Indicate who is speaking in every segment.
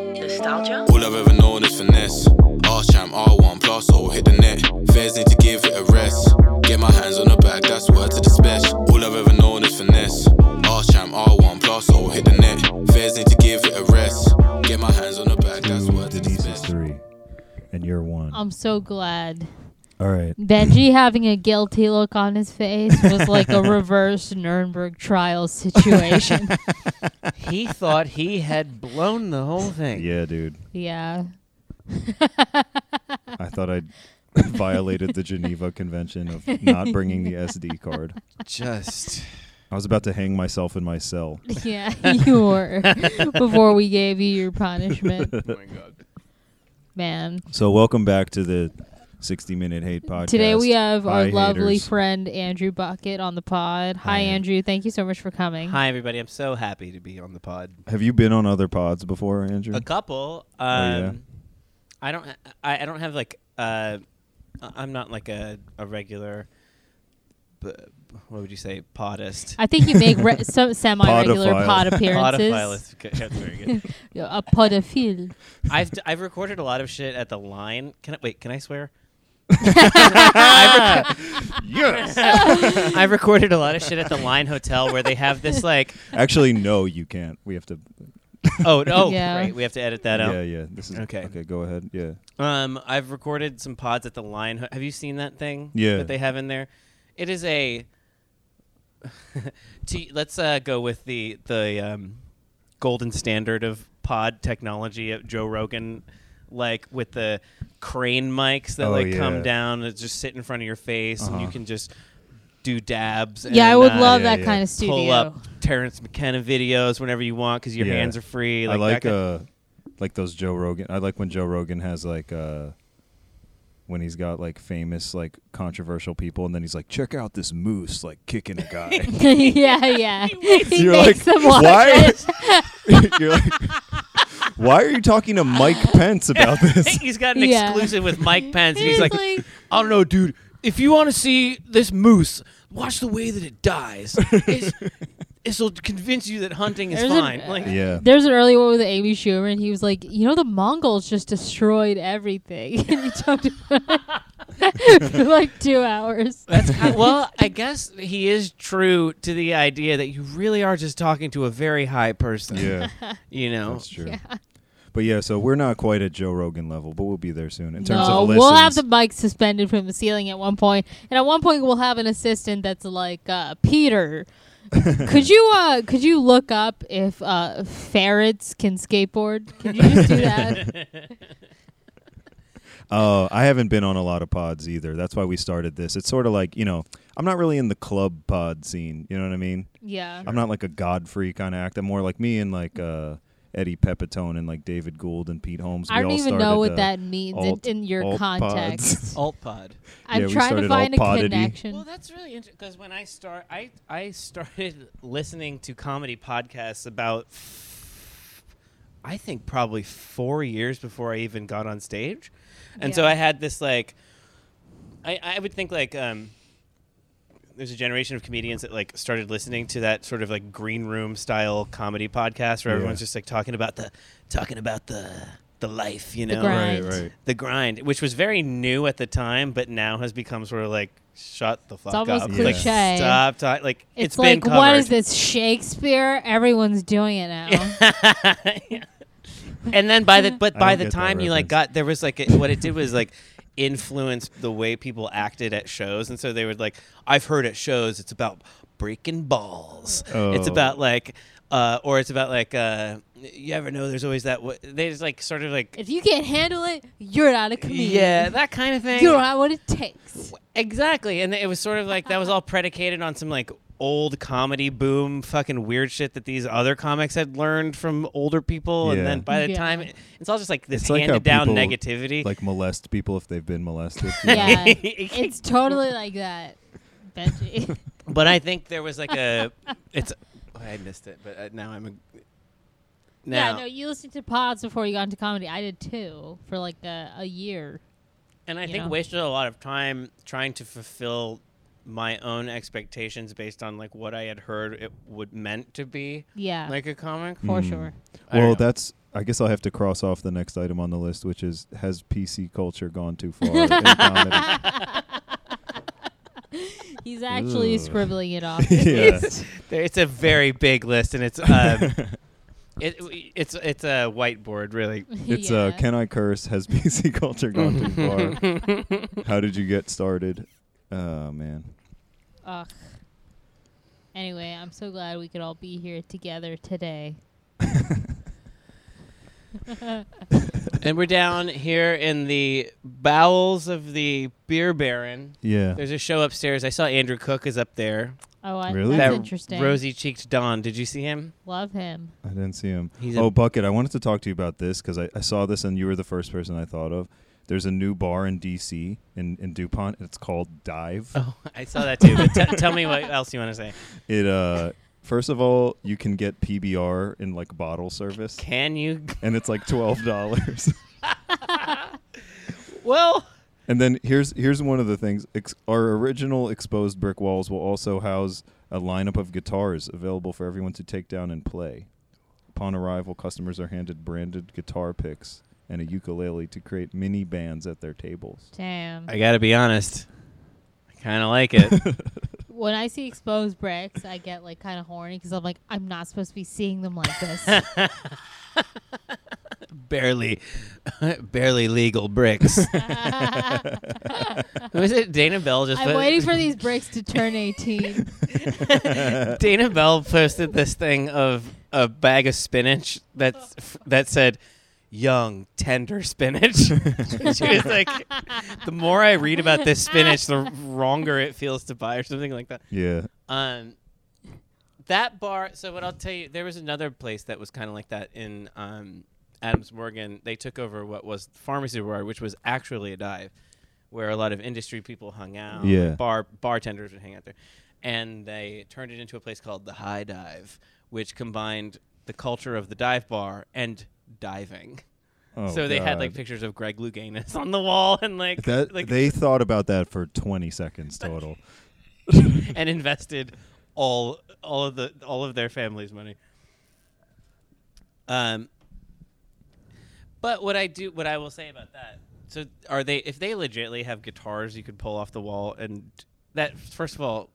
Speaker 1: Nostalgia?
Speaker 2: All I've ever known is finesse. R-champ, R1, plus, or hit the net. Fairs need to give it a rest. Get my hands on the bag, that's word to the special. All I've ever known is finesse. R-champ, R1, plus, or hit the net. Fairs need to give it a rest. Get my hands on the bag, that's
Speaker 3: Two,
Speaker 2: word to the
Speaker 3: Denise is
Speaker 2: special.
Speaker 3: three, and you're one.
Speaker 4: I'm so glad.
Speaker 3: All right.
Speaker 4: Benji having a guilty look on his face was like a reverse Nuremberg trial situation.
Speaker 5: He thought he had blown the whole thing.
Speaker 3: Yeah, dude.
Speaker 4: yeah.
Speaker 3: I thought I'd violated the Geneva Convention of not bringing the SD card.
Speaker 5: Just
Speaker 3: I was about to hang myself in my cell.
Speaker 4: Yeah, you were. Before we gave you your punishment.
Speaker 5: oh my god.
Speaker 4: Man.
Speaker 3: So welcome back to the 60 Minute Hate Podcast.
Speaker 4: Today we have our
Speaker 3: Hi,
Speaker 4: lovely
Speaker 3: haters.
Speaker 4: friend Andrew Bucket on the pod. Hi,
Speaker 3: Hi.
Speaker 4: Andrew. Thank you so much for coming.
Speaker 5: Hi everybody. I'm so happy to be on the pod.
Speaker 3: Have you been on other pods before, Andrew?
Speaker 5: A couple. Um
Speaker 3: Oh, yeah.
Speaker 5: I don't I, I don't have like uh I- I'm not like a a regular b- what would you say podist.
Speaker 4: I think you make re- so semi-regular
Speaker 3: Podophile.
Speaker 4: pod
Speaker 5: Podophile
Speaker 4: appearances.
Speaker 5: is good. That's very good.
Speaker 4: a podophile.
Speaker 5: I've d- I've recorded a lot of shit at the line. Can I wait? Can I swear? I've, rec-
Speaker 3: yes.
Speaker 5: I've recorded a lot of shit at the Line Hotel where they have this like
Speaker 3: Actually, no, you can't. We have to.
Speaker 5: oh no
Speaker 4: Yeah.
Speaker 5: great we have to edit that
Speaker 3: Yeah,
Speaker 5: out.
Speaker 3: yeah. This is
Speaker 5: Okay.
Speaker 3: Okay, go ahead. Yeah.
Speaker 5: Um, I've recorded some pods at the Line. Ho- Have you seen that thing?
Speaker 3: Yeah.
Speaker 5: that they have in there. It is a. to, let's uh, go with the the um, golden standard of pod technology of Joe Rogan, like with the crane mics that
Speaker 3: Oh,
Speaker 5: like
Speaker 3: yeah.
Speaker 5: come down and just sit in front of your face, and you
Speaker 3: Uh-huh.
Speaker 5: can just do dabs. And,
Speaker 4: Yeah, I would
Speaker 5: uh,
Speaker 4: love
Speaker 3: yeah,
Speaker 4: that
Speaker 3: yeah.
Speaker 4: kind of studio.
Speaker 5: Pull up Terrence McKenna videos whenever you want because your
Speaker 3: Yeah.
Speaker 5: hands are free.
Speaker 3: I like
Speaker 5: that kind-
Speaker 3: uh like those Joe Rogan. I like when Joe Rogan has like uh when he's got like famous like controversial people and then he's like check out this moose like kicking a guy.
Speaker 4: yeah, yeah. he
Speaker 3: You're like,
Speaker 4: makes them watch
Speaker 3: why?
Speaker 4: it.
Speaker 3: You're like why are you talking to Mike Pence about this?
Speaker 5: He's got an
Speaker 4: Yeah.
Speaker 5: exclusive with Mike Pence. and
Speaker 4: He's
Speaker 5: he's like,
Speaker 4: like-
Speaker 5: I don't know, dude. If you want to see this moose, watch the way that it dies. This will convince you that hunting is
Speaker 4: There's a-
Speaker 5: fine. like,
Speaker 3: yeah.
Speaker 4: There's an early one with Amy Schumer, and he was like, "You know, the Mongols just destroyed everything." and he talked about it for like two hours.
Speaker 5: that's kind well, I guess he is true to the idea that you really are just talking to a very high person.
Speaker 3: Yeah.
Speaker 5: You know,
Speaker 4: "Oh,
Speaker 3: That's true. But yeah, so we're not quite at Joe Rogan level, but we'll be there soon in terms
Speaker 4: no,
Speaker 3: of listens.
Speaker 4: Uh, we'll have the mic suspended from the ceiling at one point, and at one point we'll have an assistant that's like, uh, "Peter, could you uh, could you look up if uh, ferrets can skateboard? Can you just do that?"
Speaker 3: Oh, I haven't been on a lot of pods either. That's why we started this. It's sort of like, you know, I'm not really in the club pod scene, you know what I mean?
Speaker 4: yeah,
Speaker 3: I'm not like a Godfrey kind of act. I'm more like me and like uh, Eddie Pepitone and like David Gould and Pete Holmes.
Speaker 4: I
Speaker 3: We
Speaker 4: don't
Speaker 3: all
Speaker 4: even
Speaker 3: started,
Speaker 4: know what
Speaker 3: uh,
Speaker 4: that means in,
Speaker 3: alt-
Speaker 4: in your
Speaker 3: alt pods.
Speaker 4: context.
Speaker 5: alt pod.
Speaker 4: I'm
Speaker 3: Yeah, we
Speaker 4: trying to
Speaker 3: started
Speaker 4: find a
Speaker 3: all podity.
Speaker 4: connection.
Speaker 5: Well, that's really interesting because when I start, I I started listening to comedy podcasts about, I think probably four years before I even got on stage, and so
Speaker 4: Yeah.
Speaker 5: I had this like, I I would think like um. There's a generation of comedians that like started listening to that sort of like green room style comedy podcast where
Speaker 3: Yeah.
Speaker 5: everyone's just like talking about the talking about the the life, you know,
Speaker 4: The grind.
Speaker 3: Right, right.
Speaker 5: the grind, which was very new at the time, but now has become sort of like shut the fuck
Speaker 4: almost
Speaker 5: up, like
Speaker 4: cliche.
Speaker 5: stop talking. Like
Speaker 4: It's,
Speaker 5: it's been
Speaker 4: like, what is
Speaker 5: covered.
Speaker 4: this Shakespeare? Everyone's doing it now.
Speaker 5: and then by the but
Speaker 3: I
Speaker 5: by
Speaker 3: don't
Speaker 5: the
Speaker 3: get that
Speaker 5: time you like
Speaker 3: reference.
Speaker 5: got there was like a, what it did was like influence the way people acted at shows, and so they would like I've heard at shows it's about breaking balls. It's
Speaker 3: Oh.
Speaker 5: about like. Uh, or it's about like uh, you ever know. There's always that. W- they just like sort of like
Speaker 4: if you can't handle it, you're not a comedian.
Speaker 5: yeah, that kind of thing.
Speaker 4: you don't have what it takes.
Speaker 5: Exactly. And it was sort of like that was all predicated on some like old comedy boom fucking weird shit that these other comics had learned from older people
Speaker 3: Yeah.
Speaker 5: and then by the
Speaker 4: Yeah.
Speaker 5: time it's all just like this
Speaker 3: It's like how
Speaker 5: handed down
Speaker 3: people,
Speaker 5: negativity.
Speaker 3: Like molest people if they've been molested. you know?
Speaker 4: Yeah, it's totally like that, Benji.
Speaker 5: but I think there was like a it's oh, I missed it, but uh, now I'm a now
Speaker 4: Yeah, no, you listened to pods before you got into comedy. I did too for like a, a year.
Speaker 5: and I
Speaker 4: you
Speaker 5: think
Speaker 4: know.
Speaker 5: wasted a lot of time trying to fulfill my own expectations based on like what I had heard it would meant to be
Speaker 4: Yeah,
Speaker 5: like a comic.
Speaker 3: Mm-hmm.
Speaker 4: for sure.
Speaker 3: hmm.
Speaker 5: I don't
Speaker 3: Well,
Speaker 5: know.
Speaker 3: that's I guess I'll have to cross off the next item on the list, which is has PC culture gone too far? in comedy?
Speaker 4: He's actually
Speaker 3: Ugh.
Speaker 4: scribbling it off.
Speaker 3: yeah,
Speaker 5: There- It's a very big list, and it's um, it it's it's a whiteboard really.
Speaker 3: it's uh, can I curse? Has PC culture gone too far? How did you get started? Oh man,
Speaker 4: Ugh. Anyway, I'm so glad we could all be here together today.
Speaker 5: And we're down here in the bowels of the beer baron.
Speaker 3: yeah.
Speaker 5: There's a show upstairs. I saw Andrew Cook is up there.
Speaker 4: Oh, I,
Speaker 3: Really?
Speaker 4: that's
Speaker 5: that
Speaker 4: interesting.
Speaker 5: rosy-cheeked Don. Did you see him?
Speaker 4: Love him.
Speaker 3: I didn't see him.
Speaker 5: He's a-
Speaker 3: oh, Bucket, I wanted to talk to you about this because I, I saw this and you were the first person I thought of. There's a new bar in D.C. in, in DuPont. It's called Dive.
Speaker 5: Oh, I saw that too. But t- tell me what else you want to say.
Speaker 3: It uh, first of all, you can get PBR in like bottle service,
Speaker 5: Can you?
Speaker 3: and it's like twelve dollars.
Speaker 5: Well,
Speaker 3: And then here's here's one of the things. Ex- our original exposed brick walls will also house a lineup of guitars available for everyone to take down and play. Upon arrival, customers are handed branded guitar picks and a ukulele to create mini bands at their tables.
Speaker 4: Damn.
Speaker 5: I gotta be honest. I kind of like it.
Speaker 4: when I see exposed bricks, I get like kind of horny because I'm like, I'm not supposed to be seeing them like this.
Speaker 5: barely, barely legal bricks. Who is it? Dana Bell just.
Speaker 4: I'm
Speaker 5: put-
Speaker 4: waiting for these bricks to turn 18.
Speaker 5: Dana Bell posted this thing of a bag of spinach that's f- that said young tender spinach. she was like the more I read about this spinach the wronger it feels to buy or something like that.
Speaker 3: Yeah.
Speaker 5: Um that bar so what I'll tell you there was another place that was kind of like that in um Adams Morgan. They took over what was Pharmacy Bar which was actually a dive where a lot of industry people hung out.
Speaker 3: Yeah.
Speaker 5: Bar bartenders would hang out there. And they turned it into a place called the High Dive, which combined the culture of the dive bar and diving.
Speaker 3: Oh,
Speaker 5: so they had
Speaker 3: God.
Speaker 5: like pictures of Greg Louganis on the wall and like,
Speaker 3: that
Speaker 5: like
Speaker 3: they thought about that for 20 seconds total.
Speaker 5: and invested all all of the all of their family's money. Um, but what I do, what I will say about that, so are they? If they legitly have guitars, you could pull off the wall, and that first of all,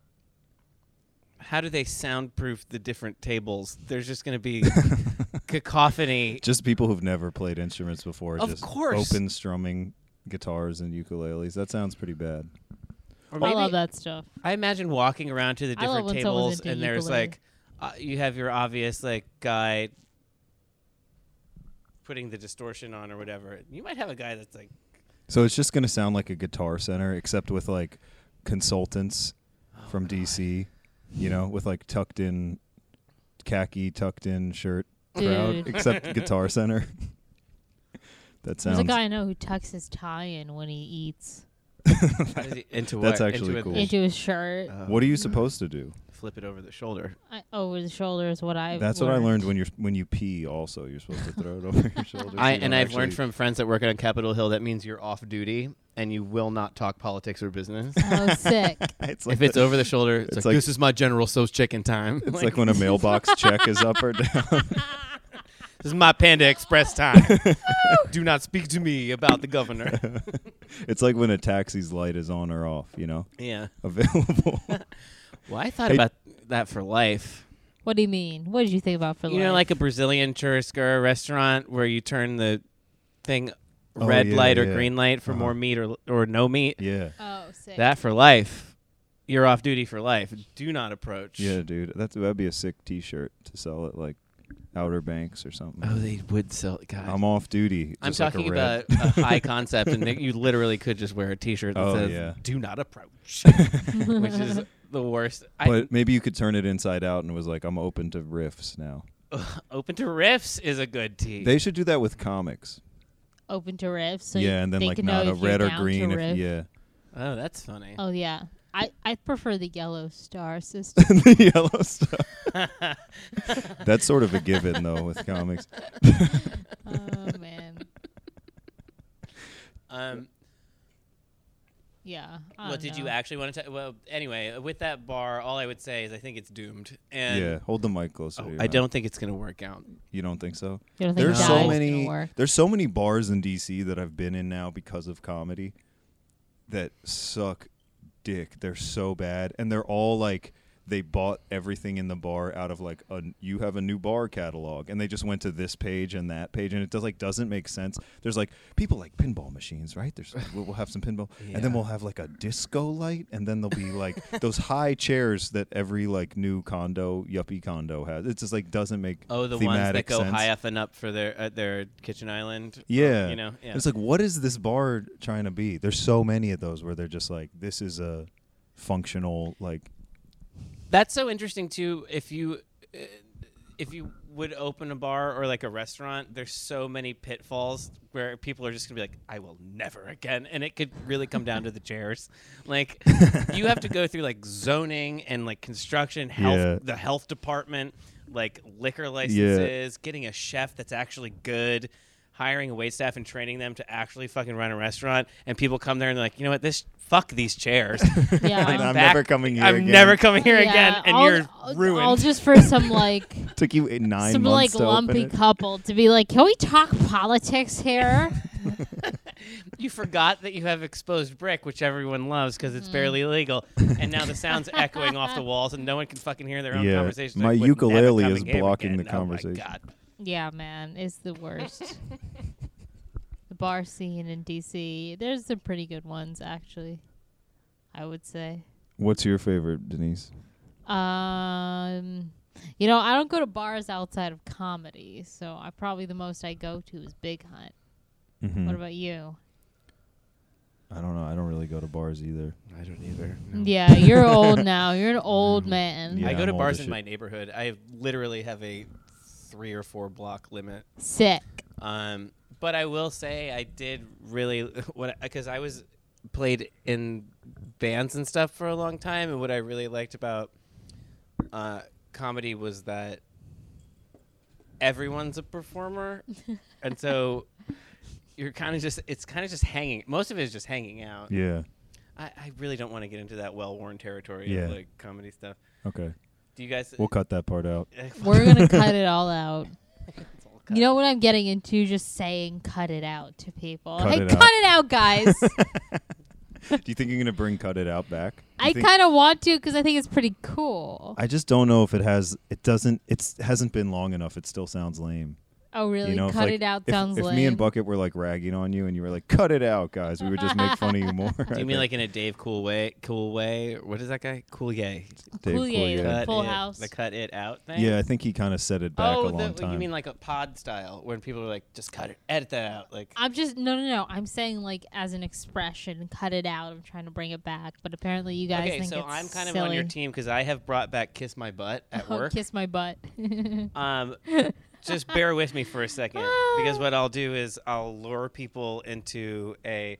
Speaker 5: how do they soundproof the different tables? There's just going to be cacophony.
Speaker 3: Just people who've never played instruments before
Speaker 5: Of
Speaker 3: just
Speaker 5: course.
Speaker 3: open strumming guitars and ukuleles. That sounds pretty bad.
Speaker 5: Or
Speaker 4: I
Speaker 5: maybe-
Speaker 4: love that stuff.
Speaker 5: I imagine walking around to the
Speaker 4: I love
Speaker 5: different
Speaker 4: when someone's
Speaker 5: tables
Speaker 4: into
Speaker 5: and there's
Speaker 4: ukulele.
Speaker 5: like uh, you have your obvious like guy putting the distortion on or whatever. You might have a guy that's like
Speaker 3: So it's just going to sound like a guitar center, except with like consultants
Speaker 4: Oh,
Speaker 3: from DC, you know, with like tucked in khaki, tucked in shirt crowd,
Speaker 4: Dude.
Speaker 3: except guitar center. that
Speaker 4: There's
Speaker 3: sounds
Speaker 4: a guy I know who tucks his tie in when he eats
Speaker 5: what is he- into what?
Speaker 3: That's actually
Speaker 5: into a- Uh,
Speaker 3: cool. Uh,
Speaker 4: into his shirt.
Speaker 3: What are you supposed to do?
Speaker 5: flip it over the shoulder.
Speaker 4: I, over the shoulder is what I.
Speaker 3: That's what I learned when you're when you pee. Also, you're supposed to throw it over your shoulder. so
Speaker 5: I
Speaker 3: you don't
Speaker 5: and I've learned
Speaker 3: actually-
Speaker 5: from friends that work on Capitol Hill that means you're off duty and you will not talk politics or business.
Speaker 4: Oh, sick.
Speaker 3: It's like
Speaker 5: if it's
Speaker 3: the-
Speaker 5: over the shoulder, it's,
Speaker 3: it's
Speaker 5: like,
Speaker 3: like-
Speaker 5: this is my general so's chicken time.
Speaker 3: it's like when a mailbox check is up or down.
Speaker 5: this is my Panda Express time. Do not speak to me about the governor.
Speaker 3: It's like when a taxi's light is on or off. You know,
Speaker 5: yeah.
Speaker 3: available.
Speaker 5: Well, I thought
Speaker 3: Hey-
Speaker 5: about that for life.
Speaker 4: What do you mean? What did you think about for
Speaker 5: You know, like a Brazilian churrasco restaurant where you turn the thing
Speaker 3: Oh,
Speaker 5: red
Speaker 3: yeah,
Speaker 5: light or
Speaker 3: yeah.
Speaker 5: green light for
Speaker 3: Uh-huh.
Speaker 5: more meat or or no meat.
Speaker 3: yeah.
Speaker 4: oh, sick.
Speaker 5: That for life. You're off duty for life. Do not approach.
Speaker 3: Yeah, dude, that's that'd be a sick T-shirt to sell at like Outer Banks or something.
Speaker 5: Oh, they would sell. God.
Speaker 3: I'm off duty.
Speaker 5: I'm
Speaker 3: just like a
Speaker 5: talking
Speaker 3: red-
Speaker 5: about a high concept, and that you literally could just wear a T-shirt that
Speaker 3: Oh,
Speaker 5: says
Speaker 3: yeah.
Speaker 5: "Do not approach," which is the worst. I,
Speaker 3: But maybe you could turn it inside out and was like, I'm open to riffs now.
Speaker 5: open to riffs is a good tee.
Speaker 3: They should do that with comics.
Speaker 4: Open to riffs. So
Speaker 3: yeah, and then
Speaker 4: they
Speaker 3: like
Speaker 4: can
Speaker 3: not
Speaker 4: know
Speaker 3: a
Speaker 4: if you're
Speaker 3: red or
Speaker 4: down to
Speaker 3: green. If,
Speaker 4: riff.
Speaker 3: yeah,
Speaker 5: oh, that's funny.
Speaker 4: Oh yeah. I, I prefer the yellow star system.
Speaker 3: the yellow stuff. That's sort of a given though with comics.
Speaker 4: oh man.
Speaker 5: Um,
Speaker 4: Yeah. I
Speaker 5: What
Speaker 4: don't
Speaker 5: did you
Speaker 4: know.
Speaker 5: actually want to? Ta- well, anyway, with that bar, all I would say is I think it's doomed. And
Speaker 3: yeah, hold the mic closer.
Speaker 5: Oh,
Speaker 3: to your
Speaker 5: I
Speaker 3: mouth.
Speaker 5: don't think it's gonna work out.
Speaker 3: You don't think so?
Speaker 4: You don't think
Speaker 3: There's
Speaker 5: Dive's
Speaker 3: so
Speaker 5: gonna
Speaker 3: many.
Speaker 4: Work?
Speaker 3: There's so many bars in DC that I've been in now because of comedy that suck dick. They're so bad, and they're all like they bought everything in the bar out of like a you have a new bar catalog and they just went to this page and that page and it does like doesn't make sense there's like people like pinball machines right there's like, we'll we'll have some pinball and then
Speaker 5: Yeah.
Speaker 3: we'll have like a disco light and then there'll be like those high chairs that every like new condo yuppie condo has it just like doesn't make
Speaker 5: Oh, the ones that
Speaker 3: thematic
Speaker 5: go
Speaker 3: sense.
Speaker 5: high up and up for their uh, their kitchen island.
Speaker 3: Yeah.
Speaker 5: you know. Yeah.
Speaker 3: It's like, what is this bar trying to be? There's so many of those where they're just like, this is a functional, like,
Speaker 5: That's so interesting too. If you uh, if you would open a bar or like a restaurant, there's so many pitfalls where people are just gonna be like, "I will never again," and it could really come down to the chairs. Like, you have to go through like zoning and like construction, health,
Speaker 3: Yeah.
Speaker 5: the health department, like liquor licenses, getting a chef that's actually good. Hiring a waitstaff and training them to actually fucking run a restaurant, and people come there and they're like, you know what, this fuck these chairs.
Speaker 4: Yeah.
Speaker 5: I'm,
Speaker 3: I'm
Speaker 5: back-
Speaker 3: never coming here
Speaker 5: I'm
Speaker 3: again.
Speaker 5: never coming here
Speaker 4: Yeah,
Speaker 5: again, and
Speaker 4: all-
Speaker 5: you're
Speaker 4: all-
Speaker 5: ruined.
Speaker 4: All just for some like
Speaker 3: took you eight, nine
Speaker 4: some like
Speaker 3: months to
Speaker 4: lumpy
Speaker 3: open it.
Speaker 4: couple to be like, can we talk politics here?
Speaker 5: you forgot that you have exposed brick, which everyone loves because it's barely illegal, and now the sound's echoing off the walls, and no one can fucking hear their own
Speaker 3: Yeah,
Speaker 5: conversations.
Speaker 3: my
Speaker 5: Like, "We're never
Speaker 3: ukulele is
Speaker 5: coming here
Speaker 3: blocking the
Speaker 5: again." Oh my
Speaker 3: conversation.
Speaker 5: God.
Speaker 4: yeah, man, it's the worst. the bar scene in DC. There's some pretty good ones actually. I would say.
Speaker 3: What's your favorite, Denise?
Speaker 4: Um, you know, I don't go to bars outside of comedy, so I probably the most I go to is Big Hunt.
Speaker 3: Mm-hmm.
Speaker 4: What about you?
Speaker 3: I don't know. I don't really go to bars either.
Speaker 5: I don't either.
Speaker 4: Yeah, you're old now. You're an old man.
Speaker 3: Mm-hmm. Yeah,
Speaker 5: I go to
Speaker 3: I'm old
Speaker 5: bars
Speaker 3: as
Speaker 5: in
Speaker 3: shit.
Speaker 5: my neighborhood. I literally have a three or four block limit.
Speaker 4: Sick.
Speaker 5: Um, but I will say I did really what because I was played in bands and stuff for a long time, and what I really liked about uh, comedy was that everyone's a performer, and so you're kind of just it's kind of just hanging. Most of it is just hanging out.
Speaker 3: Yeah.
Speaker 5: I, I really don't want to get into that well-worn territory
Speaker 3: Yeah.
Speaker 5: of like comedy stuff.
Speaker 3: Okay.
Speaker 5: Do you guys?
Speaker 3: We'll cut that part out.
Speaker 4: We're gonna cut it all out.
Speaker 5: It's all cut.
Speaker 4: You know what I'm getting into? Just saying, cut it out to people.
Speaker 3: Cut
Speaker 4: hey,
Speaker 3: it
Speaker 4: cut
Speaker 3: out.
Speaker 4: it out, guys.
Speaker 3: Do you think you're going to bring Cut It Out back? Do you
Speaker 4: I
Speaker 3: think-
Speaker 4: kind of want to because I think it's pretty cool.
Speaker 3: I just don't know if it has, it doesn't, it hasn't been long enough. It still sounds lame.
Speaker 4: oh, really?
Speaker 3: you know, if,
Speaker 4: cut
Speaker 3: like,
Speaker 4: it out
Speaker 3: if,
Speaker 4: sounds
Speaker 3: if
Speaker 4: lame.
Speaker 3: me and Bucket were like ragging on you and you were like, cut it out, guys, we would just make fun of you more.
Speaker 5: Do you mean like in a Dave Cool way? Cool way? What is that guy? Cool yay.
Speaker 4: Coulier, the
Speaker 5: Cut
Speaker 4: Full
Speaker 5: it,
Speaker 4: House.
Speaker 5: The cut it out thing.
Speaker 3: Yeah, I think he kind of set it back
Speaker 5: oh,
Speaker 3: a long
Speaker 5: the,
Speaker 3: time.
Speaker 5: you mean like a pod style when people are like, just cut it, edit that out. Like,
Speaker 4: I'm just no, no, no. I'm saying like as an expression, cut it out. I'm trying to bring it back, but apparently you guys
Speaker 5: okay,
Speaker 4: think
Speaker 5: so
Speaker 4: it's
Speaker 5: I'm kind of
Speaker 4: silly.
Speaker 5: on your team because I have brought back kiss my butt at
Speaker 4: Oh,
Speaker 5: work.
Speaker 4: Kiss my butt.
Speaker 5: Um, just bear with me for a second because what I'll do is I'll lure people into a.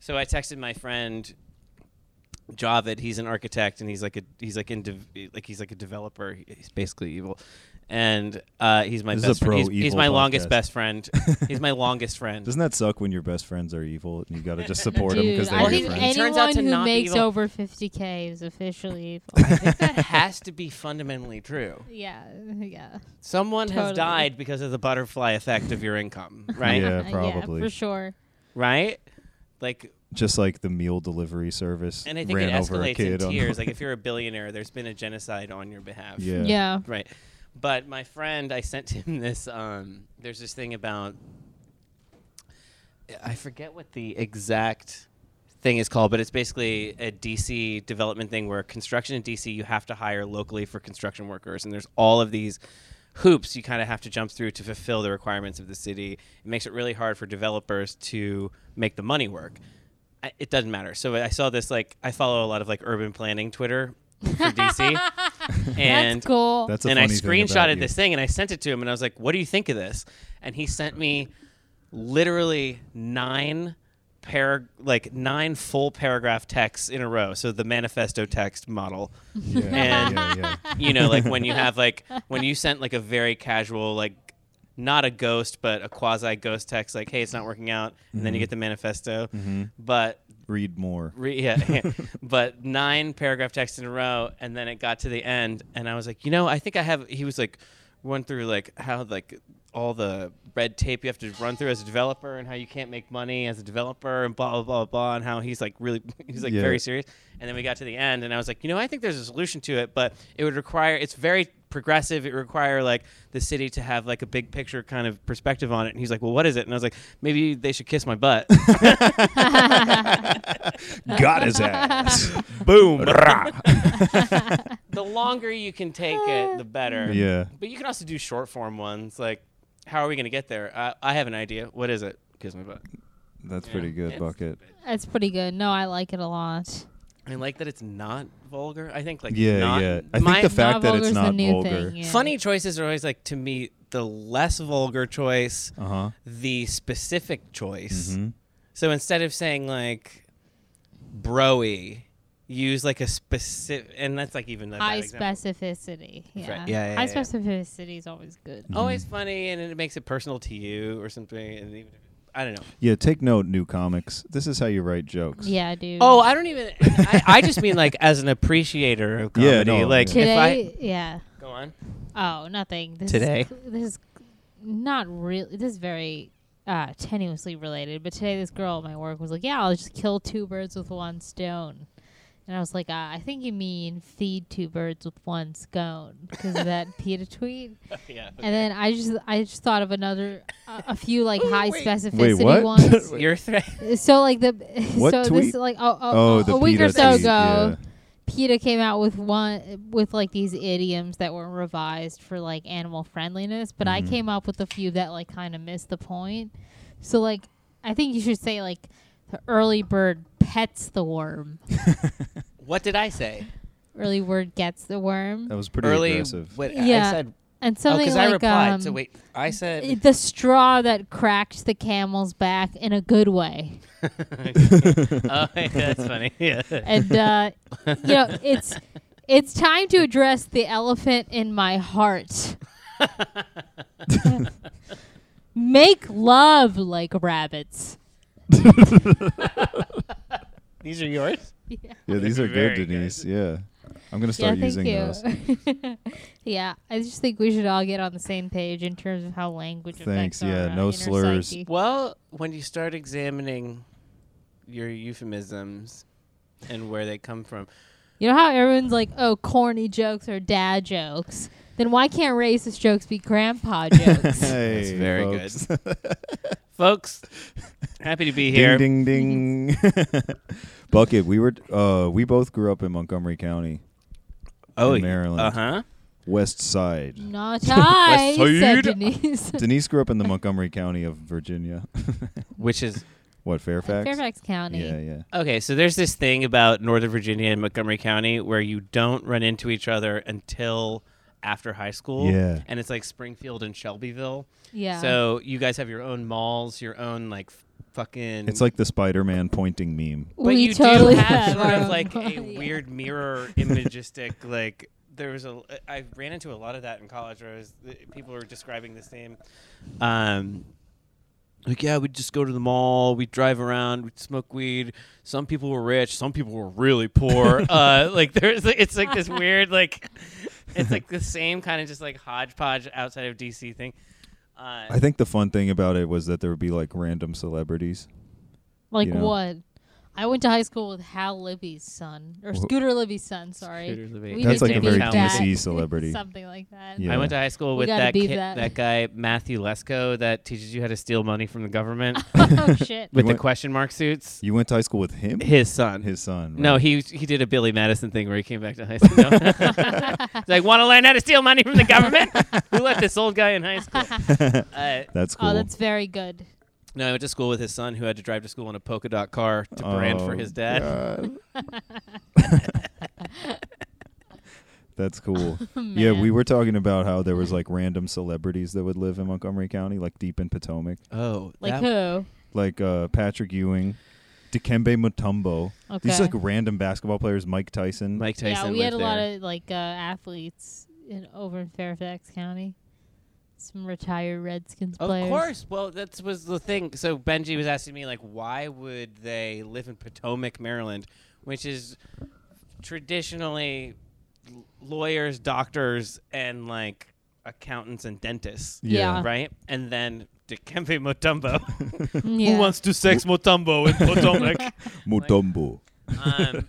Speaker 5: So I texted my friend Javid. He's an architect and he's like a he's like in dev- like he's like a developer. He's basically evil, and uh, he's my
Speaker 3: This is a
Speaker 5: best friend. He's,
Speaker 3: pro-evil
Speaker 5: he's my longest
Speaker 3: podcast.
Speaker 5: best friend. he's my longest friend.
Speaker 3: Doesn't that suck when your best friends are evil and you got to just support them
Speaker 4: Dude,
Speaker 3: because
Speaker 4: I
Speaker 3: they're
Speaker 5: he-
Speaker 3: your
Speaker 4: think
Speaker 5: friends.
Speaker 4: anyone
Speaker 5: he
Speaker 3: friends?
Speaker 5: turns out to
Speaker 4: who
Speaker 5: not be
Speaker 4: makes
Speaker 5: evil.
Speaker 4: over 50k is officially
Speaker 5: I
Speaker 4: evil.
Speaker 5: think that has to be fundamentally true.
Speaker 4: yeah, Uh, yeah,
Speaker 5: Someone
Speaker 4: Totally.
Speaker 5: has died because of the butterfly effect of your income, right?
Speaker 3: Yeah,
Speaker 4: yeah,
Speaker 3: probably.
Speaker 4: for sure.
Speaker 5: Right? Like
Speaker 3: Just like the meal delivery service
Speaker 5: And I think
Speaker 3: ran
Speaker 5: it
Speaker 3: over a
Speaker 5: escalates in
Speaker 3: kid on
Speaker 5: tiers. like if you're a billionaire, there's been a genocide on your behalf.
Speaker 3: Yeah.
Speaker 4: yeah.
Speaker 5: Right. But my friend, I sent him this. Um, there's this thing about. I forget what the exact thing is called, but it's basically a DC development thing where construction in DC, you have to hire locally for construction workers. And there's all of these hoops you kind of have to jump through to fulfill the requirements of the city. It makes it really hard for developers to make the money work. I, it doesn't matter. So I saw this, like, I follow a lot of like urban planning Twitter for DC. and
Speaker 4: That's cool.
Speaker 3: That's a
Speaker 5: and I
Speaker 3: funny thing about
Speaker 5: screenshotted
Speaker 3: you.
Speaker 5: this thing and I sent it to him and I was like, "What do you think of this?" And he sent me literally nine par like nine full paragraph texts in a row. So the manifesto text model,
Speaker 3: Yeah,
Speaker 5: And-
Speaker 3: yeah, yeah.
Speaker 5: you know, like when you have like when you sent like a very casual like not a
Speaker 3: Mm-hmm.
Speaker 5: ghost but a quasi ghost text like, "Hey, it's not working out," and then you get the manifesto. But
Speaker 3: read more.
Speaker 5: Re- yeah, but nine paragraph text in a row, and then it got to the end, and I was like, you know, I think I have. He was like, went through like how like all the red tape you have to run through as a developer, and how you can't make money as a developer, and blah blah blah blah, and how he's like really, he's like
Speaker 3: Yeah.
Speaker 5: very serious. And then we got to the end, and I was like, you know, I think there's a solution to it, but it would require. It's very progressive. It would require like the city to have like a big picture kind of perspective on it. And he's like, well, what is it? And I was like, maybe they should kiss my butt.
Speaker 3: Got his ass. Boom.
Speaker 5: the longer you can take it, the better.
Speaker 3: yeah.
Speaker 5: But you can also do short form ones. Like, how are we going to get there? I, I have an idea. What is it? Kiss my butt.
Speaker 3: That's pretty good, Bucket.
Speaker 4: That's pretty good. No, I like it a lot.
Speaker 5: I like that it's not vulgar. I think like
Speaker 3: Yeah,
Speaker 5: not-
Speaker 3: yeah. I
Speaker 5: my
Speaker 3: think the fact that
Speaker 4: vulgar's
Speaker 3: it's
Speaker 4: the
Speaker 3: not
Speaker 4: new
Speaker 3: vulgar.
Speaker 4: thing, yeah.
Speaker 5: funny choices are always like to me the less vulgar choice,
Speaker 3: Uh huh.
Speaker 5: the specific choice.
Speaker 3: Mhm.
Speaker 5: So instead of saying like broy, use like a specific, and that's like even a bad
Speaker 4: High
Speaker 5: example.
Speaker 4: specificity. Yeah.
Speaker 5: Right. Yeah, yeah,
Speaker 4: High
Speaker 5: yeah.
Speaker 4: specificity is always good.
Speaker 3: Mm-hmm.
Speaker 5: Always funny, and it makes it personal to you or something. And even if, I don't know.
Speaker 3: Yeah. Take note, new comics. This is how you write jokes.
Speaker 4: Yeah, dude.
Speaker 5: Oh, I don't even. I, I just mean like as an appreciator of comedy.
Speaker 3: Yeah, no,
Speaker 5: like
Speaker 3: yeah.
Speaker 5: if
Speaker 4: today.
Speaker 5: I
Speaker 4: yeah.
Speaker 5: go on.
Speaker 4: Oh, nothing. This
Speaker 5: Today?
Speaker 4: Is, this is not really. This is very uh, tenuously related. But today, this girl at my work was like, "Yeah, I'll just kill two birds with one stone." And I was like, uh, "I think you mean feed two birds with one scone because of that PETA tweet."
Speaker 5: Yeah.
Speaker 4: And then I just, I just thought of another, a a few like high specificity
Speaker 3: Wait, what?
Speaker 4: ones.
Speaker 5: Your threat.
Speaker 4: So like the
Speaker 3: What
Speaker 4: so
Speaker 3: tweet?
Speaker 4: this like a, a,
Speaker 3: Oh,
Speaker 4: a-
Speaker 3: the
Speaker 4: a week or
Speaker 3: PETA
Speaker 4: so
Speaker 3: tweet,
Speaker 4: ago, PETA came out with one with like these idioms that were revised for like animal friendliness, but
Speaker 5: Mm-hmm.
Speaker 4: I came up with a few that like kind of missed the point. So like I think you should say like the early bird pets the worm,
Speaker 5: What did I say?
Speaker 4: early bird gets the worm,
Speaker 3: That was pretty
Speaker 5: Early.
Speaker 3: aggressive.
Speaker 5: What I
Speaker 4: Yeah.
Speaker 5: said.
Speaker 4: and
Speaker 5: Oh,
Speaker 4: something
Speaker 5: because
Speaker 4: like
Speaker 5: I replied.
Speaker 4: um, eh,
Speaker 5: so wait, I said.
Speaker 4: the straw that cracked the camel's back in a good way.
Speaker 5: oh, yeah, that's funny. Yeah.
Speaker 4: and uh, you know it's it's time to address the elephant in my heart make love like rabbits
Speaker 5: These are yours.
Speaker 3: Yeah, these are good,
Speaker 5: Very good.
Speaker 3: Denise. Yeah. I'm gonna start
Speaker 4: yeah
Speaker 3: using those.
Speaker 4: thank you yeah i just think we should all get on the same page in terms of how language
Speaker 3: Thanks,
Speaker 4: affects our,
Speaker 3: yeah,
Speaker 4: uh,
Speaker 3: no
Speaker 4: inner
Speaker 3: slurs.
Speaker 4: psyche.
Speaker 5: Well, when you start examining your euphemisms and where they come from,
Speaker 4: you know how everyone's like oh corny jokes are dad jokes then why can't racist jokes be grandpa jokes
Speaker 3: Hey,
Speaker 5: That's very
Speaker 3: folks.
Speaker 5: good. folks, happy to be here.
Speaker 3: Ding ding ding. Bucket, we were uh we both grew up in Montgomery County,
Speaker 5: Oh,
Speaker 3: in Maryland.
Speaker 5: Uh huh.
Speaker 3: West Side.
Speaker 4: not i said
Speaker 5: side.
Speaker 4: denise
Speaker 3: Denise grew up in the Montgomery County of Virginia.
Speaker 5: Which is
Speaker 3: what Fairfax?
Speaker 4: fairfax county
Speaker 3: Yeah, yeah.
Speaker 5: Okay, so there's this thing about Northern Virginia and Montgomery County where you don't run into each other until after high school.
Speaker 3: Yeah.
Speaker 5: And it's like Springfield and Shelbyville.
Speaker 4: yeah
Speaker 5: So you guys have your own malls, your own like f- fucking.
Speaker 3: It's like the Spider-Man pointing meme.
Speaker 5: But
Speaker 4: we
Speaker 5: you
Speaker 4: totally
Speaker 5: do have sort
Speaker 4: our
Speaker 5: of
Speaker 4: own
Speaker 5: like a
Speaker 4: body.
Speaker 5: weird mirror imagistic like. There was a I ran into a lot of that in college where I was people were describing the same. Um, like yeah, we'd just go to the mall, we'd drive around, we'd smoke weed. Some people were rich, some people were really poor. uh, like there's like, it's like this weird like it's like the same kind of just like hodgepodge outside of DC thing. Uh,
Speaker 3: I think the fun thing about it was that there would be like random celebrities.
Speaker 4: Like
Speaker 3: you know?
Speaker 4: what? I went to high school with Hal Libby's son, or
Speaker 3: Wh-
Speaker 4: Scooter Libby's son. Sorry,
Speaker 5: Scooter Libby.
Speaker 4: We
Speaker 5: That's
Speaker 4: need
Speaker 5: like
Speaker 4: to
Speaker 5: a very
Speaker 4: beat that.
Speaker 3: DMC celebrity.
Speaker 4: something like that.
Speaker 3: Yeah.
Speaker 5: I went to high school
Speaker 4: We
Speaker 5: with
Speaker 4: gotta
Speaker 5: that
Speaker 4: beat
Speaker 5: kid,
Speaker 4: that.
Speaker 5: that. guy Matthew Lesko that teaches you how to steal money from the government
Speaker 4: oh shit!
Speaker 5: with the
Speaker 3: went-
Speaker 5: question mark suits.
Speaker 3: You went to high school with him?
Speaker 5: His son.
Speaker 3: His son.
Speaker 5: no,
Speaker 3: right.
Speaker 5: he he did a Billy Madison thing where he came back to high school. No. He's like, want to learn how to steal money from the government? Who let this old guy in high school? Uh,
Speaker 3: That's cool.
Speaker 4: Oh, that's very good.
Speaker 5: no, I went to school with his son who had to drive to school in a polka dot car to brand for
Speaker 3: Oh,
Speaker 5: his dad.
Speaker 3: God. That's cool. yeah, we
Speaker 4: Man.
Speaker 3: were talking about how there was like random celebrities that would live in Montgomery County, like deep in Potomac,
Speaker 5: Oh,
Speaker 4: Like
Speaker 5: that-
Speaker 4: who?
Speaker 3: like uh, Patrick Ewing, Dikembe Mutombo. These
Speaker 4: Okay.
Speaker 3: like random basketball players, Mike Tyson.
Speaker 5: Mike Tyson.
Speaker 4: yeah, we had a
Speaker 5: lived
Speaker 4: lot
Speaker 5: there.
Speaker 4: of like uh, athletes in over in Fairfax County. Some retired Redskins
Speaker 5: Of
Speaker 4: players.
Speaker 5: course. Well, that was the thing. So Benji was asking me like, why would they live in Potomac, Maryland, which is traditionally l- lawyers, doctors, and like accountants and dentists,
Speaker 4: Yeah.
Speaker 5: right? And then Dikembe Mutombo.
Speaker 4: Yeah.
Speaker 5: Who wants to sex Mutombo in Potomac?
Speaker 3: Mutombo.
Speaker 5: um,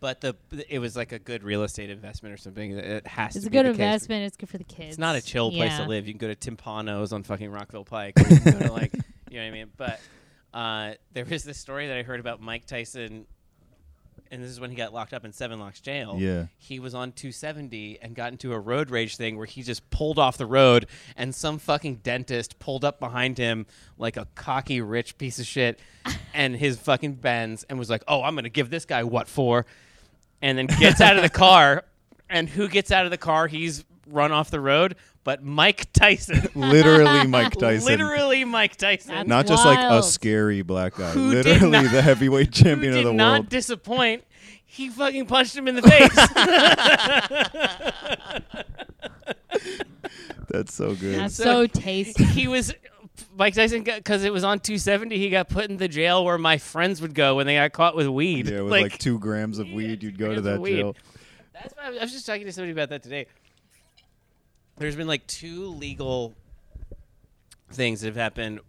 Speaker 5: but the it was like a good real estate investment or something. It has
Speaker 4: It's
Speaker 5: to
Speaker 4: a
Speaker 5: be
Speaker 4: good
Speaker 5: the case.
Speaker 4: investment. It's good for the kids.
Speaker 5: It's not a chill place
Speaker 4: Yeah.
Speaker 5: to live. You can go to Timpano's on fucking Rockville Pike. Or you can go to like, you know what I mean? But uh, there was this story that I heard about Mike Tyson, and this is when he got locked up in Seven Locks Jail.
Speaker 3: Yeah.
Speaker 5: He was on 270 and got into a road rage thing where he just pulled off the road, and some fucking dentist pulled up behind him like a cocky, rich piece of shit and his fucking Benz and was like, oh, I'm going to give this guy what for and then gets out of the car. And who gets out of the car? He's run off the road, but Mike Tyson.
Speaker 3: Literally Mike Tyson.
Speaker 5: Literally Mike Tyson.
Speaker 4: That's
Speaker 3: Not just like a
Speaker 4: wild.
Speaker 3: scary black guy.
Speaker 5: Who did
Speaker 3: Literally
Speaker 5: not-
Speaker 3: the heavyweight
Speaker 5: who
Speaker 3: champion
Speaker 5: did
Speaker 3: of the
Speaker 5: not
Speaker 3: world.
Speaker 5: disappoint. He fucking punched him in the face.
Speaker 3: That's so good.
Speaker 4: That's
Speaker 5: So-
Speaker 4: so tasty.
Speaker 5: he was Mike Tyson because it was on 270. He got put in the jail where my friends would go when they got caught with weed.
Speaker 3: yeah, with like, two grams of weed, you'd go to
Speaker 5: grams of
Speaker 3: that
Speaker 5: weed.
Speaker 3: jail.
Speaker 5: That's why I was, I was just talking to somebody about that today. There's been like two legal things that have happened.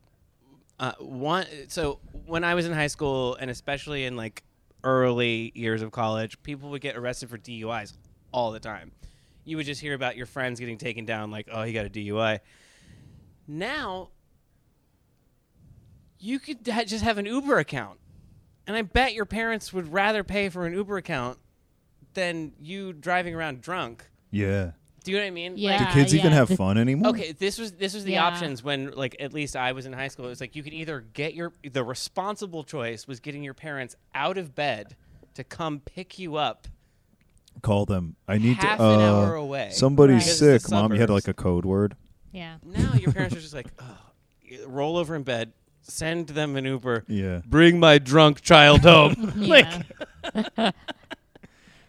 Speaker 5: Uh, one, so when I was in high school, and especially in like early years of college, people would get arrested for DUIs all the time. You would just hear about your friends getting taken down, like, oh, he got a DUI. Now, you could ha- just have an Uber account. And I bet your parents would rather pay for an Uber account than you driving around drunk.
Speaker 3: Yeah.
Speaker 5: Do you know what I mean?
Speaker 4: Yeah.
Speaker 5: Like,
Speaker 4: Ah,
Speaker 3: Kids even
Speaker 4: yeah,
Speaker 3: have
Speaker 4: the-
Speaker 3: fun anymore?
Speaker 5: Uh, okay, this was this was the
Speaker 4: Yeah.
Speaker 5: options when like at least I was in high school. It was like you could either get your the responsible choice was getting your parents out of bed to come pick you up
Speaker 3: Call them. I need
Speaker 5: half
Speaker 3: to.
Speaker 5: an
Speaker 3: uh,
Speaker 5: hour away.
Speaker 3: Somebody's
Speaker 4: Right.
Speaker 5: Because it's
Speaker 3: sick,
Speaker 5: the
Speaker 3: mom. You had
Speaker 5: suburbs.
Speaker 3: like a code word.
Speaker 4: Yeah.
Speaker 5: now your parents are just like, oh, roll over in bed, send them an Uber,
Speaker 3: Yeah.
Speaker 5: bring my drunk child home.
Speaker 4: Yeah.
Speaker 5: like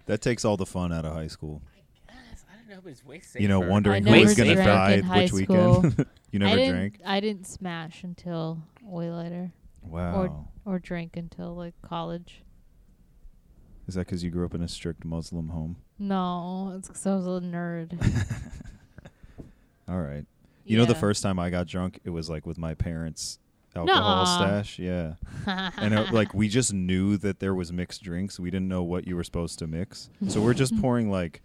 Speaker 3: That takes all the fun out of high school.
Speaker 5: I don't know, but it's way safer.
Speaker 3: You know, wondering
Speaker 4: I
Speaker 3: who was
Speaker 5: never
Speaker 3: going to
Speaker 5: drank
Speaker 3: die
Speaker 4: in high
Speaker 3: which weekend. you
Speaker 4: I
Speaker 3: never
Speaker 4: didn't.
Speaker 3: drank?
Speaker 4: I didn't smash until way later,
Speaker 3: Wow.
Speaker 4: or or drink until like college.
Speaker 3: Is that because you grew up in a strict Muslim home?
Speaker 4: No, it's 'cause I was a nerd.
Speaker 3: All right. You know, the
Speaker 4: Yeah.
Speaker 3: first time I got drunk, it was like with my parents' alcohol
Speaker 4: Nuh-uh.
Speaker 3: stash. Yeah. and it, like we just knew that there was mixed drinks. We didn't know what you were supposed to mix, so we're just pouring like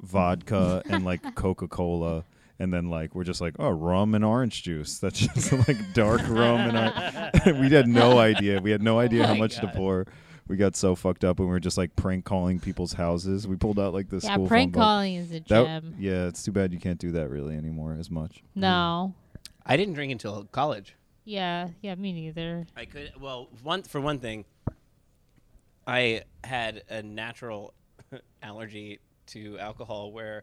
Speaker 3: vodka and like Coca Cola, and then like we're just like oh rum and orange juice. That's just like dark rum and orange. we had no idea. We had no
Speaker 4: Oh
Speaker 3: idea how
Speaker 5: my
Speaker 3: much
Speaker 5: God.
Speaker 3: to pour. We got so fucked up, and we were just like prank calling people's houses. We pulled out like this.
Speaker 4: yeah,
Speaker 3: school
Speaker 4: prank
Speaker 3: phone book.
Speaker 4: calling is a
Speaker 3: That-
Speaker 4: gem.
Speaker 3: yeah, it's too bad you can't do that really anymore as much.
Speaker 4: No.
Speaker 3: Mm.
Speaker 5: I didn't drink until college.
Speaker 4: Yeah. Yeah. Me neither.
Speaker 5: I could well one for one thing. I had a natural allergy to alcohol where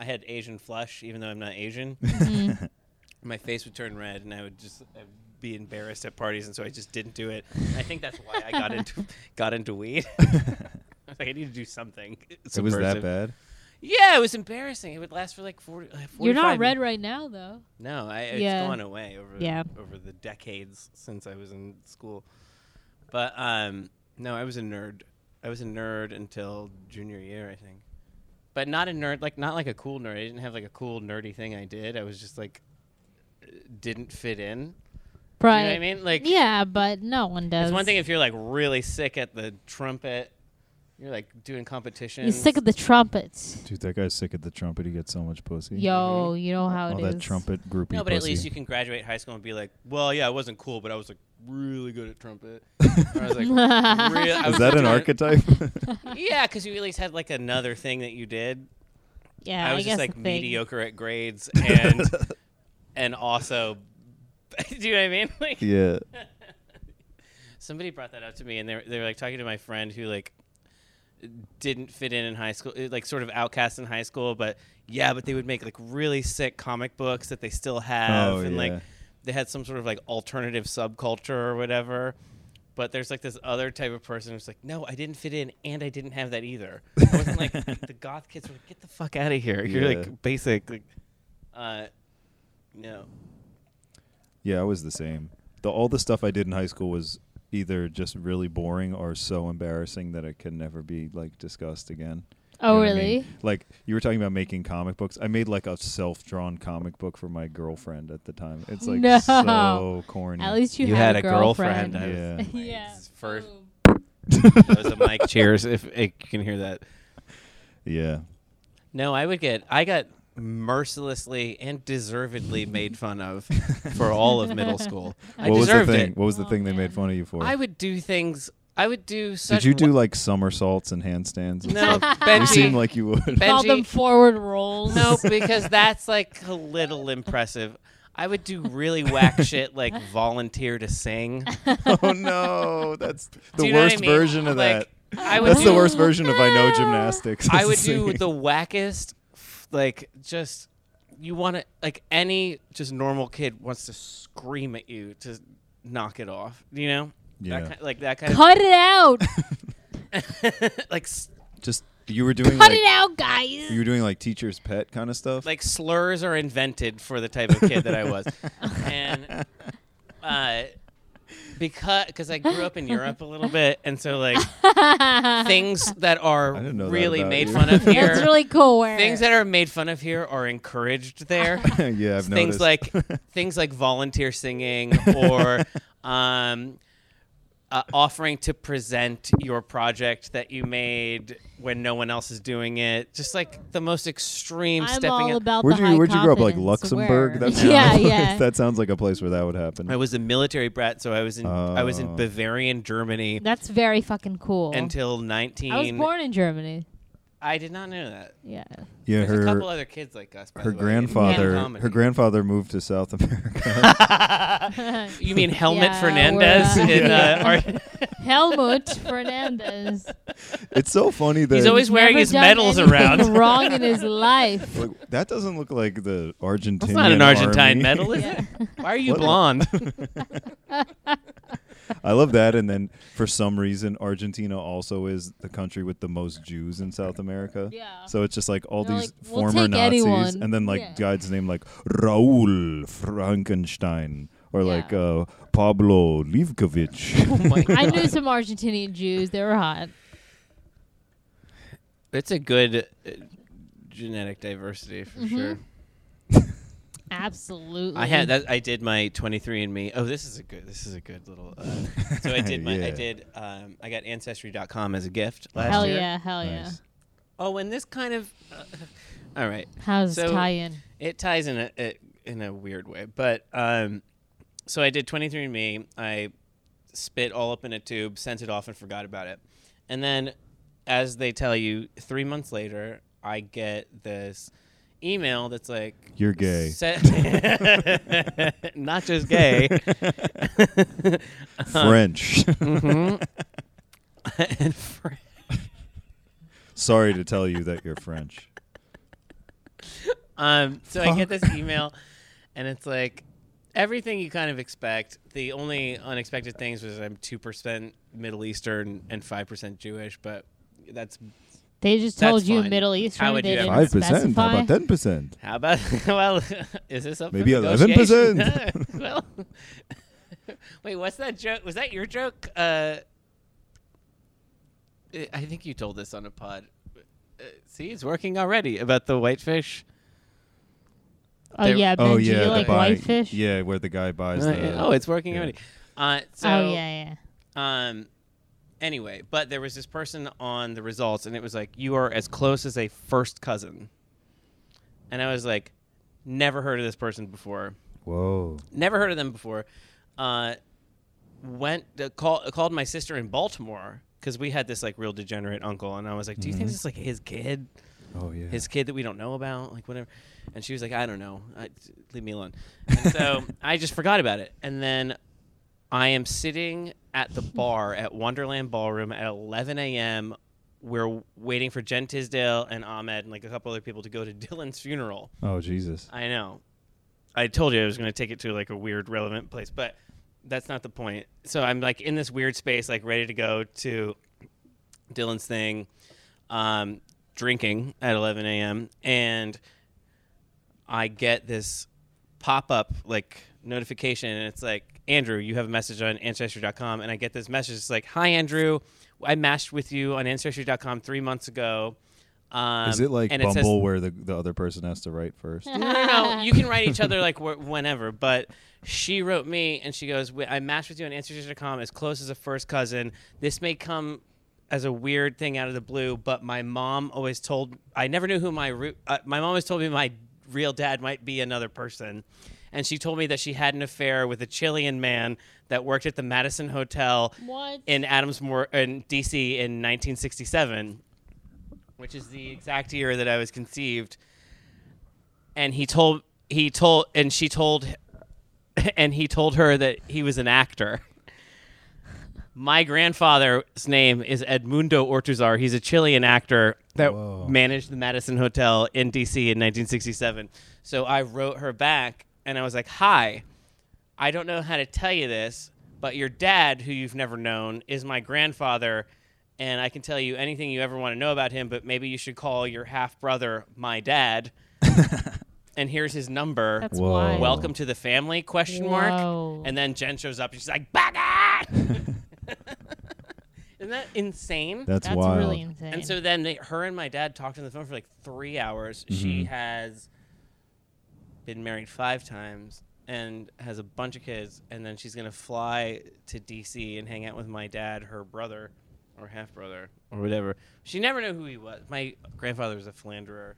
Speaker 5: I had Asian flush, even though I'm not Asian.
Speaker 4: Mm-hmm.
Speaker 5: My face would turn red, and I would just I'd be embarrassed at parties, and so I just didn't do it. And I think that's why I got into got into weed. I was like, I need to do something.
Speaker 3: It was that
Speaker 5: subversive.
Speaker 3: bad.
Speaker 5: Yeah, it was embarrassing. It would last for like 40, uh, 45
Speaker 4: You're not red right now, though.
Speaker 5: no, I,
Speaker 4: Yeah.
Speaker 5: it's gone away over
Speaker 4: Yeah.
Speaker 5: over the decades since I was in school. But um, no, I was a nerd. I was a nerd until junior year, I think. But not a nerd, like not like a cool nerd. I didn't have like a cool nerdy thing I did. I was just like uh, didn't fit in.
Speaker 4: Right.
Speaker 5: You know what I mean? Like
Speaker 4: Yeah, but no one does.
Speaker 5: it's one thing if you're like really sick at the trumpet. You're like doing competitions.
Speaker 4: You're sick of the trumpets.
Speaker 3: Dude, that guy's sick at the trumpet. He gets so much pussy.
Speaker 4: Yo, you know how
Speaker 3: all
Speaker 4: it is.
Speaker 3: that trumpet groupie.
Speaker 5: No, but at
Speaker 3: pussy.
Speaker 5: least you can graduate high school and be like, well, yeah, I wasn't cool, but I was like really good at trumpet. Or I was like, "Real- I
Speaker 3: Is
Speaker 5: was
Speaker 3: that an
Speaker 5: doing-
Speaker 3: archetype?
Speaker 5: Yeah, because you at least had like another thing that you did.
Speaker 4: Yeah,
Speaker 5: I was
Speaker 4: guess
Speaker 5: just like
Speaker 4: the thing.
Speaker 5: mediocre at grades and and also, do you know what I mean? Like
Speaker 3: yeah.
Speaker 5: somebody brought that up to me, and they were, they were like talking to my friend who like didn't fit in in high school, eh, like sort of outcast in high school, but yeah, but they would make like really sick comic books that they still have,
Speaker 3: Oh,
Speaker 5: and
Speaker 3: yeah.
Speaker 5: like they had some sort of like alternative subculture or whatever. But there's like this other type of person who's like, no, I didn't fit in, and I didn't have that either. I wasn't like the goth kids were like, get the fuck out of here. You're
Speaker 3: Yeah.
Speaker 5: like basic. Like, Uh, no.
Speaker 3: Yeah, I was the same. The all the stuff I did in high school was either just really boring or so embarrassing that it can never be like discussed again. You
Speaker 4: Oh,
Speaker 3: know what I mean?
Speaker 4: really?
Speaker 3: Like you were talking about making comic books. I made like a self-drawn comic book for my girlfriend at the time. It's like
Speaker 4: No.
Speaker 3: so corny.
Speaker 4: At least you, had,
Speaker 5: had, a girlfriend.
Speaker 3: girlfriend.
Speaker 5: I was-
Speaker 4: yeah.
Speaker 5: it's First,
Speaker 4: Boom.
Speaker 5: that was a mic. Cheers, if it you can hear that.
Speaker 3: yeah.
Speaker 5: No, I would get. I got mercilessly and deservedly made fun of for all of middle school. I
Speaker 3: what was the
Speaker 5: deserved
Speaker 3: thing?
Speaker 5: it.
Speaker 3: What was the
Speaker 4: Oh,
Speaker 3: thing they
Speaker 4: man.
Speaker 3: made fun of you for?
Speaker 5: I would do things. I would do such.
Speaker 3: did you do
Speaker 5: wi-
Speaker 3: like somersaults and handstands? and
Speaker 5: No,
Speaker 3: stuff?
Speaker 5: Benji.
Speaker 3: You seem like you would.
Speaker 5: Ben-
Speaker 4: Call them
Speaker 5: Benji-
Speaker 4: forward rolls.
Speaker 5: No, because that's like a little impressive. I would do really whack shit like volunteer to sing.
Speaker 3: oh no, that's
Speaker 5: Do
Speaker 3: the
Speaker 5: you know what I
Speaker 3: worst
Speaker 5: mean?
Speaker 3: version of
Speaker 5: Like,
Speaker 3: that.
Speaker 5: I would
Speaker 3: That's the
Speaker 5: do-
Speaker 3: worst version of I know gymnastics.
Speaker 5: I
Speaker 3: is
Speaker 5: would do
Speaker 3: singing.
Speaker 5: the wackest, f- like just you want to like any just normal kid wants to scream at you to knock it off. You know,
Speaker 3: Yeah.
Speaker 5: that kind, like that kind
Speaker 4: Cut it out.
Speaker 5: of like s-
Speaker 3: just you were doing
Speaker 4: Cut
Speaker 3: like,
Speaker 4: it out, guys.
Speaker 3: you were doing like teacher's pet kind of stuff.
Speaker 5: like slurs are invented for the type of kid that I was, and uh, because because I grew up in Europe a little bit, and so like things that are
Speaker 3: I didn't know that
Speaker 5: really
Speaker 3: about
Speaker 5: made
Speaker 3: you.
Speaker 5: fun
Speaker 3: That's
Speaker 5: of here.
Speaker 4: That's really cool. Where
Speaker 5: Things that are made fun of here are encouraged there.
Speaker 3: yeah, I've
Speaker 5: things
Speaker 3: noticed.
Speaker 5: like things like volunteer singing or um, uh, offering to present your project that you made when no one else is doing it. Just like the most extreme
Speaker 4: I'm
Speaker 5: stepping.
Speaker 4: all
Speaker 5: out-
Speaker 4: about
Speaker 3: Where'd
Speaker 4: the
Speaker 3: you
Speaker 4: high
Speaker 3: Where'd you grow up? Like
Speaker 4: confidence,
Speaker 3: Luxembourg?
Speaker 4: where-
Speaker 3: That sounds
Speaker 4: yeah,
Speaker 3: like,
Speaker 4: yeah.
Speaker 3: That sounds like a place where that would happen.
Speaker 5: I was a military brat, so I was in I was
Speaker 3: Oh.
Speaker 5: in Bavarian Germany
Speaker 4: That's very fucking cool.
Speaker 5: until
Speaker 4: I was
Speaker 5: nineteen.
Speaker 4: born in Germany.
Speaker 5: I did not know that.
Speaker 4: Yeah.
Speaker 3: yeah,
Speaker 5: There's a
Speaker 3: her
Speaker 5: couple other kids like us. By
Speaker 3: her
Speaker 5: the way, in
Speaker 3: grandfather
Speaker 5: comedy.
Speaker 3: her grandfather moved to South America.
Speaker 5: you mean Helmet
Speaker 4: Yeah, we're,
Speaker 5: Fernandez?
Speaker 4: uh,
Speaker 5: in, uh, our-
Speaker 4: Helmut Fernandez.
Speaker 3: it's so funny that
Speaker 5: he's always wearing
Speaker 4: Never
Speaker 5: his
Speaker 4: done
Speaker 5: medals
Speaker 4: anything
Speaker 5: around.
Speaker 4: Wrong in his life.
Speaker 3: like, that doesn't look like the Argentinian.
Speaker 5: That's not an Argentine
Speaker 3: army.
Speaker 5: medal, is it? Why are you
Speaker 3: What?
Speaker 5: blonde?
Speaker 3: I love that. And then for some reason, Argentina also is the country with the most Jews in South America.
Speaker 4: Yeah.
Speaker 3: So it's just like all
Speaker 4: They're
Speaker 3: these
Speaker 4: like, "We'll
Speaker 3: former
Speaker 4: take
Speaker 3: Nazis,
Speaker 4: anyone."
Speaker 3: and then like
Speaker 4: Yeah.
Speaker 3: guys named like Raúl Frankenstein or
Speaker 4: Yeah.
Speaker 3: like uh, Pablo Livkovich.
Speaker 4: I knew some Argentinian Jews. They were hot.
Speaker 5: It's a good uh, genetic diversity for
Speaker 4: Mm-hmm.
Speaker 5: sure.
Speaker 4: Absolutely.
Speaker 5: I had that. I did my 23andMe. Oh, this is a good. This is a good little. Uh, so I did my. I
Speaker 3: Yeah.
Speaker 5: did. Um, I got Ancestry.com as a gift last
Speaker 4: Hell
Speaker 5: year.
Speaker 4: yeah. Hell yeah.
Speaker 3: Nice.
Speaker 5: Oh, and this kind of. Uh, all right.
Speaker 4: How's
Speaker 5: So-
Speaker 4: this tie in?
Speaker 5: It ties in a, a in a weird way, but um, so I did 23andMe. I spit all up in a tube, sent it off, and forgot about it. And then, as they tell you, three months later, I get this email that's like,
Speaker 3: You're gay.
Speaker 5: se- not just gay."
Speaker 3: French.
Speaker 5: and fr-
Speaker 3: Sorry to tell you that you're French.
Speaker 5: Um, so I get this email, and it's like everything you kind of expect. The only unexpected things was I'm two percent Middle Eastern and five percent Jewish, but that's
Speaker 4: They just
Speaker 5: That's
Speaker 4: told you
Speaker 5: fine.
Speaker 4: Middle Eastern.
Speaker 5: How would
Speaker 4: they
Speaker 5: you ever-
Speaker 4: didn't
Speaker 3: Five percent. How
Speaker 4: specify.
Speaker 3: about ten percent?
Speaker 5: how about well, is this up for
Speaker 3: Maybe
Speaker 5: negotiation?
Speaker 3: 11%.
Speaker 5: well, wait, what's that joke? Was that your joke? Uh, I- I think you told this on a pod. Uh, see, it's working already about the whitefish.
Speaker 4: Oh
Speaker 5: They-
Speaker 4: yeah, Benji,
Speaker 3: Oh yeah,
Speaker 4: you
Speaker 3: the
Speaker 4: like
Speaker 3: buy-
Speaker 4: whitefish?
Speaker 3: Yeah, where the guy buys the.
Speaker 5: oh, it's working
Speaker 3: yeah.
Speaker 5: already. Uh, so
Speaker 4: oh yeah, yeah.
Speaker 5: Um, anyway, but there was this person on the results, and it was like, you are as close as a first cousin. And I was like, never heard of this person before.
Speaker 3: Whoa.
Speaker 5: Never heard of them before. Uh, went uh, call, called my sister in Baltimore because we had this like real degenerate uncle, and I was like, do you think this is like his kid?
Speaker 3: Oh yeah.
Speaker 5: his kid that we don't know about, like whatever. And she was like, I don't know, I, leave me alone. And so I just forgot about it. And then I am sitting at the bar at Wonderland Ballroom at 11 a.m. We're waiting for Jen Tisdale and Ahmed and like a couple other people to go to Dylan's funeral.
Speaker 3: oh Jesus.
Speaker 5: I know. I told you I was going to take it to like a weird, relevant place, but that's not the point. So I'm like in this weird space, like ready to go to Dylan's thing, um, drinking at 11 a.m. and I get this pop up like notification, and it's like Andrew, you have a message on ancestry.com, and I get this message. It's like, "Hi, Andrew, I mashed with you on ancestry.com three months ago." Um,
Speaker 3: Is it like
Speaker 5: and
Speaker 3: Bumble
Speaker 5: It says,
Speaker 3: where the, the other person has to write first?
Speaker 5: no, no, no. You can write each other like wh- whenever. But she wrote me and she goes, "We- I matched with you on Ancestry.com as close as a first cousin. This may come as a weird thing out of the blue, but my mom always told I never knew who my root. Uh, my mom always told me my real dad might be another person. And she told me that she had an affair with a Chilean man that worked at the Madison Hotel
Speaker 4: What?
Speaker 5: in Adams Moore in DC in 1967, which is the exact year that I was conceived. And he told he told and she told and he told her that he was an actor. My grandfather's name is Edmundo Ortuzar. He's a Chilean actor that
Speaker 3: Whoa.
Speaker 5: managed the Madison Hotel in DC in 1967. So I wrote her back and I was like, "Hi, I don't know how to tell you this, but your dad, who you've never known, is my grandfather, and I can tell you anything you ever want to know about him, but maybe you should call your half brother my dad. and here's his number.
Speaker 4: That's
Speaker 3: Whoa.
Speaker 4: wild.
Speaker 5: Welcome to the family question
Speaker 4: Whoa.
Speaker 5: mark. And then Jen shows up and she's like, Bugger! Isn't that insane?
Speaker 3: That's,
Speaker 4: That's
Speaker 3: wild.
Speaker 4: really insane.
Speaker 5: and so then they, her and my dad talked on the phone for like three hours. She
Speaker 3: Mm-hmm.
Speaker 5: has been married five times and has a bunch of kids. And then she's going to fly to D.C. and hang out with my dad, her brother, or half brother, or whatever. She never knew who he was. My grandfather was a philanderer.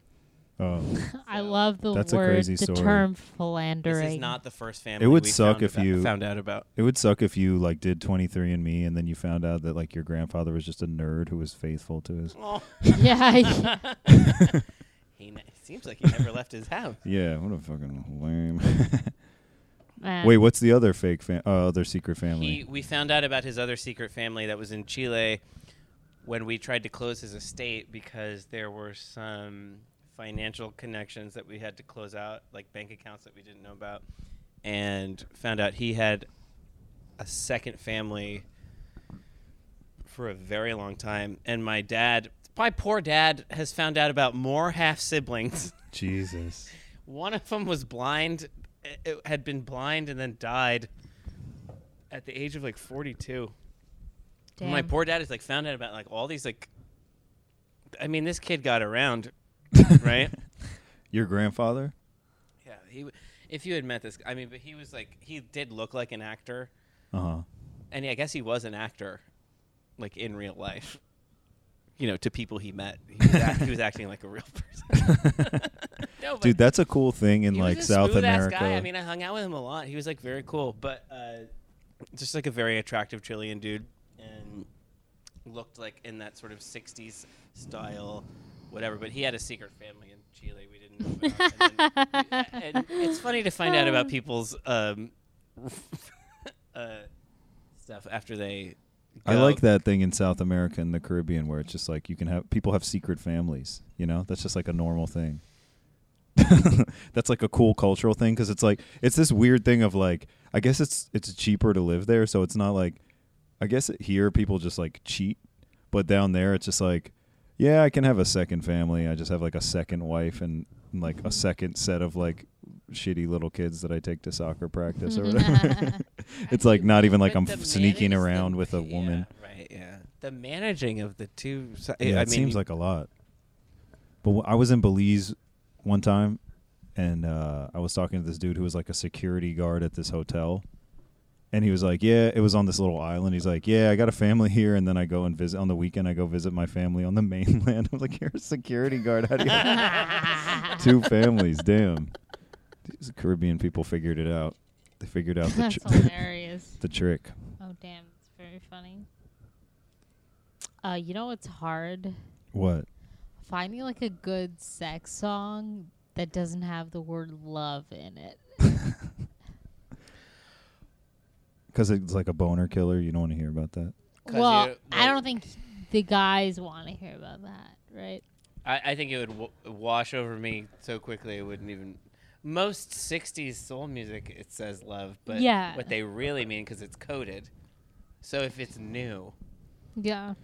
Speaker 3: Oh.
Speaker 4: I love the
Speaker 3: That's a
Speaker 4: word,
Speaker 3: crazy
Speaker 4: the
Speaker 3: story.
Speaker 4: term
Speaker 5: This
Speaker 4: philandering.
Speaker 5: is not the first family.
Speaker 3: would
Speaker 5: we
Speaker 3: suck
Speaker 5: found
Speaker 3: if
Speaker 5: about-
Speaker 3: you-
Speaker 5: found out about.
Speaker 3: It would suck if you like did 23andme and then you found out that like your grandfather was just a nerd who was faithful to his
Speaker 5: Oh.
Speaker 4: yeah.
Speaker 5: He ne- seems like he never left his house.
Speaker 3: Yeah, what a fucking lame.
Speaker 4: I-
Speaker 3: Wait, what's the other fake fam- uh, other secret family?
Speaker 5: He, we found out about his other secret family that was in Chile when we tried to close his estate because there were some financial connections that we had to close out, like bank accounts that we didn't know about, and found out he had a second family for a very long time. And my dad, my poor dad, has found out about more half siblings.
Speaker 3: Jesus.
Speaker 5: One of them was blind, eh, eh, had been blind and then died at the age of like 42.
Speaker 4: damn.
Speaker 5: My poor dad is like found out about like all these like. I mean, this kid got around, right?
Speaker 3: Your grandfather?
Speaker 5: yeah, he. w- If you had met this, I mean, but he was like he did look like an actor,
Speaker 3: Uh-huh.
Speaker 5: and I guess he was an actor, like in real life. You know, to people he met, he was, act- he was acting like a real person. no, but
Speaker 3: Dude, that's a cool thing in
Speaker 5: he
Speaker 3: like
Speaker 5: was a
Speaker 3: South
Speaker 5: smooth-ass
Speaker 3: America.
Speaker 5: Guy. I mean, I hung out with him a lot. He was like very cool, but uh, just like a very attractive Chilean dude, and looked like in that sort of '60s style, whatever. But he had a secret family in Chile we didn't know about. and, then- and it's funny to find out about people's um, uh, stuff after they.
Speaker 3: I
Speaker 5: go.
Speaker 3: like that thing in South America and the Caribbean where it's just like you can have people have secret families, you know? That's just like a normal thing. That's like a cool cultural thing cuz it's like it's this weird thing of like I guess it's it's cheaper to live there, so it's not like I guess here people just like cheat, but down there it's just like yeah, I can have a second family. I just have like a second wife and like a second set of like shitty little kids that I take to soccer practice or whatever. it's like not even like
Speaker 5: But
Speaker 3: I'm
Speaker 5: Mm-hmm. the
Speaker 3: sneaking
Speaker 5: manage- the-
Speaker 3: around with a woman.
Speaker 5: Yeah, right. Yeah. The managing of the two. si-
Speaker 3: Yeah, it
Speaker 5: I mean,
Speaker 3: seems like a lot. But wh- I was in Belize one time, and uh, I was talking to this dude who was like a security guard at this hotel, and he was like, "Yeah, it was on this little island." He's like, "Yeah, I got a family here, and then I go and visit on the weekend. I go visit my family on the mainland." I'm like, "You're a security guard. How do you have two families? Damn." These Caribbean people figured it out. They figured out the,
Speaker 4: That's
Speaker 3: tr-
Speaker 4: hilarious.
Speaker 3: the trick.
Speaker 4: Oh damn, it's very funny. Uh, you know what's hard?
Speaker 3: What?
Speaker 4: Finding like a good sex song that doesn't have the word love in it.
Speaker 3: Because it's like a boner killer. You don't want to hear about that.
Speaker 5: 'Cause
Speaker 4: Well,
Speaker 5: you-
Speaker 4: I
Speaker 5: well-
Speaker 4: don't think the guys want to hear about that, right?
Speaker 5: I, I think it would w- wash over me so quickly it wouldn't even. Most '60s soul music it says love, but
Speaker 4: Yeah.
Speaker 5: what they really mean because it's coded. So if it's new,
Speaker 4: Yeah.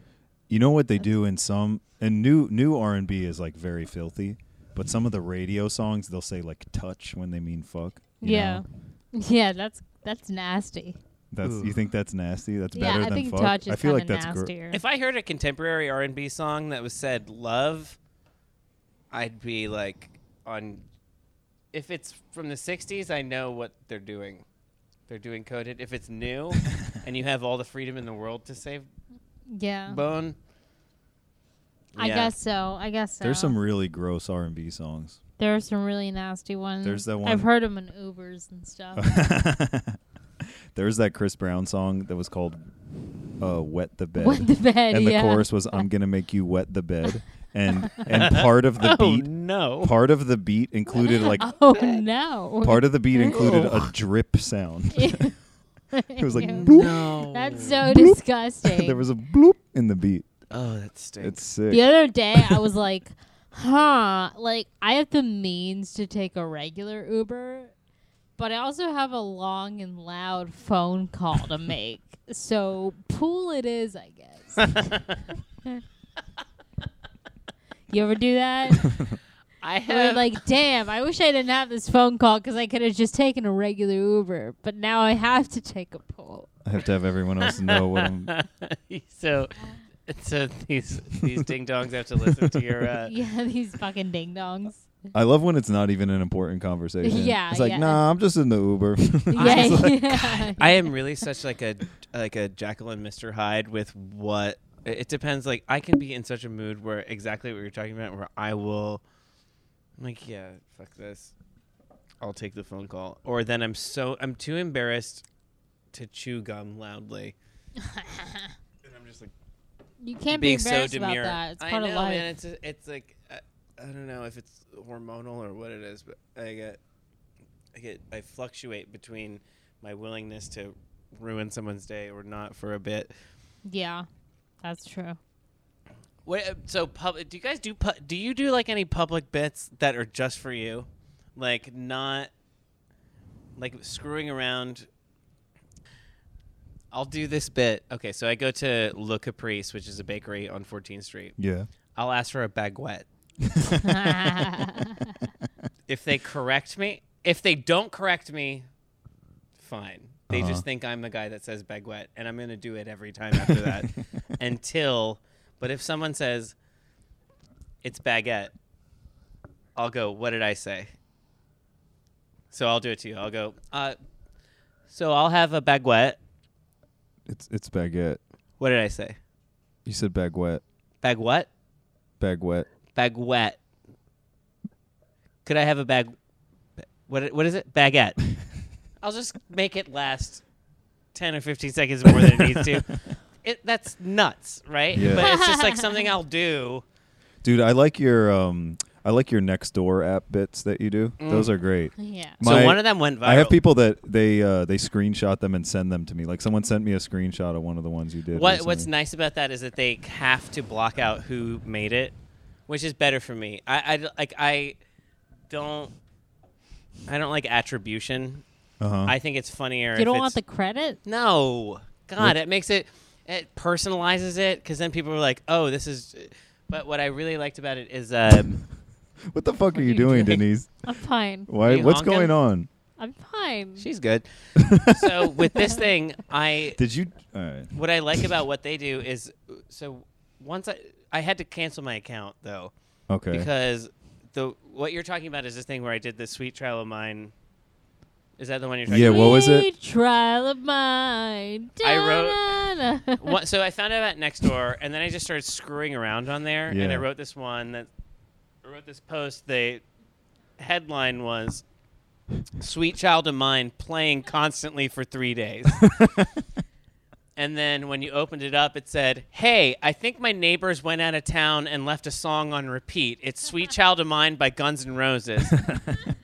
Speaker 3: You know what they do in some and new new R and B is like very filthy, But some of the radio songs, they'll say like touch when they mean fuck. you
Speaker 4: yeah,
Speaker 3: know?
Speaker 4: yeah. That's that's nasty.
Speaker 3: That's you
Speaker 5: Ooh.
Speaker 3: think that's nasty? That's
Speaker 4: Yeah,
Speaker 3: better
Speaker 4: I
Speaker 3: than
Speaker 4: think
Speaker 3: fuck.
Speaker 4: touch
Speaker 3: I
Speaker 4: is
Speaker 3: feel
Speaker 4: kind
Speaker 3: like
Speaker 4: of
Speaker 3: that's gr-
Speaker 4: nastier.
Speaker 5: If I heard a contemporary R and B song that was said love, I'd be like on. If it's from the '60s, I know what they're doing. They're doing coded. If it's new, and you have all the freedom in the world to say
Speaker 4: yeah,
Speaker 5: bone,
Speaker 4: I
Speaker 5: yeah.
Speaker 4: guess so. I guess so.
Speaker 3: There's some really gross R and B songs.
Speaker 4: there are some really nasty ones.
Speaker 3: There's that one-
Speaker 4: I've heard them in Ubers and stuff.
Speaker 3: There's that Chris Brown song that was called uh, "Wet the Bed,"
Speaker 4: Wet the bed.
Speaker 3: and the
Speaker 4: yeah.
Speaker 3: chorus was "I'm gonna make you wet the bed," and and part of the
Speaker 5: Oh
Speaker 3: beat,
Speaker 5: no!
Speaker 3: part of the beat included like
Speaker 4: Oh no!
Speaker 3: part of the beat included a drip sound. It was like bloop.
Speaker 4: That's so disgusting.
Speaker 3: there was a bloop in the beat.
Speaker 5: Oh, that stinks.
Speaker 3: It's sick.
Speaker 4: the other day, I was like, "Huh? Like, I have the means to take a regular Uber, but I also have a long and loud phone call to make. So pool it is, I guess." You ever do that?
Speaker 5: I
Speaker 4: Or
Speaker 5: have
Speaker 4: like, damn, I wish I didn't have this phone call because I could have just taken a regular Uber, but now I have to take a pool.
Speaker 3: I have to have everyone else know what I'm.
Speaker 5: so. So these these ding dongs have to listen to your. Uh,
Speaker 4: Yeah, these fucking ding dongs.
Speaker 3: I love when it's not even an important conversation.
Speaker 4: Yeah,
Speaker 3: it's like
Speaker 4: yeah.
Speaker 3: nah, I'm just in the Uber.
Speaker 4: Yeah,
Speaker 5: was
Speaker 4: yeah.
Speaker 5: I am really such like a like a Jekyll and Mr. Hyde with what it it depends. Like I can be in such a mood where exactly what you're talking about, where I will, I'm like, yeah, fuck this, I'll take the phone call. Or then I'm so I'm too embarrassed to chew gum loudly, and I'm just like
Speaker 4: You can't be
Speaker 5: being so
Speaker 4: embarrassed
Speaker 5: demure.
Speaker 4: about that. It's
Speaker 5: I
Speaker 4: part
Speaker 5: know,
Speaker 4: of life.
Speaker 5: man. It's a, it's like I, I don't know if it's hormonal or what it is, but I get I get I fluctuate between my willingness to ruin someone's day or not for a bit.
Speaker 4: yeah, that's true.
Speaker 5: What uh, so public? Do you guys do pu- do you do like any public bits that are just for you, like not like screwing around? I'll do this bit. Okay, so I go to Le Caprice, which is a bakery on 14th Street.
Speaker 3: yeah.
Speaker 5: I'll ask for a baguette.
Speaker 4: yeah,
Speaker 5: if they correct me, if they don't correct me, fine. They
Speaker 3: Uh-huh.
Speaker 5: just think I'm the guy that says baguette, and I'm gonna do it every time after that until. But if someone says it's baguette, I'll go. What did I say? So I'll do it to you. I'll go. Uh, so I'll have a baguette.
Speaker 3: It's it's baguette.
Speaker 5: What did I say?
Speaker 3: You said baguette.
Speaker 5: Bag what?
Speaker 3: Baguette.
Speaker 5: Baguette. Could I have a bag? What what is it? Baguette. I'll just make it last ten or fifteen seconds more than it needs to. It, that's nuts, right?
Speaker 3: Yeah.
Speaker 5: But it's just like something I'll do.
Speaker 3: Dude, I like your um I like your next door app bits that you do. Those are great. My-
Speaker 5: so one of them went viral.
Speaker 3: I have people that they uh, they screenshot them and send them to me. Like someone sent me a screenshot of one of the ones you did.
Speaker 5: What
Speaker 3: recently.
Speaker 5: What's nice about that is that they have to block out who made it, which is better for me. I, I like I don't I don't like attribution.
Speaker 3: Uh-huh.
Speaker 5: I think it's funnier.
Speaker 4: you
Speaker 5: if
Speaker 4: don't
Speaker 5: it's-
Speaker 4: want the credit.
Speaker 5: No, God, it makes it it personalizes it because then people are like, oh, this is. But what I really liked about it is, um,
Speaker 3: what the fuck are
Speaker 4: are
Speaker 3: you
Speaker 4: you
Speaker 3: doing,
Speaker 5: doing?
Speaker 3: Denise?
Speaker 4: I'm fine.
Speaker 3: Why?
Speaker 5: you
Speaker 3: What's
Speaker 5: honking?
Speaker 3: going on?
Speaker 4: I'm fine.
Speaker 5: she's good. so with this thing, I
Speaker 3: Did you? All right.
Speaker 5: what I like about what they do is, so once I I had to cancel my account though
Speaker 3: Okay.
Speaker 5: because the what you're talking about is this thing where I did the sweet trial of mine. Is that the one you're talking
Speaker 3: Yeah,
Speaker 5: about?
Speaker 3: what was it?
Speaker 4: Sweet Trial of mine.
Speaker 5: I wrote-
Speaker 4: Da-na-na.
Speaker 5: What, so I found out about Nextdoor, and then I just started screwing around on there, and
Speaker 3: Yeah.
Speaker 5: I wrote this one that I wrote this post. The headline was "Sweet Child of Mine playing constantly for three days," and then when you opened it up, it said, "Hey, I think my neighbors went out of town and left a song on repeat. It's Sweet Child of Mine by Guns N' Roses."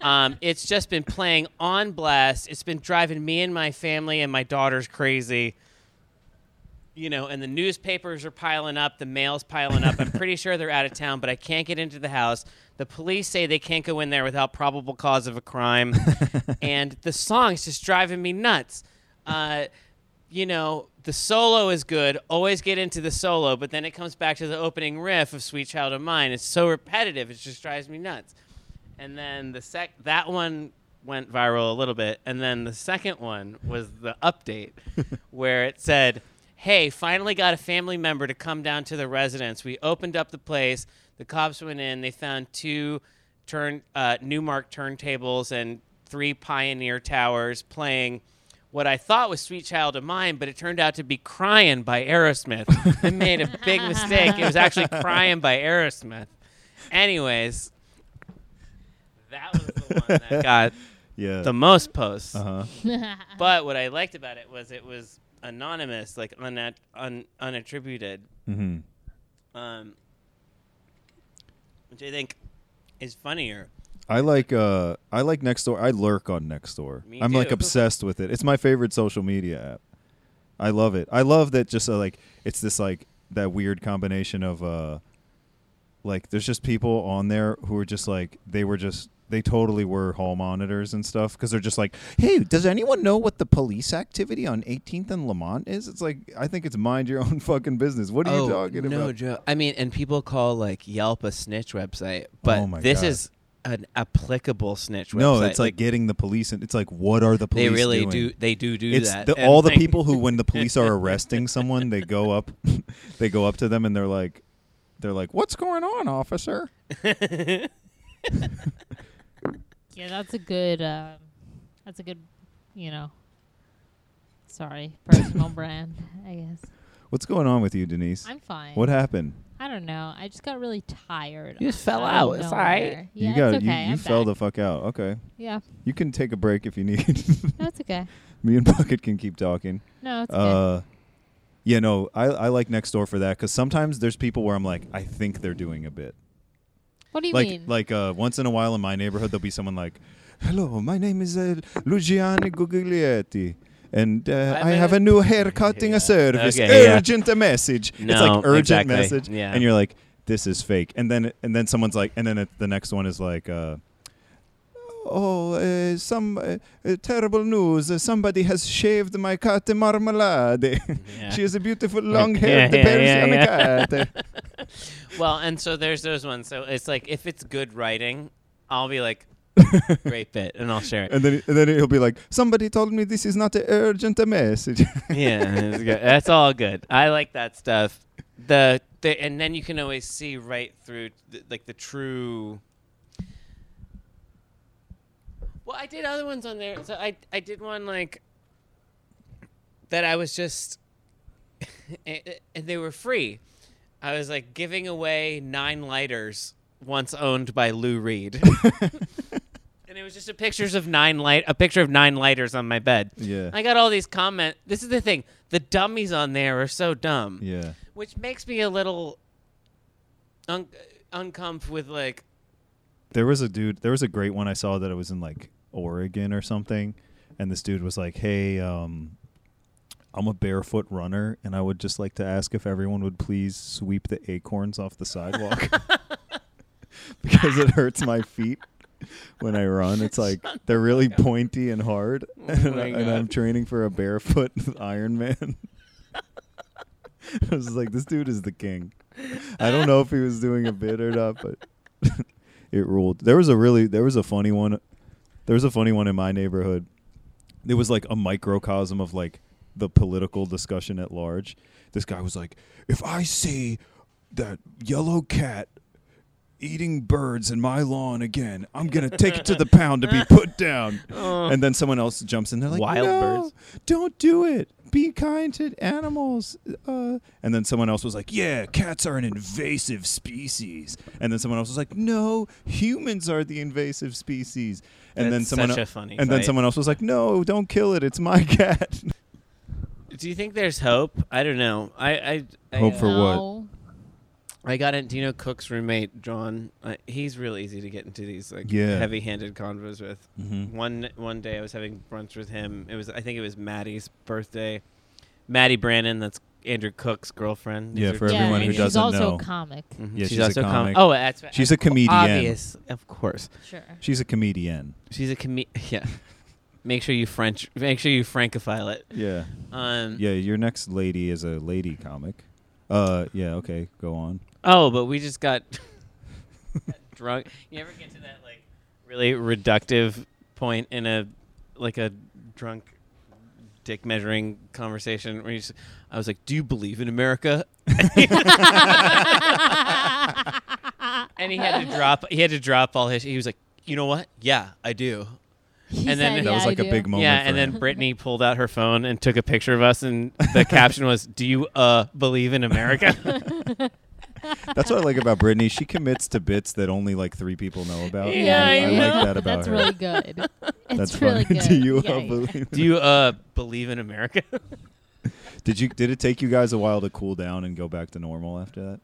Speaker 5: Um, it's just been playing on blast. It's been driving me and my family and my daughters crazy. You know, and the newspapers are piling up, the mail's piling up. I'm pretty sure they're out of town, but I can't get into the house. The police say they can't go in there without probable cause of a crime, and the song's just driving me nuts. Uh, you know, the solo is good. Always get into the solo, but then it comes back to the opening riff of "Sweet Child of Mine." It's so repetitive; it just drives me nuts. And then the sec that one went viral a little bit, and then the second one was the update where it said, "Hey, finally got a family member to come down to the residence. We opened up the place. The cops went in. They found two turn uh, Newmark turntables and three Pioneer towers playing." what I thought was Sweet Child of Mine, but it turned out to be Crying by Aerosmith. I made a big mistake. It was actually Crying by Aerosmith. Anyways, that was the one that got
Speaker 3: Yeah.
Speaker 5: the most posts.
Speaker 3: uh-huh.
Speaker 5: But what I liked about it was it was anonymous, like unat- un- unattributed,
Speaker 3: Mm-hmm.
Speaker 5: um, which I think is funnier.
Speaker 3: I like uh I like Nextdoor. I lurk on Nextdoor.
Speaker 5: Me
Speaker 3: I'm like
Speaker 5: too.
Speaker 3: obsessed with it. It's my favorite social media app. I love it. I love that just uh, like it's this like that weird combination of uh like there's just people on there who are just like they were just they totally were hall monitors and stuff because they're just like, hey, does anyone know what the police activity on 18th and Lamont is? It's like I think it's mind your own fucking business. What are you talking
Speaker 5: Oh, no
Speaker 3: about?
Speaker 5: joke. I mean, and people call like Yelp a snitch website, but
Speaker 3: Oh my
Speaker 5: this
Speaker 3: God.
Speaker 5: is an applicable snitch website.
Speaker 3: No, it's like, getting the police, and it's like, what are the
Speaker 5: they
Speaker 3: police?
Speaker 5: really
Speaker 3: doing?
Speaker 5: do. They do do
Speaker 3: it's
Speaker 5: that.
Speaker 3: the,
Speaker 5: And,
Speaker 3: all the
Speaker 5: like,
Speaker 3: people who when the police are arresting someone they go up they go up to them and they're like they're like what's going on officer
Speaker 4: yeah, that's a good. Um, that's a good. You know. Sorry, personal brand. I guess
Speaker 3: what's going on with you denise
Speaker 4: I'm fine.
Speaker 3: what happened
Speaker 4: I don't know. I just got really tired.
Speaker 5: You just fell
Speaker 4: of
Speaker 5: out. It's all right.
Speaker 4: nowhere. Yeah,
Speaker 3: you got
Speaker 4: it's okay.
Speaker 3: you, you
Speaker 4: I'm
Speaker 3: fell
Speaker 4: back.
Speaker 3: the fuck out okay
Speaker 4: Yeah,
Speaker 3: you can take a break if you need
Speaker 4: no, it's okay.
Speaker 3: me and bucket can keep talking
Speaker 4: No, it's okay.
Speaker 3: uh yeah no i i like next door for that because sometimes there's people where i'm like i think they're doing a bit
Speaker 4: What do you
Speaker 3: like
Speaker 4: mean?
Speaker 3: like uh, once in a while in my neighborhood there'll be someone like hello my name is uh, Luciani Guglietti and uh,
Speaker 5: I'm
Speaker 3: I
Speaker 5: a-
Speaker 3: have a new hair cutting
Speaker 5: Yeah.
Speaker 3: a service
Speaker 5: Okay, yeah.
Speaker 3: urgent a message it's
Speaker 5: No,
Speaker 3: like urgent
Speaker 5: exactly.
Speaker 3: message
Speaker 5: Yeah.
Speaker 3: and you're like this is fake and then and then someone's like and then it, the next one is like uh, Oh, uh, some uh, uh, terrible news! Uh, somebody has shaved my cat Marmalade.
Speaker 5: Yeah.
Speaker 3: she is a beautiful long-haired
Speaker 5: yeah, yeah,
Speaker 3: Persian
Speaker 5: yeah.
Speaker 3: cat.
Speaker 5: Well, and so there's those ones. So it's like if it's good writing, I'll be like, great bit, and I'll share it.
Speaker 3: And then, and then he'll be like, "Somebody told me this is not an urgent message."
Speaker 5: yeah, it's good. that's all good. I like that stuff. The, the and then you can always see right through th- like the true. Well, I did other ones on there. So I I did one like that. I was just and they were free. I was like giving away nine lighters once owned by Lou Reed. And it was just a pictures of nine light a picture of nine lighters on my bed.
Speaker 3: Yeah.
Speaker 5: I got all these comment. This is the thing. The dummies on there are so dumb,
Speaker 3: yeah,
Speaker 5: which makes me a little un- uncomf with like
Speaker 3: there was a dude. There was a great one I saw that it was in like Oregon or something, and this dude was like, "Hey, um, I'm a barefoot runner, and I would just like to ask if everyone would please sweep the acorns off the sidewalk because it hurts my feet." When I run, it's like they're really
Speaker 5: Oh
Speaker 3: pointy and hard, and,
Speaker 5: my
Speaker 3: I, and
Speaker 5: God.
Speaker 3: I'm training for a barefoot Ironman. I was like, this dude is the king. I don't know if he was doing a bit or not, but it ruled. There was a really there was a funny one. There was a funny one in my neighborhood. It was like a microcosm of like the political discussion at large. This guy was like, if I see that yellow cat eating birds in my lawn again, I'm gonna take it to the pound to be put down. And then someone else jumps in. They're like,
Speaker 5: Oh. Wild
Speaker 3: "No,
Speaker 5: birds.
Speaker 3: don't do it. Be kind to animals. Uh, and then someone else was like, yeah, cats are an invasive species. And then someone else was like, no, humans are the invasive species. And then
Speaker 5: That's
Speaker 3: someone
Speaker 5: such
Speaker 3: el-
Speaker 5: a funny
Speaker 3: And then
Speaker 5: fight.
Speaker 3: someone else was like, no, don't kill it. It's my cat.
Speaker 5: Do you think there's hope? I don't know. I I I,
Speaker 3: Hope
Speaker 5: uh,
Speaker 3: for what?
Speaker 4: No.
Speaker 5: I got in. Do you know Cook's roommate John? Uh, he's real easy to get into these like
Speaker 3: Yeah.
Speaker 5: heavy-handed convos with.
Speaker 3: Mhm.
Speaker 5: One one day I was having brunch with him. It was I think it was Maddie's birthday. Maddie Brannon, that's Andrew Cook's girlfriend. These
Speaker 3: Yeah,
Speaker 5: are
Speaker 3: for
Speaker 5: two
Speaker 4: yeah,
Speaker 3: everyone
Speaker 4: and
Speaker 3: who
Speaker 5: names.
Speaker 4: she's
Speaker 3: doesn't
Speaker 4: also
Speaker 3: know.
Speaker 4: a comic.
Speaker 5: Mhm.
Speaker 3: Yeah, she's a comic.
Speaker 5: Oh, that's right.
Speaker 3: She's a comedian.
Speaker 5: Obvious, of course.
Speaker 4: Sure.
Speaker 3: She's a comedian.
Speaker 5: She's a comedian. Yeah. Make sure you French. Make sure you francophile it.
Speaker 3: Yeah.
Speaker 5: Um,
Speaker 3: Yeah, your next lady is a lady comic. Uh, yeah, okay, go on.
Speaker 5: Oh, but we just got drunk. You ever get to that like really reductive point in a like a drunk dick measuring conversation where you just, I was like, "Do you believe in America?" and he had to drop. He had to drop all his. He was like, "You know what? Yeah, I do."
Speaker 4: He
Speaker 5: And then-
Speaker 4: said,
Speaker 5: That
Speaker 3: That was
Speaker 4: "Yeah, I
Speaker 3: like a
Speaker 4: do."
Speaker 3: big moment.
Speaker 5: yeah,
Speaker 3: for
Speaker 5: and
Speaker 3: him.
Speaker 5: then Brittany pulled out her phone and took a picture of us, and the caption was, "Do you uh believe in America?"
Speaker 3: That's what I like about Brittany. She commits to bits that only like three people know about.
Speaker 5: Yeah, I
Speaker 3: I,
Speaker 5: know.
Speaker 3: like that about
Speaker 4: That's
Speaker 3: her.
Speaker 4: really good. It's
Speaker 3: That's
Speaker 4: really
Speaker 3: funny.
Speaker 4: good.
Speaker 3: Do you
Speaker 4: Yeah,
Speaker 3: uh,
Speaker 4: yeah.
Speaker 3: believe?
Speaker 5: Do you uh believe in America?
Speaker 3: Did you? Did it take you guys a while to cool down and go back to normal after that?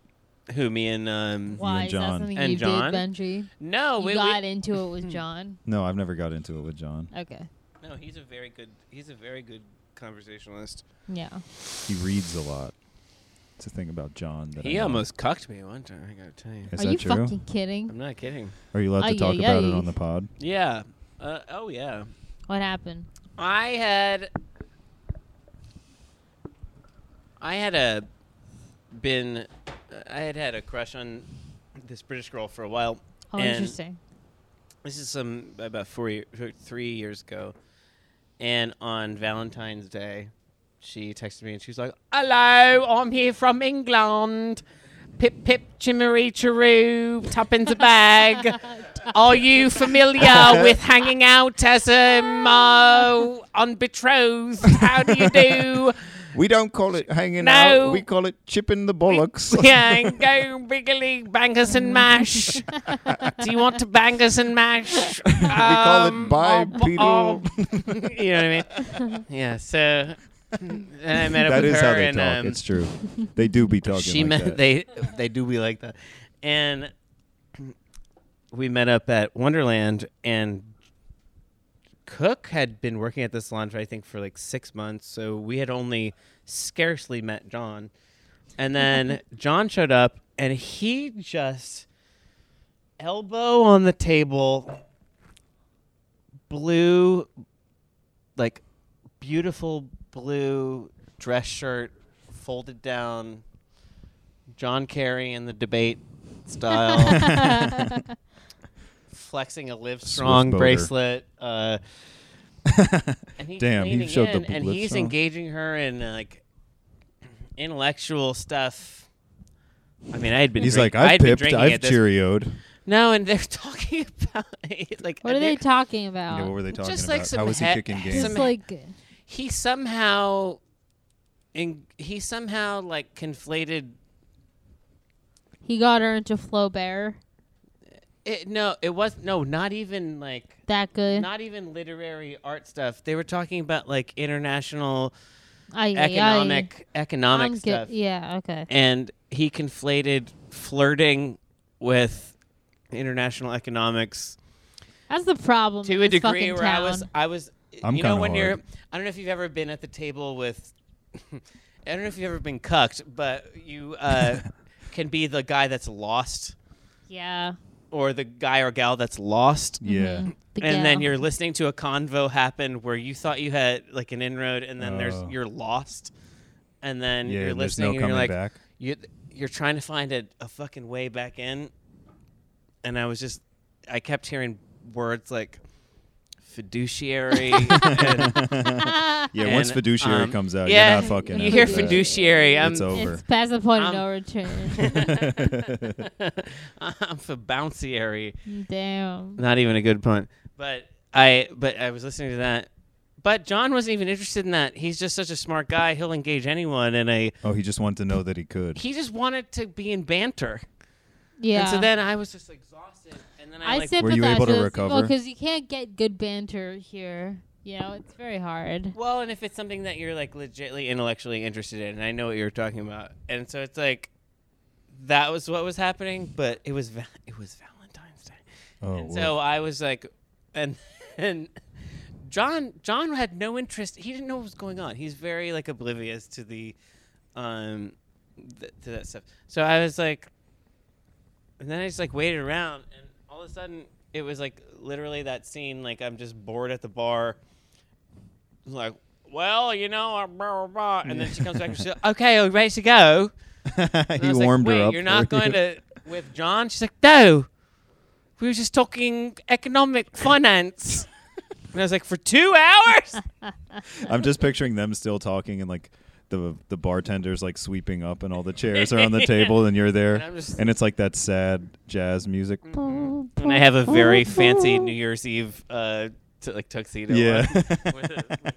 Speaker 5: Who me and um
Speaker 4: Why is that
Speaker 3: John. Oh,
Speaker 4: something
Speaker 5: And
Speaker 4: you
Speaker 5: John.
Speaker 4: did, Benji?
Speaker 5: no
Speaker 4: you
Speaker 5: we,
Speaker 4: got
Speaker 5: we,
Speaker 4: into it
Speaker 3: Hmm.
Speaker 4: with John.
Speaker 3: No, I've never got into it with John.
Speaker 4: Okay.
Speaker 5: no he's a very good he's a very good conversationalist.
Speaker 4: Yeah.
Speaker 3: He reads a lot. It's a thing about John. That I
Speaker 5: He
Speaker 3: know.
Speaker 5: almost cucked me one time. I gotta tell you,
Speaker 3: Is
Speaker 4: Are
Speaker 3: that
Speaker 4: you
Speaker 3: true?
Speaker 4: fucking kidding?
Speaker 5: I'm not kidding.
Speaker 3: Are you allowed to
Speaker 4: Ay,
Speaker 3: talk
Speaker 4: ay,
Speaker 3: about it
Speaker 4: ay.
Speaker 3: on the pod?
Speaker 5: Yeah. Uh, oh yeah.
Speaker 4: What happened?
Speaker 5: I had I had a been uh, I had had a crush on this British girl for a while.
Speaker 4: Oh,
Speaker 5: and
Speaker 4: interesting.
Speaker 5: This is some about four, year, three years ago, and on Valentine's Day, she texted me and she's like, "Hello, I'm here from England. Pip pip chimmery chiroo, tuppence a bag. Are you familiar with hanging out as a mo unbetrothed? How do you do?
Speaker 3: We don't call it hanging
Speaker 5: No. out, we
Speaker 3: call it chipping the bollocks.
Speaker 5: Yeah, and go biggily bangers and mash. Do you want to bangers and mash? Um, we
Speaker 3: call it bipedal.
Speaker 5: you know what I mean? Yeah. So and I met up
Speaker 3: that
Speaker 5: with
Speaker 3: is
Speaker 5: her,
Speaker 3: how they
Speaker 5: and
Speaker 3: talk.
Speaker 5: um,
Speaker 3: it's true. They do be talking.
Speaker 5: she
Speaker 3: like
Speaker 5: met
Speaker 3: that.
Speaker 5: they they do be like that, and we met up at Wonderland, and Cook had been working at the salon for I think for like six months, so we had only scarcely met John, and then John showed up, and he just elbow on the table, blue, like beautiful blue dress shirt folded down, John Kerry in the debate style, flexing a Live Strong
Speaker 3: boater.
Speaker 5: bracelet. Uh, and he's
Speaker 3: Damn, he
Speaker 5: leaning
Speaker 3: showed the
Speaker 5: in, and
Speaker 3: Live
Speaker 5: he's
Speaker 3: Strong.
Speaker 5: engaging her in like intellectual stuff. I mean, I had been.
Speaker 3: He's
Speaker 5: drink-
Speaker 3: like, I've
Speaker 5: I'd been
Speaker 3: pipped,
Speaker 5: drinking
Speaker 3: I've
Speaker 5: at this-
Speaker 3: cheerioed.
Speaker 5: No, and they're talking about like
Speaker 4: What are they
Speaker 5: they're-
Speaker 4: talking about?
Speaker 3: Yeah, what were they talking
Speaker 5: Just
Speaker 3: about?
Speaker 5: like some
Speaker 3: How was he
Speaker 5: he-
Speaker 3: kicking games?
Speaker 4: Just
Speaker 5: some-
Speaker 4: like
Speaker 5: he somehow in, he somehow like conflated
Speaker 4: he got her into Flaubert.
Speaker 5: it no it was no not even like
Speaker 4: That good.
Speaker 5: not even literary art stuff they were talking about like international
Speaker 4: Ay, ay, ay.
Speaker 5: economic economic
Speaker 4: I'm good.
Speaker 5: stuff
Speaker 4: Yeah. Okay.
Speaker 5: and he conflated flirting with international economics
Speaker 4: That's the problem.
Speaker 5: to
Speaker 4: in
Speaker 5: a
Speaker 4: this
Speaker 5: degree
Speaker 4: fucking
Speaker 5: where I
Speaker 4: town.
Speaker 5: was I was
Speaker 3: I'm
Speaker 5: you know
Speaker 3: kinda
Speaker 5: when
Speaker 3: hard.
Speaker 5: you're I don't know if you've ever been at the table with I don't know if you've ever been cucked, but you uh, can be the guy that's lost
Speaker 4: Yeah.
Speaker 5: or the guy or gal that's lost.
Speaker 3: Yeah.
Speaker 4: The
Speaker 5: And then
Speaker 4: gal.
Speaker 5: you're listening to a convo happen where you thought you had like an inroad, and then there's
Speaker 3: Oh.
Speaker 5: you're lost, and then
Speaker 3: Yeah,
Speaker 5: you're
Speaker 3: and there's no
Speaker 5: listening, and
Speaker 3: coming
Speaker 5: you're
Speaker 3: back.
Speaker 5: like you you're trying to find a, a fucking way back in, and I was just I kept hearing words like fiduciary. and,
Speaker 3: Yeah, once
Speaker 5: and,
Speaker 3: fiduciary
Speaker 5: um,
Speaker 3: comes out,
Speaker 5: yeah,
Speaker 3: you're not fucking.
Speaker 5: You
Speaker 3: after
Speaker 5: hear
Speaker 3: that.
Speaker 5: fiduciary. I'm
Speaker 3: uh, It's over.
Speaker 4: It's past the point of
Speaker 5: Um,
Speaker 4: no return.
Speaker 5: I'm for bounciary.
Speaker 4: Damn.
Speaker 5: Not even a good pun. But I but I was listening to that. But John wasn't even interested in that. He's just such a smart guy. He'll engage anyone, and I
Speaker 3: Oh, he just wanted to know that he could.
Speaker 5: he just wanted to be in banter.
Speaker 4: Yeah.
Speaker 5: And so then I was just exhausted. And then I,
Speaker 4: I
Speaker 5: like,
Speaker 4: sympathize
Speaker 3: Were you able to
Speaker 4: with
Speaker 3: recover?
Speaker 4: because you can't get good banter here. You know, it's very hard.
Speaker 5: Well, and if it's something that you're like legitly intellectually interested in, and I know what you're talking about, and so it's like that was what was happening, but it was val- it was Valentine's Day,
Speaker 3: Oh,
Speaker 5: and
Speaker 3: well.
Speaker 5: so I was like, and and John John had no interest. He didn't know what was going on. He's very like oblivious to the um th- to that stuff. So I was like, and then I just like waited around, and all of a sudden it was like literally that scene. Like I'm just bored at the bar like, well, you know, uh, blah, blah, blah. and then she comes back and she's like, okay, are we ready to go? And I
Speaker 3: he
Speaker 5: was like,
Speaker 3: warmed
Speaker 5: Wait,
Speaker 3: her up.
Speaker 5: You're
Speaker 3: for
Speaker 5: not
Speaker 3: you."
Speaker 5: going to with John? She's like, no. We were just talking economic finance. and I was like, for two hours?
Speaker 3: I'm just picturing them still talking and like the the bartenders like sweeping up and all the chairs are on the table and you're there
Speaker 5: And I'm just- Mm,
Speaker 3: and it's like that sad jazz music.
Speaker 5: and I have a very fancy New Year's Eve uh, t- like tuxedo. on
Speaker 3: Yeah.
Speaker 5: with a, with a,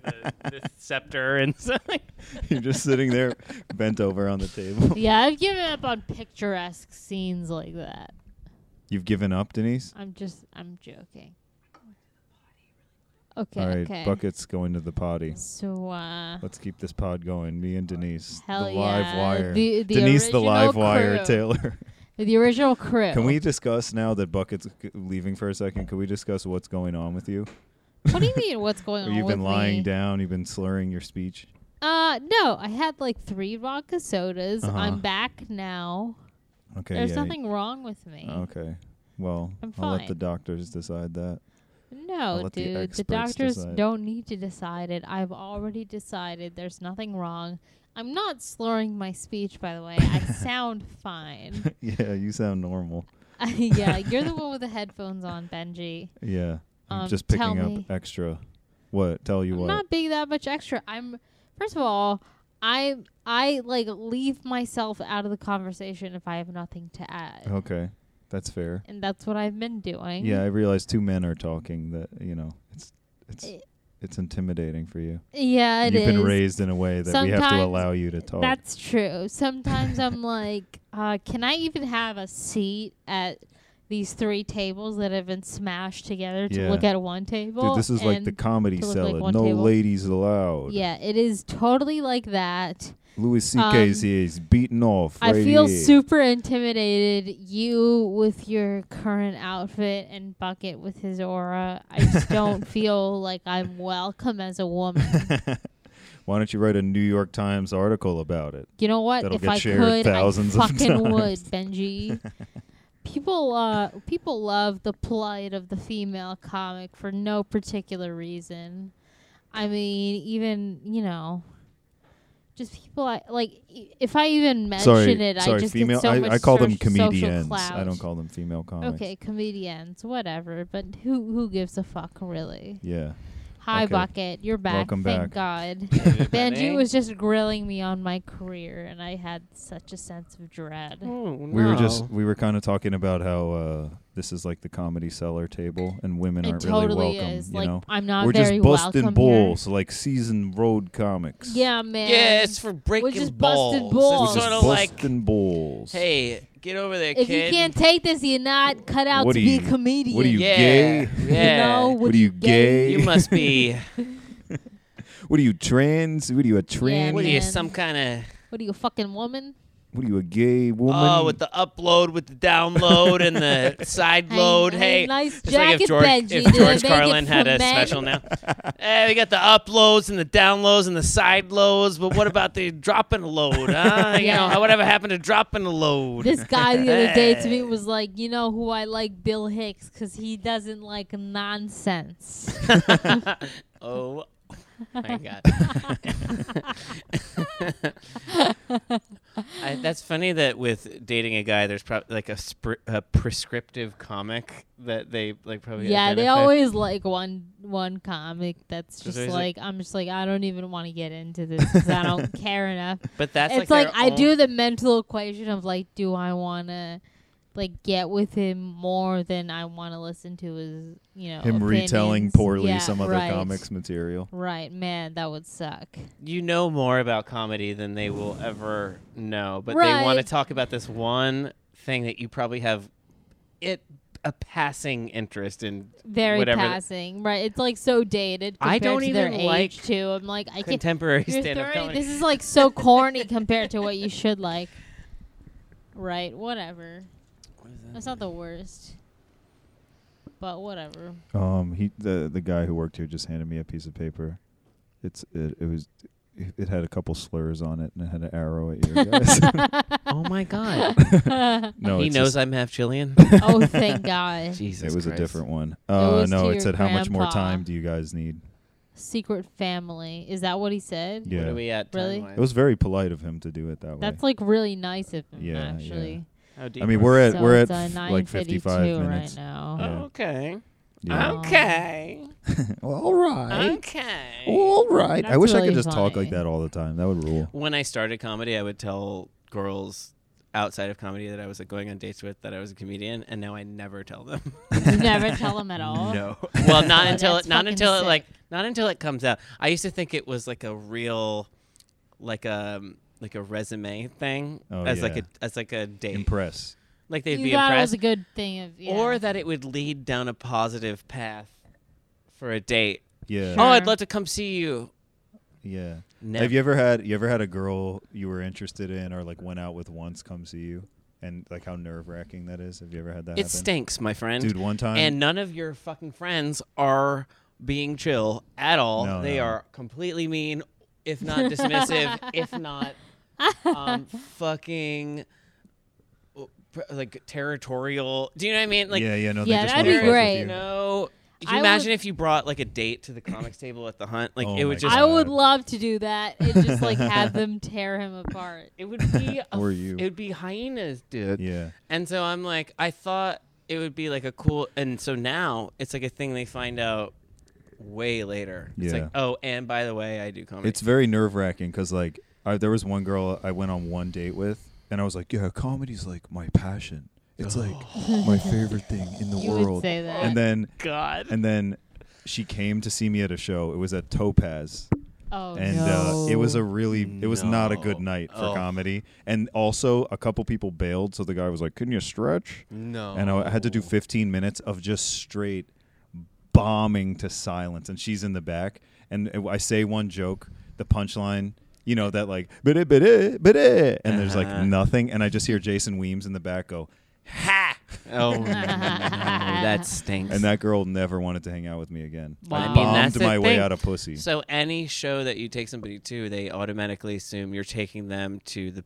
Speaker 5: this scepter and something.
Speaker 3: You're just sitting there bent over on the table.
Speaker 4: Yeah, I've given up on picturesque scenes like that.
Speaker 3: You've given up, Denise?
Speaker 4: I'm just, I'm joking. Okay,
Speaker 3: all right,
Speaker 4: okay.
Speaker 3: Bucket's going to the potty.
Speaker 4: So, uh,
Speaker 3: Let's keep this pod going. Me and Denise.
Speaker 4: Hell
Speaker 3: the live
Speaker 4: yeah.
Speaker 3: wire.
Speaker 4: The- the
Speaker 3: Denise the live
Speaker 4: original
Speaker 3: wire
Speaker 4: crew.
Speaker 3: Taylor.
Speaker 4: the original crew.
Speaker 3: Can we discuss now that Bucket's g- leaving for a second? Can we discuss what's going on with you?
Speaker 4: What do you mean? What's going on?
Speaker 3: You've been
Speaker 4: with
Speaker 3: lying
Speaker 4: me?
Speaker 3: down, you've been slurring your speech.
Speaker 4: Uh, no, I had like three vodka sodas.
Speaker 3: Uh-huh.
Speaker 4: I'm back now.
Speaker 3: Okay.
Speaker 4: There's
Speaker 3: yeah,
Speaker 4: nothing wrong with me.
Speaker 3: Okay. Well,
Speaker 4: I'm
Speaker 3: I'll let the
Speaker 4: fine.
Speaker 3: doctors decide that. I'll
Speaker 4: No,
Speaker 3: let the
Speaker 4: dude. The,
Speaker 3: experts
Speaker 4: doctors
Speaker 3: decide.
Speaker 4: don't need to decide it. I've already decided there's nothing wrong. I'm not slurring my speech, by the way. I sound fine.
Speaker 3: yeah, you sound normal.
Speaker 4: yeah, you're the one with the headphones on, Benji.
Speaker 3: Yeah. I'm
Speaker 4: Um,
Speaker 3: just
Speaker 4: tell
Speaker 3: picking up
Speaker 4: me.
Speaker 3: extra. What? Tell you
Speaker 4: I'm
Speaker 3: what.
Speaker 4: not being that much extra. I'm first of all, I I like leave myself out of the conversation if I have nothing to add,
Speaker 3: okay. That's fair.
Speaker 4: and that's what I've been doing.
Speaker 3: Uh. Yeah, I realize two men are talking that, you know, it's it's
Speaker 4: Eh.
Speaker 3: it's intimidating for you.
Speaker 4: yeah, it
Speaker 3: You've been
Speaker 4: is.
Speaker 3: raised in a way that we have to
Speaker 4: Sometimes
Speaker 3: allow you to talk.
Speaker 4: That's true. Sometimes I'm like, uh, can I even have a seat at these three tables that have been smashed together to
Speaker 3: Yeah.
Speaker 4: look at one table?
Speaker 3: Dude, this is like the
Speaker 4: And
Speaker 3: comedy
Speaker 4: to look
Speaker 3: cell.
Speaker 4: like
Speaker 3: it.
Speaker 4: one
Speaker 3: no
Speaker 4: table.
Speaker 3: ladies allowed.
Speaker 4: yeah, it is totally like that.
Speaker 3: Louis C.K.'s
Speaker 4: Um,
Speaker 3: here. He's beaten off.
Speaker 4: I
Speaker 3: right
Speaker 4: feel
Speaker 3: here.
Speaker 4: super intimidated. You with your current outfit and bucket with his aura. I just don't feel like I'm welcome as a woman.
Speaker 3: Why don't you write a New York Times article about it?
Speaker 4: You know what?
Speaker 3: That'll
Speaker 4: if
Speaker 3: get
Speaker 4: I
Speaker 3: shared
Speaker 4: could, I
Speaker 3: thousands of
Speaker 4: fucking would,
Speaker 3: times.
Speaker 4: Benji. people, uh, people love the plight of the female comic for no particular reason. I mean, even you know, just people I, like. e- If I even mention
Speaker 3: sorry,
Speaker 4: it,
Speaker 3: sorry,
Speaker 4: I just
Speaker 3: female.
Speaker 4: get so
Speaker 3: I,
Speaker 4: much
Speaker 3: I call them
Speaker 4: soc- social
Speaker 3: comedians. I
Speaker 4: clout.
Speaker 3: don't call them female comics.
Speaker 4: Okay, comedians, whatever. But who who gives a fuck, really?
Speaker 3: Yeah.
Speaker 4: Hi,
Speaker 3: Okay.
Speaker 4: Bucket, you're back.
Speaker 3: Welcome back.
Speaker 4: Thank God.
Speaker 5: Benny?
Speaker 4: Benji was just grilling me on my career, and I had such a sense of dread.
Speaker 5: Oh, no.
Speaker 3: We were just we were kind of talking about how uh, this is like the comedy cellar table and women
Speaker 4: It
Speaker 3: aren't
Speaker 4: totally
Speaker 3: really welcome.
Speaker 4: is.
Speaker 3: You
Speaker 4: Like
Speaker 3: know,
Speaker 4: I'm not
Speaker 3: we're
Speaker 4: very
Speaker 3: just busting
Speaker 4: welcome
Speaker 3: balls like seasoned road comics.
Speaker 4: Here. Yeah, man.
Speaker 5: yeah, it's for breaking
Speaker 4: just busted
Speaker 5: balls.
Speaker 3: we're
Speaker 4: balls.
Speaker 5: It's
Speaker 3: just
Speaker 5: sort of like,
Speaker 3: busting balls.
Speaker 5: hey, get over there,
Speaker 4: If
Speaker 5: kid.
Speaker 4: you can't take this, you're not cut out
Speaker 3: What
Speaker 4: to
Speaker 3: are
Speaker 4: be
Speaker 3: you-
Speaker 4: a
Speaker 3: what are
Speaker 4: comedian.
Speaker 3: you
Speaker 5: yeah,
Speaker 3: gay?
Speaker 4: You
Speaker 5: yeah.
Speaker 4: know,
Speaker 3: What are you, gay?
Speaker 5: you must be.
Speaker 3: What are you trans? What are you a trans?
Speaker 5: What are you,
Speaker 4: Man.
Speaker 5: some kind of?
Speaker 4: What are you, a fucking woman?
Speaker 3: What are you a gay woman?
Speaker 5: Oh, with the upload, with the download, and the side
Speaker 4: Hey,
Speaker 5: load.
Speaker 4: hey,
Speaker 5: Hey,
Speaker 4: nice
Speaker 5: it's like
Speaker 4: jacket,
Speaker 5: if George,
Speaker 4: Benji.
Speaker 5: if
Speaker 4: Did they
Speaker 5: George
Speaker 4: make it
Speaker 5: Carlin
Speaker 4: for
Speaker 5: had a
Speaker 4: men?
Speaker 5: special now. hey, we got the uploads and the downloads and the side loads, but what about the dropping a load? Huh? You
Speaker 4: Yeah.
Speaker 5: know, whatever happened to dropping a load?
Speaker 4: This guy the other day to me was like, you know who I like, Bill Hicks, because he doesn't like nonsense.
Speaker 5: oh my god. I, that's funny that with dating a guy, there's probably like a, spri- a prescriptive comic that they like probably
Speaker 4: yeah, they
Speaker 5: identify.
Speaker 4: always like one one comic that's just
Speaker 5: Just always
Speaker 4: like, I'm just like I don't even want to get into this because I don't care enough.
Speaker 5: But that's
Speaker 4: it's
Speaker 5: like,
Speaker 4: like,
Speaker 5: their
Speaker 4: I
Speaker 5: own-
Speaker 4: do the mental equation of like, do I want to like get with him more than I want to listen to his you know
Speaker 3: him retelling
Speaker 4: opinions?
Speaker 3: poorly
Speaker 4: Yeah,
Speaker 3: some other
Speaker 4: right.
Speaker 3: comics material.
Speaker 4: Right, man, that would suck.
Speaker 5: you know more about comedy than they will ever know, but they
Speaker 4: Right.
Speaker 5: want to talk about this one thing that you probably have it a passing interest in.
Speaker 4: Very
Speaker 5: whatever th-
Speaker 4: passing, right? It's like so dated. Compared
Speaker 5: I don't
Speaker 4: to their
Speaker 5: even like
Speaker 4: age too. I'm like, I can't.
Speaker 5: contemporary
Speaker 4: You're
Speaker 5: stand-up
Speaker 4: 30.
Speaker 5: comedy.
Speaker 4: This is like so corny compared to what you should like. Right, whatever. That's not the worst. But whatever.
Speaker 3: Um, he the the guy who worked here just handed me a piece of paper. It's it, it was it had a couple slurs on it and it had an arrow at your guys.
Speaker 5: oh my god!
Speaker 3: no,
Speaker 5: he
Speaker 3: it's
Speaker 5: knows
Speaker 3: just-
Speaker 5: I'm half Chilean.
Speaker 4: oh, thank God.
Speaker 5: Jesus,
Speaker 3: it was
Speaker 5: Christ.
Speaker 3: a different one. Uh,
Speaker 4: was
Speaker 3: no,
Speaker 4: to
Speaker 3: it
Speaker 4: your
Speaker 3: said how much more
Speaker 4: grandpa.
Speaker 3: time do you guys need?
Speaker 4: secret family. Is that what he said?
Speaker 3: Yeah.
Speaker 5: What are we at?
Speaker 4: Really?
Speaker 5: timeline?
Speaker 3: It was very polite of him to do it that
Speaker 4: That's
Speaker 3: way.
Speaker 4: like really nice of him,
Speaker 3: Yeah, yeah.
Speaker 4: actually.
Speaker 5: How deep
Speaker 3: I mean,
Speaker 5: was
Speaker 3: we're at
Speaker 4: So
Speaker 3: we're at
Speaker 4: it's, uh,
Speaker 3: f- like 55
Speaker 4: 9:52
Speaker 3: minutes.
Speaker 4: right now. Oh,
Speaker 5: it?
Speaker 3: yeah.
Speaker 5: Okay.
Speaker 3: Yeah.
Speaker 5: Oh. Okay.
Speaker 3: All right.
Speaker 5: Okay.
Speaker 3: All right. I
Speaker 4: That's
Speaker 3: wish I could
Speaker 4: really
Speaker 3: just talk like
Speaker 4: funny.
Speaker 3: that all the time. That would rule.
Speaker 5: When I started comedy, I would tell girls outside of comedy that I was like going on dates with that I was a comedian, and now I never tell them.
Speaker 4: Um, You never tell him at all.
Speaker 5: well, not until
Speaker 4: that's
Speaker 5: it, not
Speaker 4: fucking
Speaker 5: until it
Speaker 4: sick.
Speaker 5: like not until it comes out. I used to think it was like a real, like a like a resume thing
Speaker 3: Oh,
Speaker 5: as like
Speaker 3: yeah.
Speaker 5: a as like a date.
Speaker 3: Impress.
Speaker 5: like they'd
Speaker 4: you
Speaker 5: be
Speaker 4: thought it
Speaker 5: impressed,
Speaker 4: was a good thing of yeah.
Speaker 5: or that it would lead down a positive path for a date.
Speaker 3: Yeah.
Speaker 5: Oh, I'd
Speaker 4: Sure.
Speaker 5: love to come see you.
Speaker 3: Yeah.
Speaker 5: Never.
Speaker 3: Have you ever had you ever had a girl you were interested in or like went out with once come see you and like how nerve wracking that is? Have you ever had that?
Speaker 5: it
Speaker 3: happen?
Speaker 5: stinks, my friend.
Speaker 3: Dude, one time.
Speaker 5: and none of your fucking friends are being chill at all.
Speaker 3: No,
Speaker 5: they
Speaker 3: no.
Speaker 5: are completely mean, if not dismissive, if not um, fucking uh, pr- like territorial. Do you know what I mean? Like,
Speaker 3: yeah, yeah, no,
Speaker 4: Yeah,
Speaker 3: they just
Speaker 4: that'd
Speaker 3: wanna fuck
Speaker 4: be
Speaker 3: with
Speaker 4: great.
Speaker 3: you.
Speaker 5: no. Could you
Speaker 4: I
Speaker 5: imagine
Speaker 4: would-
Speaker 5: if you brought like a date to the comics table at the hunt? Like
Speaker 3: Oh
Speaker 5: it
Speaker 3: my
Speaker 5: would just
Speaker 4: I would
Speaker 3: God.
Speaker 4: love to do that and just like have them tear him apart.
Speaker 5: it would be a
Speaker 3: Or
Speaker 5: f-
Speaker 3: you.
Speaker 5: It would be hyenas, dude.
Speaker 3: Yeah.
Speaker 5: And so I'm like, I thought it would be like a cool. And so now it's like a thing they find out way later. It's
Speaker 3: Yeah.
Speaker 5: like, oh, and by the way, I do comedy.
Speaker 3: It's very nerve wracking because like I, there was one girl I went on one date with, and I was like, "Yeah, comedy's like my passion. It's like my favorite thing in the
Speaker 4: You would
Speaker 3: world."
Speaker 4: say that.
Speaker 3: And then
Speaker 5: God.
Speaker 3: and then she came to see me at a show. It was at Topaz,
Speaker 4: Oh
Speaker 3: and
Speaker 4: no.
Speaker 3: uh, it was a really it was not a good
Speaker 5: No.
Speaker 3: night for
Speaker 5: Oh.
Speaker 3: comedy. And also, a couple people bailed, so the guy was like, "Couldn't you stretch?"
Speaker 5: no.
Speaker 3: and I had to do 15 minutes of just straight bombing to silence. And she's in the back, and I say one joke, the punchline, you know, that like, "Biddy, biddy, biddy," and there's like
Speaker 5: Uh-huh.
Speaker 3: nothing. And I just hear Jason Weems in the back go, "Ha!"
Speaker 5: Oh, no, that stinks.
Speaker 3: And that girl never wanted to hang out with me again.
Speaker 4: Wow.
Speaker 3: I
Speaker 4: I mean,
Speaker 3: bombed
Speaker 5: that's the
Speaker 3: my way
Speaker 5: thing.
Speaker 3: out of pussy.
Speaker 5: so any show that you take somebody to, they automatically assume you're taking them to the.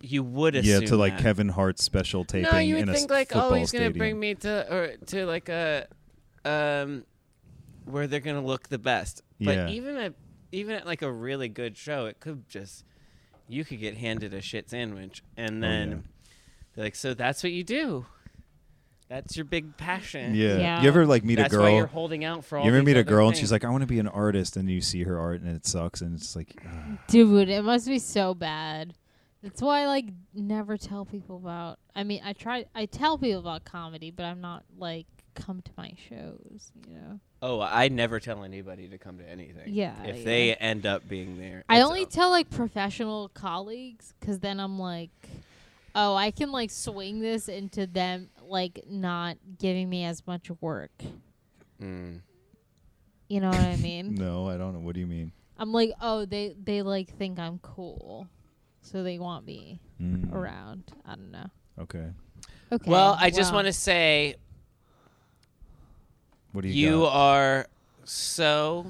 Speaker 5: You would
Speaker 3: yeah,
Speaker 5: assume
Speaker 3: to like
Speaker 5: that.
Speaker 3: Kevin Hart's special taping
Speaker 5: No, you would
Speaker 3: in a
Speaker 5: think
Speaker 3: s-
Speaker 5: like,
Speaker 3: football
Speaker 5: oh, he's gonna
Speaker 3: stadium.
Speaker 5: bring me to or to like a, um, where they're gonna look the best. But
Speaker 3: Yeah.
Speaker 5: even at even at like a really good show, it could just you could get handed a shit sandwich, and
Speaker 3: Oh, yeah.
Speaker 5: then they're like, so that's what you do. That's your big passion.
Speaker 3: Yeah.
Speaker 4: Yeah.
Speaker 3: you ever like meet
Speaker 5: That's
Speaker 3: a
Speaker 5: why you're
Speaker 3: girl?
Speaker 5: holding out for all.
Speaker 3: You ever
Speaker 5: these
Speaker 3: meet a
Speaker 5: other
Speaker 3: girl and
Speaker 5: things.
Speaker 3: she's like, I want to be an artist, and you see her art and it sucks, and it's like,
Speaker 4: Dude, it must be so bad. That's why I like never tell people about. I mean, I try. I tell people about comedy, but I'm not like come to my shows. You know.
Speaker 5: "Oh, I never tell anybody to come to anything."
Speaker 4: Yeah,
Speaker 5: If
Speaker 4: yeah.
Speaker 5: they end up being there,
Speaker 4: I
Speaker 5: it's
Speaker 4: only
Speaker 5: up.
Speaker 4: tell like professional colleagues because then I'm like, oh, I can like swing this into them like not giving me as much work.
Speaker 5: Mm.
Speaker 4: You know what I mean?
Speaker 3: No, I don't know. What do you mean?
Speaker 4: I'm like, oh, they they like think I'm cool, so they want me around. I don't know.
Speaker 3: Okay.
Speaker 4: Okay.
Speaker 5: Well, I just
Speaker 4: wow.
Speaker 5: want to say
Speaker 3: What do you,
Speaker 5: you
Speaker 3: got?
Speaker 5: are so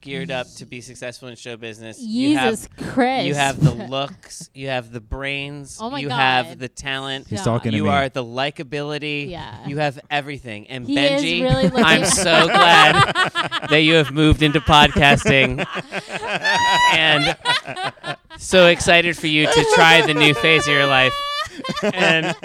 Speaker 5: geared up to be successful in show business. you
Speaker 4: Jesus
Speaker 5: have,
Speaker 4: Christ.
Speaker 5: you have the looks, you have the brains,
Speaker 4: Oh my
Speaker 5: you
Speaker 4: God.
Speaker 5: have the talent.
Speaker 3: He's
Speaker 4: Yeah.
Speaker 3: talking to
Speaker 5: You
Speaker 3: me.
Speaker 5: are the likability.
Speaker 4: Yeah.
Speaker 5: You have everything. And
Speaker 4: He is
Speaker 5: Benji,
Speaker 4: really looking-
Speaker 5: I'm so glad that you have moved into podcasting. and so excited for you to try the new phase of your life. And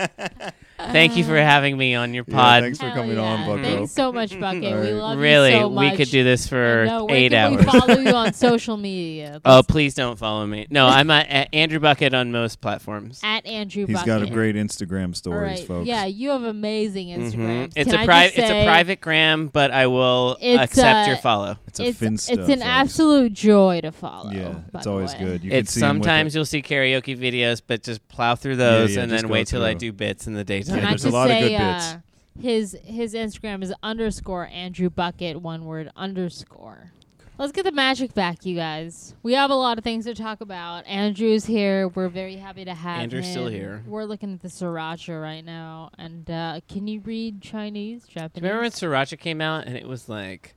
Speaker 5: thank you for having me on your
Speaker 3: Yeah,
Speaker 5: pod.
Speaker 3: thanks for
Speaker 4: Hell
Speaker 3: coming
Speaker 4: yeah.
Speaker 3: on, Bucko.
Speaker 4: Thanks so much, Bucket.
Speaker 3: All
Speaker 4: We
Speaker 3: right.
Speaker 4: love
Speaker 5: really,
Speaker 4: you so much.
Speaker 5: we could do this for
Speaker 4: no, where
Speaker 5: eight
Speaker 4: can
Speaker 5: hours.
Speaker 4: We follow you on social media.
Speaker 5: oh, please don't follow me. No, I'm at, at Andrew Bucket on most platforms.
Speaker 4: at Andrew
Speaker 3: He's
Speaker 4: Bucket.
Speaker 3: got a great Instagram
Speaker 4: All
Speaker 3: stories,
Speaker 4: right.
Speaker 3: folks.
Speaker 4: Yeah, you have amazing Instagram.
Speaker 3: Hmm.
Speaker 5: Mhm. It's
Speaker 4: Can
Speaker 5: a
Speaker 4: I
Speaker 5: private,
Speaker 4: just
Speaker 5: it's a
Speaker 4: say
Speaker 5: private gram, but I will
Speaker 4: It's,
Speaker 5: accept
Speaker 4: uh,
Speaker 5: your follow.
Speaker 3: It's a
Speaker 4: It's,
Speaker 3: Finsta.
Speaker 4: it's an
Speaker 3: folks.
Speaker 4: absolute joy to follow.
Speaker 3: Yeah,
Speaker 4: by
Speaker 3: it's
Speaker 4: the
Speaker 3: always
Speaker 4: way.
Speaker 3: good. You can
Speaker 5: It's
Speaker 3: see him with
Speaker 5: sometimes
Speaker 3: it.
Speaker 5: you'll see karaoke videos, but just plow through those
Speaker 3: yeah,
Speaker 5: and
Speaker 3: just
Speaker 5: then
Speaker 3: go
Speaker 5: wait till I
Speaker 3: through.
Speaker 5: do bits in the
Speaker 4: Can
Speaker 5: daytime.
Speaker 3: Yeah,
Speaker 4: I
Speaker 3: there's a
Speaker 4: just
Speaker 3: lot of
Speaker 4: say,
Speaker 3: good
Speaker 4: uh, His his Instagram is underscore Andrew Bucket one word underscore. Let's get the magic back, you guys. We have a lot of things to talk about. Andrew's here. We're very happy to have
Speaker 5: Andrew's
Speaker 4: him.
Speaker 5: still here.
Speaker 4: We're looking at the sriracha right now. And uh, can you read Chinese, Japanese?
Speaker 5: Remember when Sriracha came out and it was like,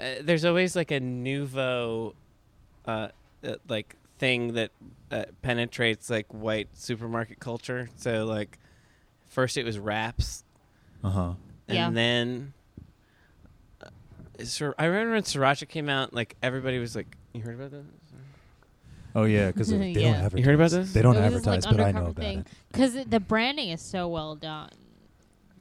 Speaker 5: uh, there's always like a nouveau, uh, uh, like thing that uh, penetrates like white supermarket culture. So like, first it was wraps,
Speaker 3: Uh huh.
Speaker 5: and
Speaker 4: Yeah.
Speaker 5: then uh, Sir, I remember when Sriracha came out, like everybody was like, "You heard about that?
Speaker 3: Oh yeah, because they
Speaker 4: Yeah.
Speaker 3: don't advertise.
Speaker 5: You heard about this?
Speaker 3: They don't
Speaker 4: It was this,
Speaker 3: advertise,
Speaker 4: like,
Speaker 3: but I know
Speaker 4: undercover
Speaker 3: about it.
Speaker 4: Because the branding is so well done.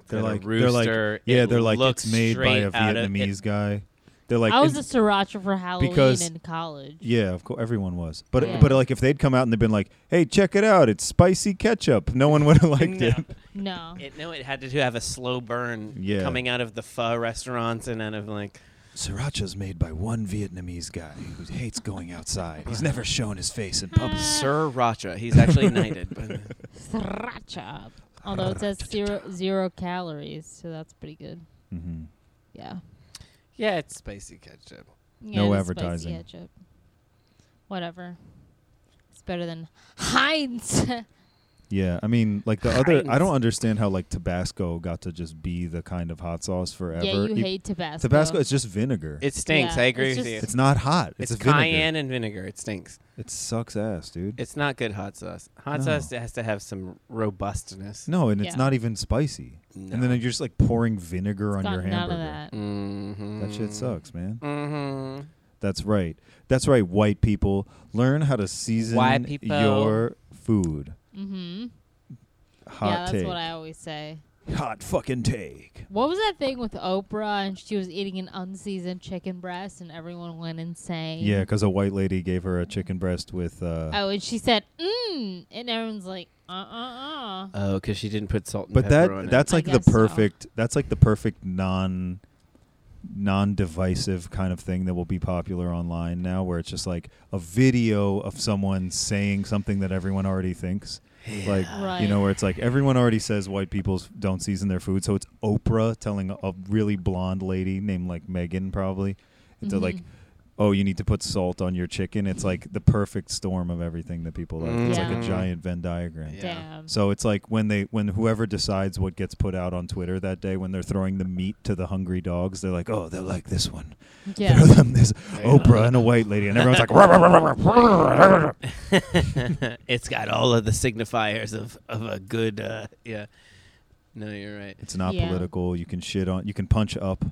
Speaker 5: Got a rooster.
Speaker 3: yeah,
Speaker 5: It
Speaker 3: they're like
Speaker 5: looks
Speaker 3: it's made by a
Speaker 5: straight out of- it-
Speaker 3: Vietnamese guy. They're like,
Speaker 4: I was a
Speaker 3: and-
Speaker 4: sriracha for Halloween
Speaker 3: because-
Speaker 4: in college.
Speaker 3: yeah, of course, everyone was, but
Speaker 4: Yeah.
Speaker 3: but like if they'd come out and they'd been like, hey, check it out, it's spicy ketchup, no one would have liked
Speaker 5: No.
Speaker 3: it.
Speaker 4: No.
Speaker 5: It, no, it had to have a slow burn
Speaker 3: Yeah.
Speaker 5: coming out of the pho restaurants and out of like
Speaker 3: Sriracha's made by one Vietnamese guy who hates going outside. He's never shown his face in
Speaker 4: Mm-hmm.
Speaker 5: Oh.
Speaker 3: public.
Speaker 5: Sriracha. He's actually knighted. But
Speaker 4: Sriracha. Although it says zero, zero calories, so that's pretty good.
Speaker 3: hmm
Speaker 4: Yeah.
Speaker 5: yeah, it's spicy ketchup.
Speaker 4: yeah
Speaker 3: No
Speaker 4: it is
Speaker 3: advertising.
Speaker 4: Spicy ketchup. Whatever. It's better than Heinz.
Speaker 3: Yeah, I mean, like the other, I
Speaker 5: Heinz.
Speaker 3: don't understand how like Tabasco got to just be the kind of hot sauce forever.
Speaker 4: yeah, you
Speaker 3: E-
Speaker 4: hate Tabasco.
Speaker 3: Tabasco. It's just vinegar.
Speaker 5: It stinks.
Speaker 4: Yeah,
Speaker 5: I agree
Speaker 4: it's
Speaker 5: with you.
Speaker 4: just-
Speaker 3: It's not hot. It's,
Speaker 5: It's,
Speaker 3: a vinegar.
Speaker 5: cayenne and vinegar. It stinks.
Speaker 3: It sucks ass, dude.
Speaker 5: It's not good hot sauce. Hot
Speaker 3: No.
Speaker 5: sauce has to have some robustness.
Speaker 3: no, and it's
Speaker 4: Yeah.
Speaker 3: not even spicy. And
Speaker 5: No.
Speaker 3: then you're just like pouring vinegar on
Speaker 4: got
Speaker 3: your
Speaker 4: none
Speaker 3: hamburger.
Speaker 4: of that.
Speaker 5: Mm-hmm.
Speaker 3: That shit sucks, man.
Speaker 5: Mm-hmm.
Speaker 3: That's right. That's right. White people learn how to season
Speaker 5: White people.
Speaker 3: your food.
Speaker 4: Mm-hmm.
Speaker 3: Hot
Speaker 4: Yeah, that's
Speaker 3: take.
Speaker 4: what I always say.
Speaker 3: Hot fucking take.
Speaker 4: What was that thing with Oprah and she was eating an unseasoned chicken breast and everyone went insane?
Speaker 3: Yeah, because a white lady gave her a chicken breast with. Uh,
Speaker 4: Oh, and she said, mmm. And everyone's like, uh uh uh.
Speaker 5: Oh, because she didn't put salt and
Speaker 3: but
Speaker 5: pepper on
Speaker 3: that
Speaker 5: it.
Speaker 3: that's
Speaker 4: I
Speaker 3: like the
Speaker 4: guess so.
Speaker 3: perfect. That's like the perfect non non-divisive kind of thing that will be popular online now where it's just like a video of someone saying something that everyone already thinks like
Speaker 4: Right.
Speaker 3: you know where it's like everyone already says white people don't season their food so it's oprah telling a, a really blonde lady named like megan probably to like
Speaker 4: Mhm.
Speaker 3: oh you need to put salt on your chicken it's like the perfect storm of everything that people like it's like
Speaker 4: Mm. Yeah.
Speaker 3: a giant venn diagram
Speaker 5: Yeah.
Speaker 4: Damn.
Speaker 3: so it's like when they when whoever decides what gets put out on twitter that day when they're throwing the meat to the hungry dogs they're like oh they'll like this one
Speaker 4: Yeah.
Speaker 3: throw them this oprah and a white lady and everyone's like "Rah, rah, rah, rah, rah, rah."
Speaker 5: it's got all of the signifiers of, of a good uh yeah no you're right
Speaker 3: it's not
Speaker 4: Yeah.
Speaker 3: political you can shit on you can punch up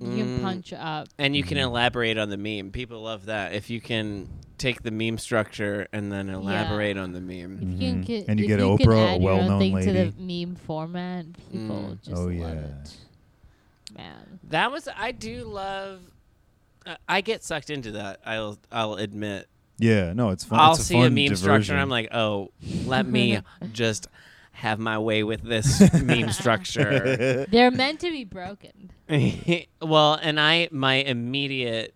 Speaker 4: You can
Speaker 5: Mm.
Speaker 4: punch up.
Speaker 5: and you can
Speaker 3: Mhm.
Speaker 5: elaborate on the meme people love that if you can take the meme structure and then elaborate on the meme
Speaker 4: If you can
Speaker 3: Mhm.
Speaker 4: get,
Speaker 3: And you
Speaker 4: if
Speaker 3: get
Speaker 4: you
Speaker 3: Oprah,
Speaker 4: can
Speaker 3: a
Speaker 4: add your own
Speaker 3: well-known
Speaker 4: thing
Speaker 3: lady.
Speaker 4: to the meme format. People
Speaker 5: Mm.
Speaker 4: just
Speaker 3: Oh,
Speaker 4: love
Speaker 3: yeah.
Speaker 4: it. Man.
Speaker 5: that was i do love I- I get sucked into that. I'll I'll admit.
Speaker 3: Yeah, no, it's fun.
Speaker 5: I'll
Speaker 3: it's a
Speaker 5: see
Speaker 3: fun
Speaker 5: a meme structure
Speaker 3: diversion.
Speaker 5: and I'm like, "Oh, let me just have my way with this meme structure."
Speaker 3: Uh,
Speaker 4: They're meant to be broken.
Speaker 5: well, and I my immediate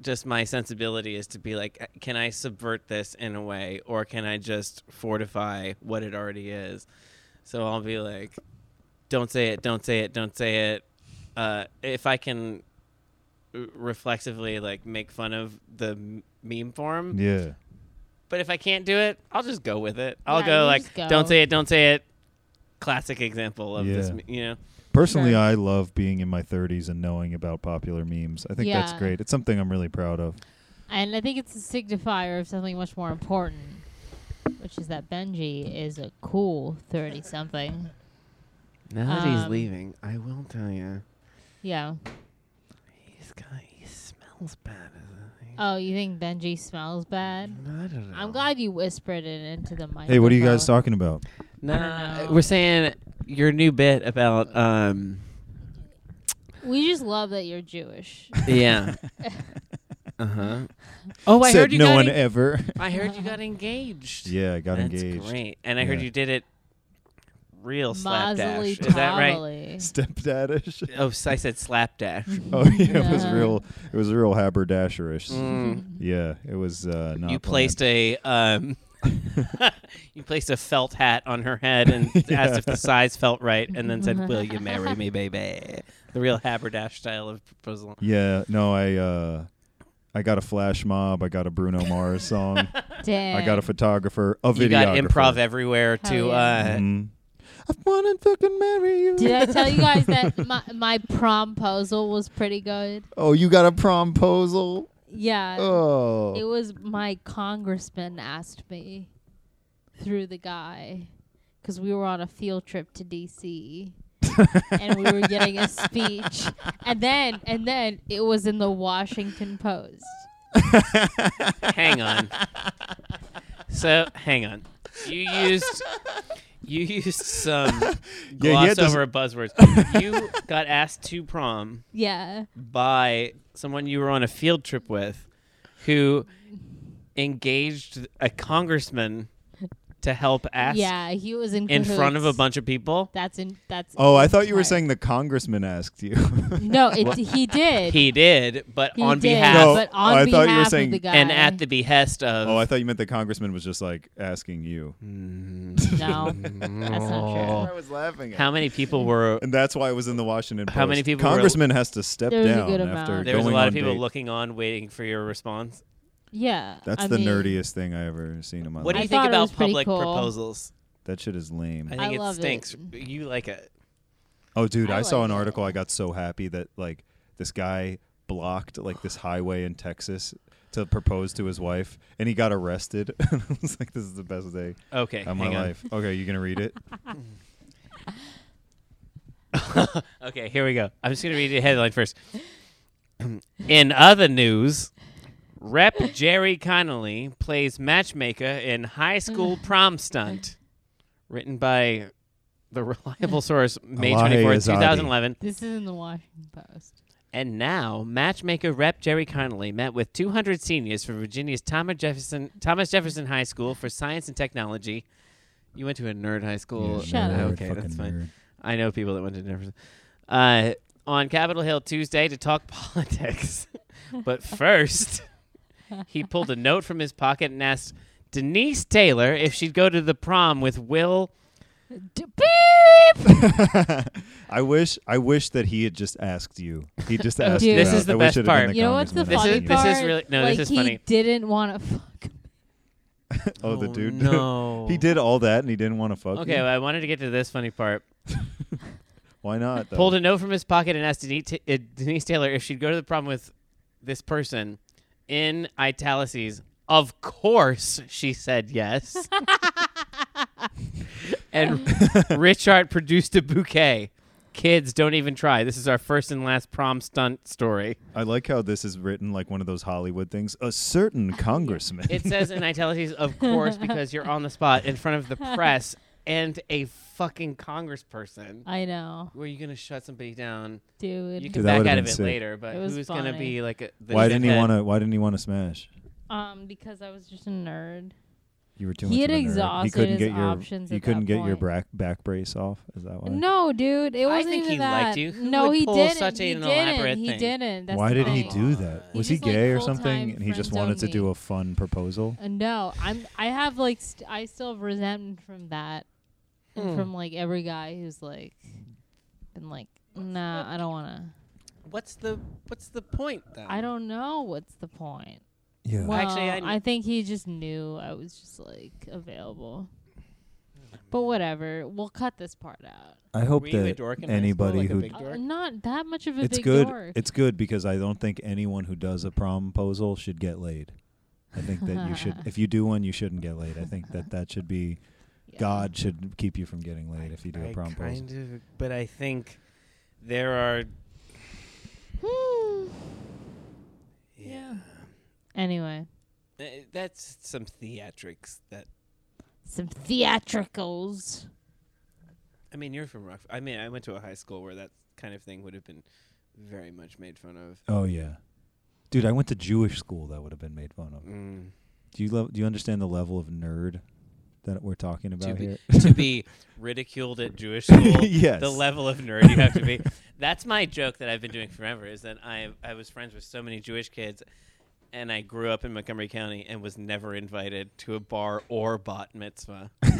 Speaker 5: just my sensibility is to be like "Uh, can I subvert this in a way or can I just fortify what it already is? So I'll be like don't say it, don't say it, don't say it. Uh if I can r- reflexively like make fun of the m- meme form,
Speaker 3: yeah,
Speaker 5: but if I can't do it, I'll just go with it. I'll
Speaker 4: Yeah,
Speaker 5: go
Speaker 4: you
Speaker 5: like
Speaker 4: just go.
Speaker 5: don't say it, don't say it. Classic example of this,
Speaker 3: Yeah.
Speaker 5: m- you know.
Speaker 3: personally,
Speaker 4: Sure.
Speaker 3: I love being in my 30s and knowing about popular memes. I think that's
Speaker 4: Yeah.
Speaker 3: great. It's something I'm really proud of.
Speaker 4: And I think it's a signifier of something much more important, which is that Benji is a cool 30 something.
Speaker 5: Now that he's
Speaker 4: Um,
Speaker 5: leaving, I will tell you.
Speaker 4: Yeah.
Speaker 5: He's got. He smells bad. Isn't
Speaker 4: Oh, you think Benji smells bad?
Speaker 5: he? I don't know.
Speaker 4: I'm glad you whispered it into the microphone.
Speaker 3: Hey, what are you guys talking about?
Speaker 4: I
Speaker 5: Nah,
Speaker 4: don't know.
Speaker 5: we're saying your new bit about um.
Speaker 4: We just love that you're Jewish.
Speaker 5: Yeah. uh huh. Oh, I
Speaker 3: Said
Speaker 5: heard you
Speaker 3: no
Speaker 5: got.
Speaker 3: one
Speaker 5: en-
Speaker 3: ever.
Speaker 5: I heard you got engaged.
Speaker 3: yeah, I got
Speaker 5: That's
Speaker 3: engaged.
Speaker 5: great. And I heard
Speaker 3: Yeah.
Speaker 5: you did it. Real slapdash.
Speaker 4: Mazzoli
Speaker 5: Is that right?
Speaker 4: Tavoli.
Speaker 3: Stepdadish.
Speaker 5: Oh, s- I said slapdash.
Speaker 3: oh yeah, it was
Speaker 4: Yeah.
Speaker 3: real. It was real haberdasherish.
Speaker 5: Mm.
Speaker 3: Yeah, it was. Uh, not
Speaker 5: you placed a um, you placed a felt hat on her head and asked if the size felt right, and then said, "Will you marry me, baby?" The real haberdash style of proposal.
Speaker 3: Yeah, no, I. Uh, I got a flash mob. I got a Bruno Mars song.
Speaker 4: Damn.
Speaker 3: I got a photographer. A
Speaker 5: You got
Speaker 3: videographer.
Speaker 5: improv everywhere
Speaker 4: Hell
Speaker 5: to
Speaker 4: yeah.
Speaker 5: uh,
Speaker 3: Mhm. I wanna fucking marry you.
Speaker 4: Did I tell you guys that my, my promposal was pretty good?
Speaker 3: Oh, you got a promposal.
Speaker 5: Uh,
Speaker 4: Yeah.
Speaker 3: Oh.
Speaker 4: It was my congressman asked me through the guy because we were on a field trip to D.C. and we were getting a speech. And then and then it was in the Washington Post.
Speaker 3: Mm-hmm.
Speaker 5: hang on. So hang on. You used you used some
Speaker 3: Yeah, he had
Speaker 5: gloss
Speaker 3: this-
Speaker 5: over buzzwords. You got asked to prom
Speaker 4: Yeah.
Speaker 5: by someone you were on a field trip with, who engaged a congressman to help ask
Speaker 4: Yeah, he was in
Speaker 5: in front of a
Speaker 4: cahoots.
Speaker 5: bunch of people.
Speaker 4: That's in that's
Speaker 3: Oh, I thought you were
Speaker 4: right.
Speaker 3: saying the congressman asked you.
Speaker 4: No, it, he did.
Speaker 5: He did, but
Speaker 4: He
Speaker 5: on
Speaker 4: did,
Speaker 5: behalf
Speaker 3: No,
Speaker 4: but on
Speaker 3: I
Speaker 4: behalf
Speaker 3: thought you were
Speaker 4: of
Speaker 3: saying-
Speaker 4: the guy.
Speaker 5: and at the behest of
Speaker 3: oh, I thought you meant the congressman was just like asking you.
Speaker 4: No. that's not true.
Speaker 3: was laughing.
Speaker 5: Oh. how many people were
Speaker 3: and that's why it was in the Washington Post.
Speaker 5: How many people were-
Speaker 3: Congressman has to step
Speaker 4: There was a
Speaker 3: down
Speaker 4: good
Speaker 3: after
Speaker 4: amount.
Speaker 5: there was a
Speaker 3: going
Speaker 5: lot
Speaker 3: on
Speaker 5: of people
Speaker 3: dates.
Speaker 5: looking on waiting for your response.
Speaker 4: Yeah.
Speaker 3: That's
Speaker 4: I
Speaker 3: the
Speaker 4: mean,
Speaker 3: nerdiest thing I ever seen in my
Speaker 5: What do
Speaker 3: life.
Speaker 5: you
Speaker 4: I
Speaker 5: think
Speaker 4: thought it
Speaker 5: about
Speaker 4: was pretty
Speaker 5: public
Speaker 4: cool.
Speaker 5: proposals?
Speaker 3: that shit is lame.
Speaker 5: I
Speaker 4: I
Speaker 5: think it
Speaker 4: love it.
Speaker 5: stinks. You like it.
Speaker 3: Oh, dude, I,
Speaker 4: I
Speaker 3: saw
Speaker 4: like
Speaker 3: an
Speaker 4: it.
Speaker 3: article. I got so happy that like this guy blocked like this highway in Texas to propose to his wife, and he got arrested. I was like, this is the best day
Speaker 5: Okay,
Speaker 3: of my
Speaker 5: hang on.
Speaker 3: life. Okay, you gonna read it?
Speaker 5: Okay, here we go. I'm just gonna read the headline first. in other news, Rep Jerry Connolly plays matchmaker in high school prom stunt, written by the reliable source May
Speaker 3: Elahi
Speaker 5: 24,
Speaker 3: Azadi.
Speaker 5: 2011.
Speaker 4: This is in the Washington Post.
Speaker 5: And now, matchmaker rep Jerry Connolly met with 200 seniors from Virginia's Thomas Jefferson Thomas Jefferson High School for Science and Technology. You went to a nerd high school.
Speaker 4: Yeah, Shut
Speaker 5: Uh,
Speaker 4: nerd, up.
Speaker 5: Okay, that's fine. I know people that went to Jefferson. Uh, on Capitol Hill Tuesday to talk politics. but first, he pulled a note from his pocket and asked Denise Taylor if she'd go to the prom with Will.
Speaker 4: D- beep!
Speaker 3: I wish, I wish that he had just asked you. He just asked
Speaker 4: Dude.
Speaker 3: you.
Speaker 4: This
Speaker 3: out.
Speaker 5: is the
Speaker 3: I wish
Speaker 5: best
Speaker 3: it had been
Speaker 5: part.
Speaker 3: the
Speaker 4: You know what's the
Speaker 3: congressman
Speaker 4: funny
Speaker 5: This is-
Speaker 3: asking you.
Speaker 5: this is
Speaker 4: part?
Speaker 5: really- no,
Speaker 4: like
Speaker 5: this is
Speaker 4: he
Speaker 5: funny.
Speaker 4: didn't want to fuck. me.
Speaker 3: Oh, the dude.
Speaker 5: No.
Speaker 3: he did all that, and he didn't want to fuck.
Speaker 5: Okay,
Speaker 3: you?
Speaker 5: well, I wanted to get to this funny part.
Speaker 3: why not? Though?
Speaker 5: Pulled a note from his pocket and asked Denise, Ta- uh, Denise Taylor if she'd go to the prom with this person in italices. Of course, she said yes. and Richard produced a bouquet. Kids, don't even try. This is our first and last prom stunt story.
Speaker 3: I like how this is written like one of those Hollywood things. A certain congressman.
Speaker 5: It says in italics, of course, because you're on the spot in front of the press and a fucking congressperson.
Speaker 4: I know,
Speaker 5: Where you going to shut somebody down?
Speaker 4: dude.
Speaker 5: You
Speaker 3: Dude,
Speaker 5: can
Speaker 3: that
Speaker 5: back
Speaker 3: would've
Speaker 5: out of it
Speaker 3: been sick.
Speaker 5: later, but
Speaker 4: It was
Speaker 5: who's going to
Speaker 4: funny.
Speaker 5: be like a. the
Speaker 3: why didn't he
Speaker 5: shithead?
Speaker 3: want to? Why didn't he want to smash?
Speaker 4: um, because I was just a nerd.
Speaker 3: You were too
Speaker 4: He
Speaker 3: much
Speaker 4: had
Speaker 3: of a nerd.
Speaker 4: exhausted
Speaker 3: he couldn't
Speaker 4: his
Speaker 3: get your,
Speaker 4: options
Speaker 3: You
Speaker 4: at
Speaker 3: couldn't
Speaker 4: that
Speaker 3: get your
Speaker 4: point.
Speaker 3: back back brace off. Is that why?
Speaker 4: No, dude, it wasn't
Speaker 5: think
Speaker 4: even
Speaker 5: he
Speaker 4: that.
Speaker 5: liked you. Who
Speaker 4: no,
Speaker 5: would
Speaker 4: he
Speaker 5: pull
Speaker 4: didn't.
Speaker 5: such
Speaker 4: he
Speaker 5: an
Speaker 4: didn't.
Speaker 5: elaborate
Speaker 4: He
Speaker 5: thing?
Speaker 4: didn't. That's
Speaker 3: why
Speaker 4: the
Speaker 3: did he
Speaker 4: thing.
Speaker 3: do that?
Speaker 4: He
Speaker 3: was he
Speaker 4: just, like,
Speaker 3: gay or
Speaker 4: full-time
Speaker 3: something? And he just
Speaker 4: friends
Speaker 3: wanted to
Speaker 4: only.
Speaker 3: do a fun proposal.
Speaker 4: Uh, No, I'm. I have like st- I still have resentment from that, and
Speaker 5: Hmm.
Speaker 4: from like every guy who's like been like, nah, I don't wanna.
Speaker 5: What's the what's the point then?
Speaker 4: I don't know what's the point.
Speaker 3: Yeah.
Speaker 4: Well,
Speaker 5: Actually, I kn-
Speaker 4: I think he just knew I was just like available. But whatever, we'll cut this part out.
Speaker 3: I hope
Speaker 5: Were you a
Speaker 3: that
Speaker 5: dork in high school,
Speaker 3: anybody
Speaker 5: like a
Speaker 3: who
Speaker 5: big
Speaker 4: Uh,
Speaker 5: dork?
Speaker 4: not that much of a
Speaker 3: it's
Speaker 4: big
Speaker 3: good.
Speaker 4: dork.
Speaker 3: It's good because I don't think anyone who does a promposal should get laid. I think that you should. If you do one, you shouldn't get laid. I think that that should be.
Speaker 4: Yeah.
Speaker 3: God should keep you from getting laid if you do a
Speaker 5: I
Speaker 3: promposal.
Speaker 5: kind of, but I think there are.
Speaker 4: Hmm.
Speaker 5: Yeah,
Speaker 4: anyway,
Speaker 5: Uh, that's some theatrics. That
Speaker 4: some theatricals.
Speaker 5: I mean, you're from Rock. I mean, I went to a high school where that kind of thing would have been very much made fun of.
Speaker 3: Oh yeah, dude, I went to Jewish school. That would have been made fun of.
Speaker 5: Mm.
Speaker 3: Do you lo- do you understand the level of nerd that we're talking
Speaker 5: To
Speaker 3: about
Speaker 5: be
Speaker 3: here?
Speaker 5: to be ridiculed at Jewish school.
Speaker 3: Yes.
Speaker 5: the level of nerd you have to be. That's my joke that I've been doing forever. Is that I I was friends with so many Jewish kids. And I grew up in Montgomery County and was never invited to a bar or bat mitzvah. Do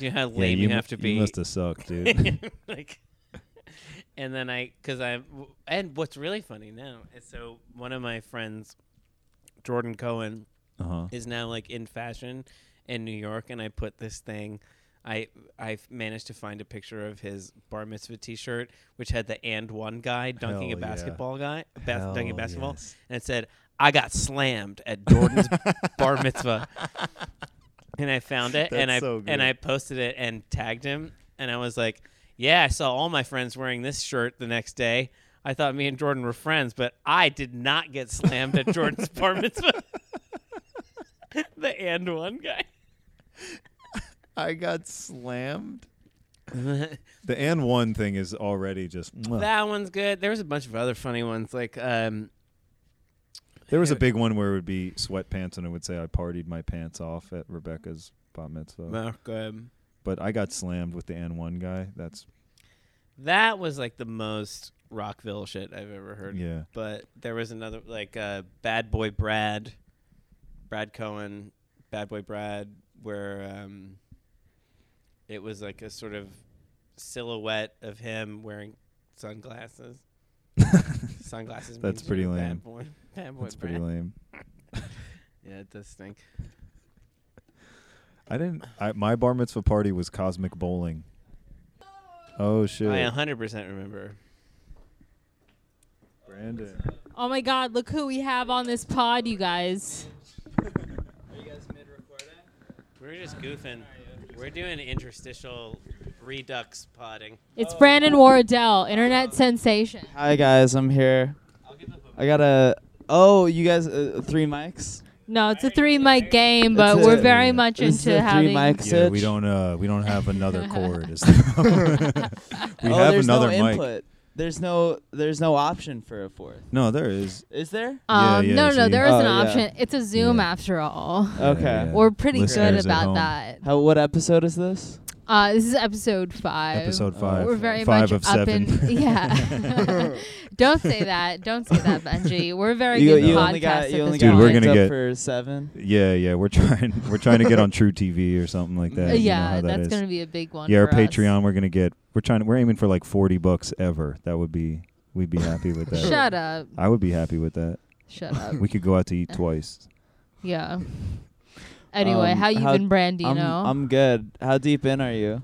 Speaker 5: you know how lame you,
Speaker 3: mu-
Speaker 5: have to be?
Speaker 3: You must have sucked, dude.
Speaker 5: like, and then I, because I, and what's really funny now is so one of my friends, Jordan Cohen,
Speaker 3: uh huh.
Speaker 5: is now like in fashion in New York, and I put this thing. I I managed to find a picture of his bar mitzvah T-shirt, which had the and one guy dunking
Speaker 3: Hell
Speaker 5: a
Speaker 3: yeah.
Speaker 5: basketball guy, bas- dunking
Speaker 3: Hell
Speaker 5: basketball,
Speaker 3: yes.
Speaker 5: and it said, "I got slammed at Jordan's bar mitzvah." And I found it, and
Speaker 3: That's
Speaker 5: I
Speaker 3: so
Speaker 5: and
Speaker 3: good.
Speaker 5: I posted it and tagged him, and I was like, Yeah, I saw all my friends wearing this shirt the next day. I thought me and Jordan were friends, but I did not get slammed at Jordan's bar mitzvah. the and one guy.
Speaker 6: I got slammed.
Speaker 3: The and one thing is already just. mwah.
Speaker 5: That one's good. There was a bunch of other funny ones, like um,
Speaker 3: There was a big one where it would be sweatpants, and it would say, "I partied my pants off at Rebecca's bat mitzvah."
Speaker 5: Mark, um,
Speaker 3: But I got slammed with the and one guy. That's
Speaker 5: that was like the most Rockville shit I've ever heard.
Speaker 3: yeah.
Speaker 5: But there was another like uh, Bad Boy Brad, Brad Cohen, Bad Boy Brad, where um, it was like a sort of silhouette of him wearing sunglasses. sunglasses.
Speaker 3: That's
Speaker 5: means
Speaker 3: pretty
Speaker 5: you're a
Speaker 3: lame.
Speaker 5: Bad boy. Bad boy
Speaker 3: That's
Speaker 5: Brad.
Speaker 3: pretty lame.
Speaker 5: Yeah, it does stink.
Speaker 3: I didn't. I, my bar mitzvah party was cosmic bowling. Oh shit,
Speaker 5: I
Speaker 7: uh,
Speaker 5: 100% remember.
Speaker 3: Brandon!
Speaker 4: Oh my God! Look who we have on this pod, you guys.
Speaker 5: We're just goofing. We're doing interstitial redux potting.
Speaker 4: It's Brandon Wardell, internet sensation.
Speaker 7: Hi guys, I'm here. I got a. Oh, you guys, uh, three mics.
Speaker 4: No, it's a three mic game, but
Speaker 7: It's a-
Speaker 4: we're very much
Speaker 7: This is a
Speaker 4: into
Speaker 7: three
Speaker 4: having.
Speaker 7: mic
Speaker 3: Yeah, we
Speaker 7: sitch.
Speaker 3: don't. Uh, we don't have another chord. Is we
Speaker 7: oh,
Speaker 3: have
Speaker 7: there's
Speaker 3: another
Speaker 7: no
Speaker 3: mic.
Speaker 7: input. There's no. There's no option for a fourth.
Speaker 3: No, there is.
Speaker 7: Is there?
Speaker 4: Um,
Speaker 3: Yeah, yeah,
Speaker 4: no, no,
Speaker 3: so
Speaker 4: no,
Speaker 3: you-
Speaker 4: there is
Speaker 7: Oh,
Speaker 4: an
Speaker 7: yeah.
Speaker 4: option. It's a Zoom
Speaker 3: Yeah.
Speaker 4: after all.
Speaker 7: Okay.
Speaker 3: yeah.
Speaker 4: We're pretty
Speaker 3: Listeners
Speaker 4: good
Speaker 3: at
Speaker 4: about
Speaker 3: home.
Speaker 4: that.
Speaker 7: How? What episode is this?
Speaker 4: Uh, this is episode five.
Speaker 3: Episode
Speaker 7: Oh.
Speaker 3: five.
Speaker 4: We're very
Speaker 3: five
Speaker 4: much
Speaker 3: of
Speaker 4: up
Speaker 3: seven.
Speaker 4: in. Yeah. Don't say that. Don't say that, Benji. We're very
Speaker 7: you
Speaker 4: good
Speaker 7: you
Speaker 4: podcast
Speaker 7: only got.
Speaker 4: at
Speaker 7: You
Speaker 4: this
Speaker 7: only
Speaker 3: Dude,
Speaker 7: got.
Speaker 3: we're
Speaker 4: point.
Speaker 3: gonna
Speaker 7: picked up
Speaker 3: get-
Speaker 7: for seven.
Speaker 3: yeah, yeah. We're trying. We're trying to get on True TV or something like that.
Speaker 4: Uh,
Speaker 3: You know
Speaker 4: yeah,
Speaker 3: how that
Speaker 4: that's
Speaker 3: is.
Speaker 4: gonna be a big one.
Speaker 3: yeah, our
Speaker 4: for us.
Speaker 3: Patreon. We're gonna get. We're trying. We're aiming for like forty bucks ever. That would be. We'd be happy with that.
Speaker 4: Shut up.
Speaker 3: I would be happy with that.
Speaker 4: Shut up.
Speaker 3: We could go out to eat twice.
Speaker 4: Yeah. Anyway,
Speaker 7: Um,
Speaker 4: how you
Speaker 7: how-
Speaker 4: been, Brandino?
Speaker 7: I'm. I'm good. How deep in are you?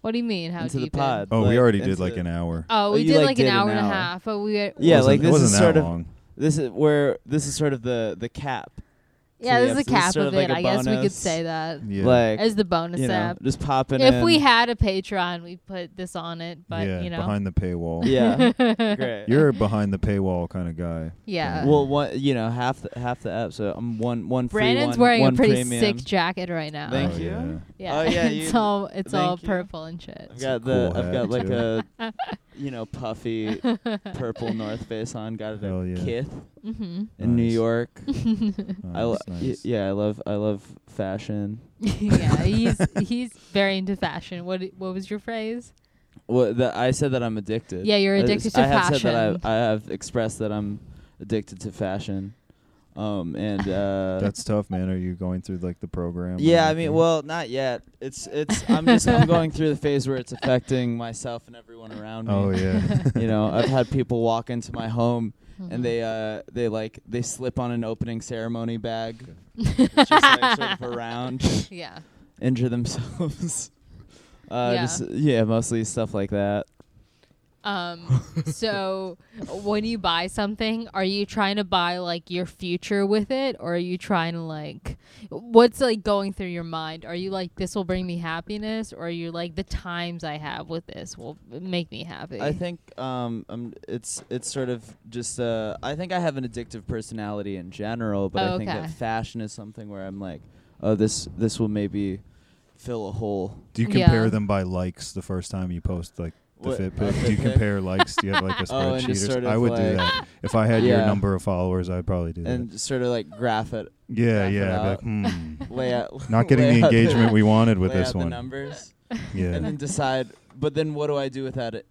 Speaker 4: what do you mean? How
Speaker 7: into
Speaker 4: deep
Speaker 7: the
Speaker 4: in?
Speaker 7: pod.
Speaker 3: Oh, we
Speaker 7: Like,
Speaker 3: already did
Speaker 7: into
Speaker 3: like
Speaker 7: the-
Speaker 3: an hour.
Speaker 4: Oh, we
Speaker 7: you,
Speaker 4: did
Speaker 7: like,
Speaker 4: like, an
Speaker 7: did an
Speaker 4: hour and a
Speaker 7: hour.
Speaker 4: half, but we were,
Speaker 7: Yeah,
Speaker 3: Wasn't-
Speaker 7: like this
Speaker 3: it wasn't
Speaker 7: is
Speaker 3: that
Speaker 7: sort of-
Speaker 3: long.
Speaker 7: This is where. This is sort of the the cap.
Speaker 4: yeah,
Speaker 7: the
Speaker 4: this is a
Speaker 7: episode. It's
Speaker 4: cap
Speaker 7: sort
Speaker 4: of
Speaker 7: of
Speaker 4: it.
Speaker 7: like a
Speaker 4: I guess we could
Speaker 7: bonus.
Speaker 4: say that
Speaker 3: Yeah.
Speaker 7: Like
Speaker 4: as the bonus
Speaker 7: you know,
Speaker 4: app.
Speaker 7: just popping in.
Speaker 4: If we had a Patreon, we put this on it, but
Speaker 3: yeah,
Speaker 4: you know,
Speaker 3: behind the paywall.
Speaker 7: Yeah. Great.
Speaker 3: You're a behind the paywall kind of guy.
Speaker 4: yeah.
Speaker 7: Well, one, you know, half the half the app. So I'm one one free,
Speaker 4: Brandon's
Speaker 7: one-
Speaker 4: wearing
Speaker 7: one
Speaker 4: a pretty
Speaker 7: premium.
Speaker 4: sick jacket right now.
Speaker 7: Thank
Speaker 3: Oh,
Speaker 7: you.
Speaker 3: yeah.
Speaker 4: Yeah,
Speaker 7: Oh, yeah,
Speaker 4: it's
Speaker 7: you-
Speaker 4: all it's all
Speaker 7: thank you.
Speaker 4: purple and shit.
Speaker 7: I've got
Speaker 3: Cool
Speaker 7: the I've
Speaker 3: hat,
Speaker 7: got like
Speaker 3: too.
Speaker 7: a you know puffy purple North Face on. Got it
Speaker 3: Hell
Speaker 7: at
Speaker 3: yeah.
Speaker 7: Kith
Speaker 4: hmm
Speaker 7: in New
Speaker 3: Nice.
Speaker 7: York. I lo-
Speaker 3: Nice,
Speaker 7: y-
Speaker 3: Oh, nice.
Speaker 7: yeah, I love I love fashion.
Speaker 4: yeah, he's he's very into fashion. What what was your phrase?
Speaker 7: Well, the, I said that I'm addicted.
Speaker 4: Yeah, you're
Speaker 7: I-
Speaker 4: addicted to
Speaker 7: I have said
Speaker 4: fashion.
Speaker 7: that I, I have expressed that I'm addicted to fashion. Um and uh
Speaker 3: That's tough, man. Are you going through like the program? and
Speaker 7: Yeah, I mean,
Speaker 3: everything?
Speaker 7: well, not yet. It's it's. I'm just I'm going through the phase where it's affecting myself and everyone around me.
Speaker 3: Oh yeah.
Speaker 7: You know, I've had people walk into my home
Speaker 4: Mhm.
Speaker 7: and they uh they like they slip on an opening ceremony bag, it's just like sort of around,
Speaker 4: yeah.
Speaker 7: injure themselves. Uh,
Speaker 4: Yeah.
Speaker 7: Just, yeah, mostly stuff like that.
Speaker 4: Um. so, when you buy something, are you trying to buy like your future with it, or are you trying to like, what's like going through your mind? Are you like this will bring me happiness, or are you like the times I have with this will make me happy?
Speaker 7: I think um um it's it's sort of just uh I think I have an addictive personality in general, but I think
Speaker 4: Okay.
Speaker 7: that fashion is something where I'm like, oh this this will maybe fill a hole.
Speaker 3: Do you compare
Speaker 4: Yeah.
Speaker 3: them by likes the first time you post like the
Speaker 7: What,
Speaker 3: fit
Speaker 7: uh,
Speaker 3: pic?
Speaker 7: fit
Speaker 3: Do you
Speaker 7: pic?
Speaker 3: compare likes? Do you have like a
Speaker 7: Oh, and
Speaker 3: spreadsheet?
Speaker 7: just
Speaker 3: or
Speaker 7: sort
Speaker 3: s- I
Speaker 7: of
Speaker 3: would do
Speaker 7: like-
Speaker 3: that. If I had your
Speaker 7: Yeah.
Speaker 3: number of followers, I'd probably do that.
Speaker 7: And just sort of like graph it,
Speaker 3: Yeah, yeah.
Speaker 7: graph it
Speaker 3: I'd be
Speaker 7: out.
Speaker 3: like, hmm,
Speaker 7: lay out,
Speaker 3: not getting
Speaker 7: lay
Speaker 3: the
Speaker 7: out
Speaker 3: engagement we wanted with
Speaker 7: lay
Speaker 3: this
Speaker 7: out
Speaker 3: one.
Speaker 7: the numbers, and
Speaker 3: Yeah.
Speaker 7: then decide. But then what do I do with that i-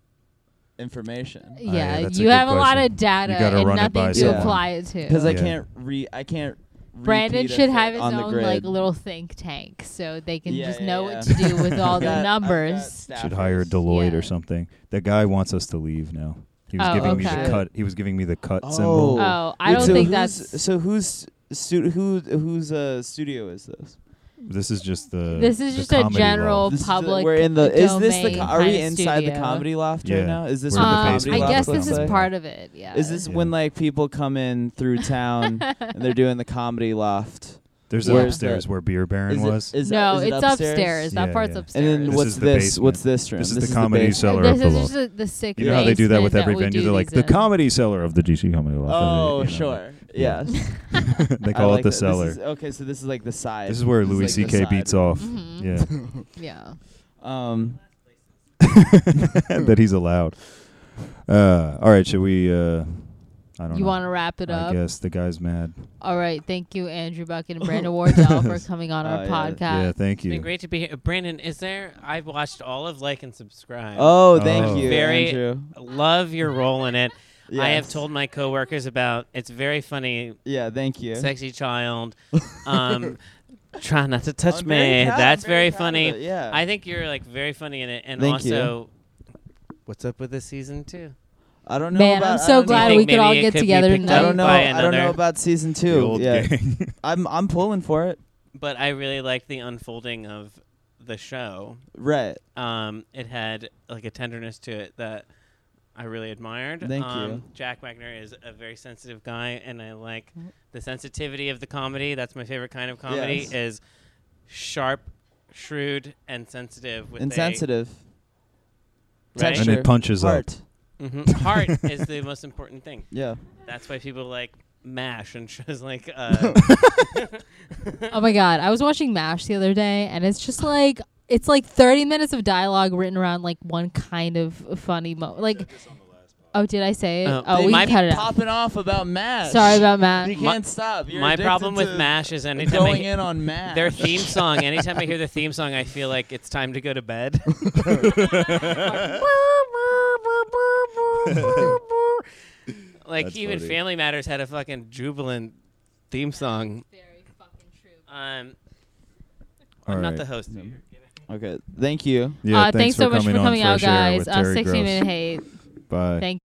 Speaker 7: information?
Speaker 4: yeah,
Speaker 3: yeah, that's a
Speaker 4: you
Speaker 3: good
Speaker 4: have a lot
Speaker 3: question.
Speaker 4: of data
Speaker 3: You gotta
Speaker 4: and
Speaker 3: run it
Speaker 4: nothing
Speaker 3: by
Speaker 4: to
Speaker 7: someone.
Speaker 4: apply it to.
Speaker 7: Because I
Speaker 3: Yeah.
Speaker 7: can't re I can't.
Speaker 4: Brandon
Speaker 7: repeat it
Speaker 4: should
Speaker 7: for-
Speaker 4: have his
Speaker 7: on the
Speaker 4: own like
Speaker 7: grid.
Speaker 4: little think tank, so they can
Speaker 7: Yeah,
Speaker 4: just
Speaker 7: yeah,
Speaker 4: know
Speaker 7: yeah.
Speaker 4: what to do with all
Speaker 7: I've got-
Speaker 4: the
Speaker 7: I've got
Speaker 4: numbers.
Speaker 3: Should hire
Speaker 7: staffers.
Speaker 3: Deloitte
Speaker 4: Yeah.
Speaker 3: or something. That guy wants us to leave now. He was
Speaker 4: Oh,
Speaker 3: giving me
Speaker 4: okay.
Speaker 3: the cut. He was giving me the cut
Speaker 7: Oh.
Speaker 3: symbol.
Speaker 4: Oh, I
Speaker 7: Wait,
Speaker 4: don't
Speaker 7: so
Speaker 4: think
Speaker 7: who's-
Speaker 4: that's.
Speaker 7: so. Who's stu- who? Whose uh, studio is this?
Speaker 3: This is just the.
Speaker 4: This is
Speaker 3: the
Speaker 4: just a
Speaker 3: comedy
Speaker 4: general
Speaker 3: loft.
Speaker 7: This is the-
Speaker 4: public
Speaker 7: we're in the. Is this the?
Speaker 4: domain
Speaker 7: co- Are we
Speaker 4: kinda
Speaker 7: inside the
Speaker 4: studio.
Speaker 7: comedy loft
Speaker 3: Yeah.
Speaker 7: right now? Is this
Speaker 3: We're in
Speaker 7: what
Speaker 3: the
Speaker 7: the
Speaker 4: Um,
Speaker 3: basement
Speaker 7: comedy
Speaker 4: I
Speaker 3: level
Speaker 4: guess
Speaker 7: loft
Speaker 4: this
Speaker 7: looks
Speaker 4: is
Speaker 7: like?
Speaker 4: part of it. Yeah.
Speaker 7: Is this
Speaker 3: Yeah.
Speaker 7: when like people come in through town and they're doing the comedy loft?
Speaker 3: There's an
Speaker 7: Where's
Speaker 3: upstairs
Speaker 7: that?
Speaker 3: where Beer Baron
Speaker 7: Is it-
Speaker 3: was.
Speaker 7: is-
Speaker 4: no,
Speaker 7: is it
Speaker 4: it's upstairs. That
Speaker 3: Yeah,
Speaker 4: part's
Speaker 3: yeah.
Speaker 7: And
Speaker 4: upstairs.
Speaker 7: then
Speaker 3: This
Speaker 7: what's
Speaker 3: is the
Speaker 7: this?
Speaker 3: basement.
Speaker 7: What's this room?
Speaker 3: This is the comedy
Speaker 7: basement.
Speaker 3: cellar
Speaker 4: this
Speaker 3: of the
Speaker 4: is
Speaker 3: loft.
Speaker 4: just the, the sick
Speaker 3: You know how they do that
Speaker 4: basement
Speaker 3: with every
Speaker 4: we
Speaker 3: venue?
Speaker 4: do
Speaker 3: They're like
Speaker 4: these
Speaker 3: the
Speaker 4: in.
Speaker 3: comedy cellar of the GC comedy loft.
Speaker 7: Oh,
Speaker 3: You know,
Speaker 7: sure.
Speaker 3: Yeah.
Speaker 7: Yes.
Speaker 3: they
Speaker 7: I
Speaker 3: call
Speaker 7: like
Speaker 3: it the
Speaker 7: that. This
Speaker 3: cellar.
Speaker 7: is- okay, so this is like the side.
Speaker 3: This is where Louis
Speaker 7: like the
Speaker 3: C.K.
Speaker 7: side. Mm-hmm.
Speaker 3: beats off.
Speaker 4: Mhm.
Speaker 3: Yeah,
Speaker 4: Yeah.
Speaker 7: Um,
Speaker 3: that he's allowed. Uh, all right, should we? Uh, I don't.
Speaker 4: You
Speaker 3: know.
Speaker 4: want to wrap it
Speaker 3: I
Speaker 4: up?
Speaker 3: guess the guy's mad.
Speaker 4: All right. Thank you, Andrew Bucket and Brandon Wardell, for coming on our
Speaker 7: Oh, yeah.
Speaker 4: podcast.
Speaker 3: yeah, thank
Speaker 5: It's been
Speaker 3: you.
Speaker 5: great to be here. Brandon, is there? I've watched all of Like and Subscribe.
Speaker 7: oh, thank
Speaker 3: Oh.
Speaker 7: you,
Speaker 5: Very-
Speaker 7: Andrew.
Speaker 5: Love your role in it. I have
Speaker 7: Yes.
Speaker 5: told my coworkers about it's very funny,
Speaker 7: Yeah, thank you.
Speaker 5: sexy child. Um, try not to touch
Speaker 7: I'm
Speaker 5: me.
Speaker 7: very proud- I'm
Speaker 5: That's
Speaker 7: very
Speaker 5: very,
Speaker 7: proud
Speaker 5: funny.
Speaker 7: of it, yeah.
Speaker 5: I think you're like very funny in it. And
Speaker 7: Thank you.
Speaker 5: also, what's up with this season two?
Speaker 7: I don't know.
Speaker 4: Man,
Speaker 7: about,
Speaker 4: I'm
Speaker 7: I
Speaker 4: so
Speaker 7: don't
Speaker 4: glad
Speaker 5: Do
Speaker 7: know-
Speaker 5: you
Speaker 4: we
Speaker 5: think
Speaker 4: could all
Speaker 5: maybe it
Speaker 4: get
Speaker 5: could be
Speaker 4: together
Speaker 5: picked
Speaker 4: tonight.
Speaker 7: I don't know.
Speaker 5: by
Speaker 7: I don't know
Speaker 5: another-
Speaker 7: about season two.
Speaker 3: The old
Speaker 7: yeah,
Speaker 3: gang.
Speaker 7: I'm I'm pulling for it.
Speaker 5: But I really like the unfolding of the show.
Speaker 7: Right.
Speaker 5: Um, it had like a tenderness to it that I really admired.
Speaker 7: Thank
Speaker 5: um,
Speaker 7: you.
Speaker 5: Jack Wagner is a very sensitive guy, and I like
Speaker 7: Mm-hmm.
Speaker 5: the sensitivity of the comedy. That's my favorite kind of comedy:
Speaker 7: Yes.
Speaker 5: is sharp, shrewd, and sensitive. With
Speaker 7: Insensitive.
Speaker 5: a, right?
Speaker 3: And it punches up.
Speaker 7: Heart.
Speaker 5: Mhm. Heart is the most important thing.
Speaker 7: Yeah.
Speaker 5: That's why people like Mash and shows like. Uh,
Speaker 4: Oh my god, I was watching MASH the other day and it's just like it's like 30 minutes of dialogue written around like one kind of funny mo like Oh, did I say it?
Speaker 5: Oh,
Speaker 4: oh,
Speaker 5: They
Speaker 4: we
Speaker 5: might
Speaker 4: can
Speaker 5: be
Speaker 4: cut it out.
Speaker 7: Popping off about Mash.
Speaker 4: Sorry about Matt.
Speaker 7: You can't
Speaker 5: My-
Speaker 7: stop. You're
Speaker 5: my
Speaker 7: addicted
Speaker 5: problem with
Speaker 7: to
Speaker 5: Mash is anytime I,
Speaker 7: Going in on Mash.
Speaker 5: their theme song. Anytime I hear their theme song, I feel like it's time to go to bed. like
Speaker 3: That's
Speaker 5: even
Speaker 3: funny.
Speaker 5: Family Matters had a fucking jubilant theme song. Um,
Speaker 3: All
Speaker 5: I'm not
Speaker 3: right.
Speaker 5: the host.
Speaker 7: Okay. Thank you.
Speaker 3: Yeah,
Speaker 4: uh, thanks, so
Speaker 3: for
Speaker 4: much for
Speaker 3: coming on
Speaker 4: coming out,
Speaker 3: Fresh Air
Speaker 4: guys.
Speaker 3: with
Speaker 4: Uh,
Speaker 3: Terry
Speaker 4: 60
Speaker 3: Gross.
Speaker 4: Minute Hate.
Speaker 3: Bye.
Speaker 4: Thank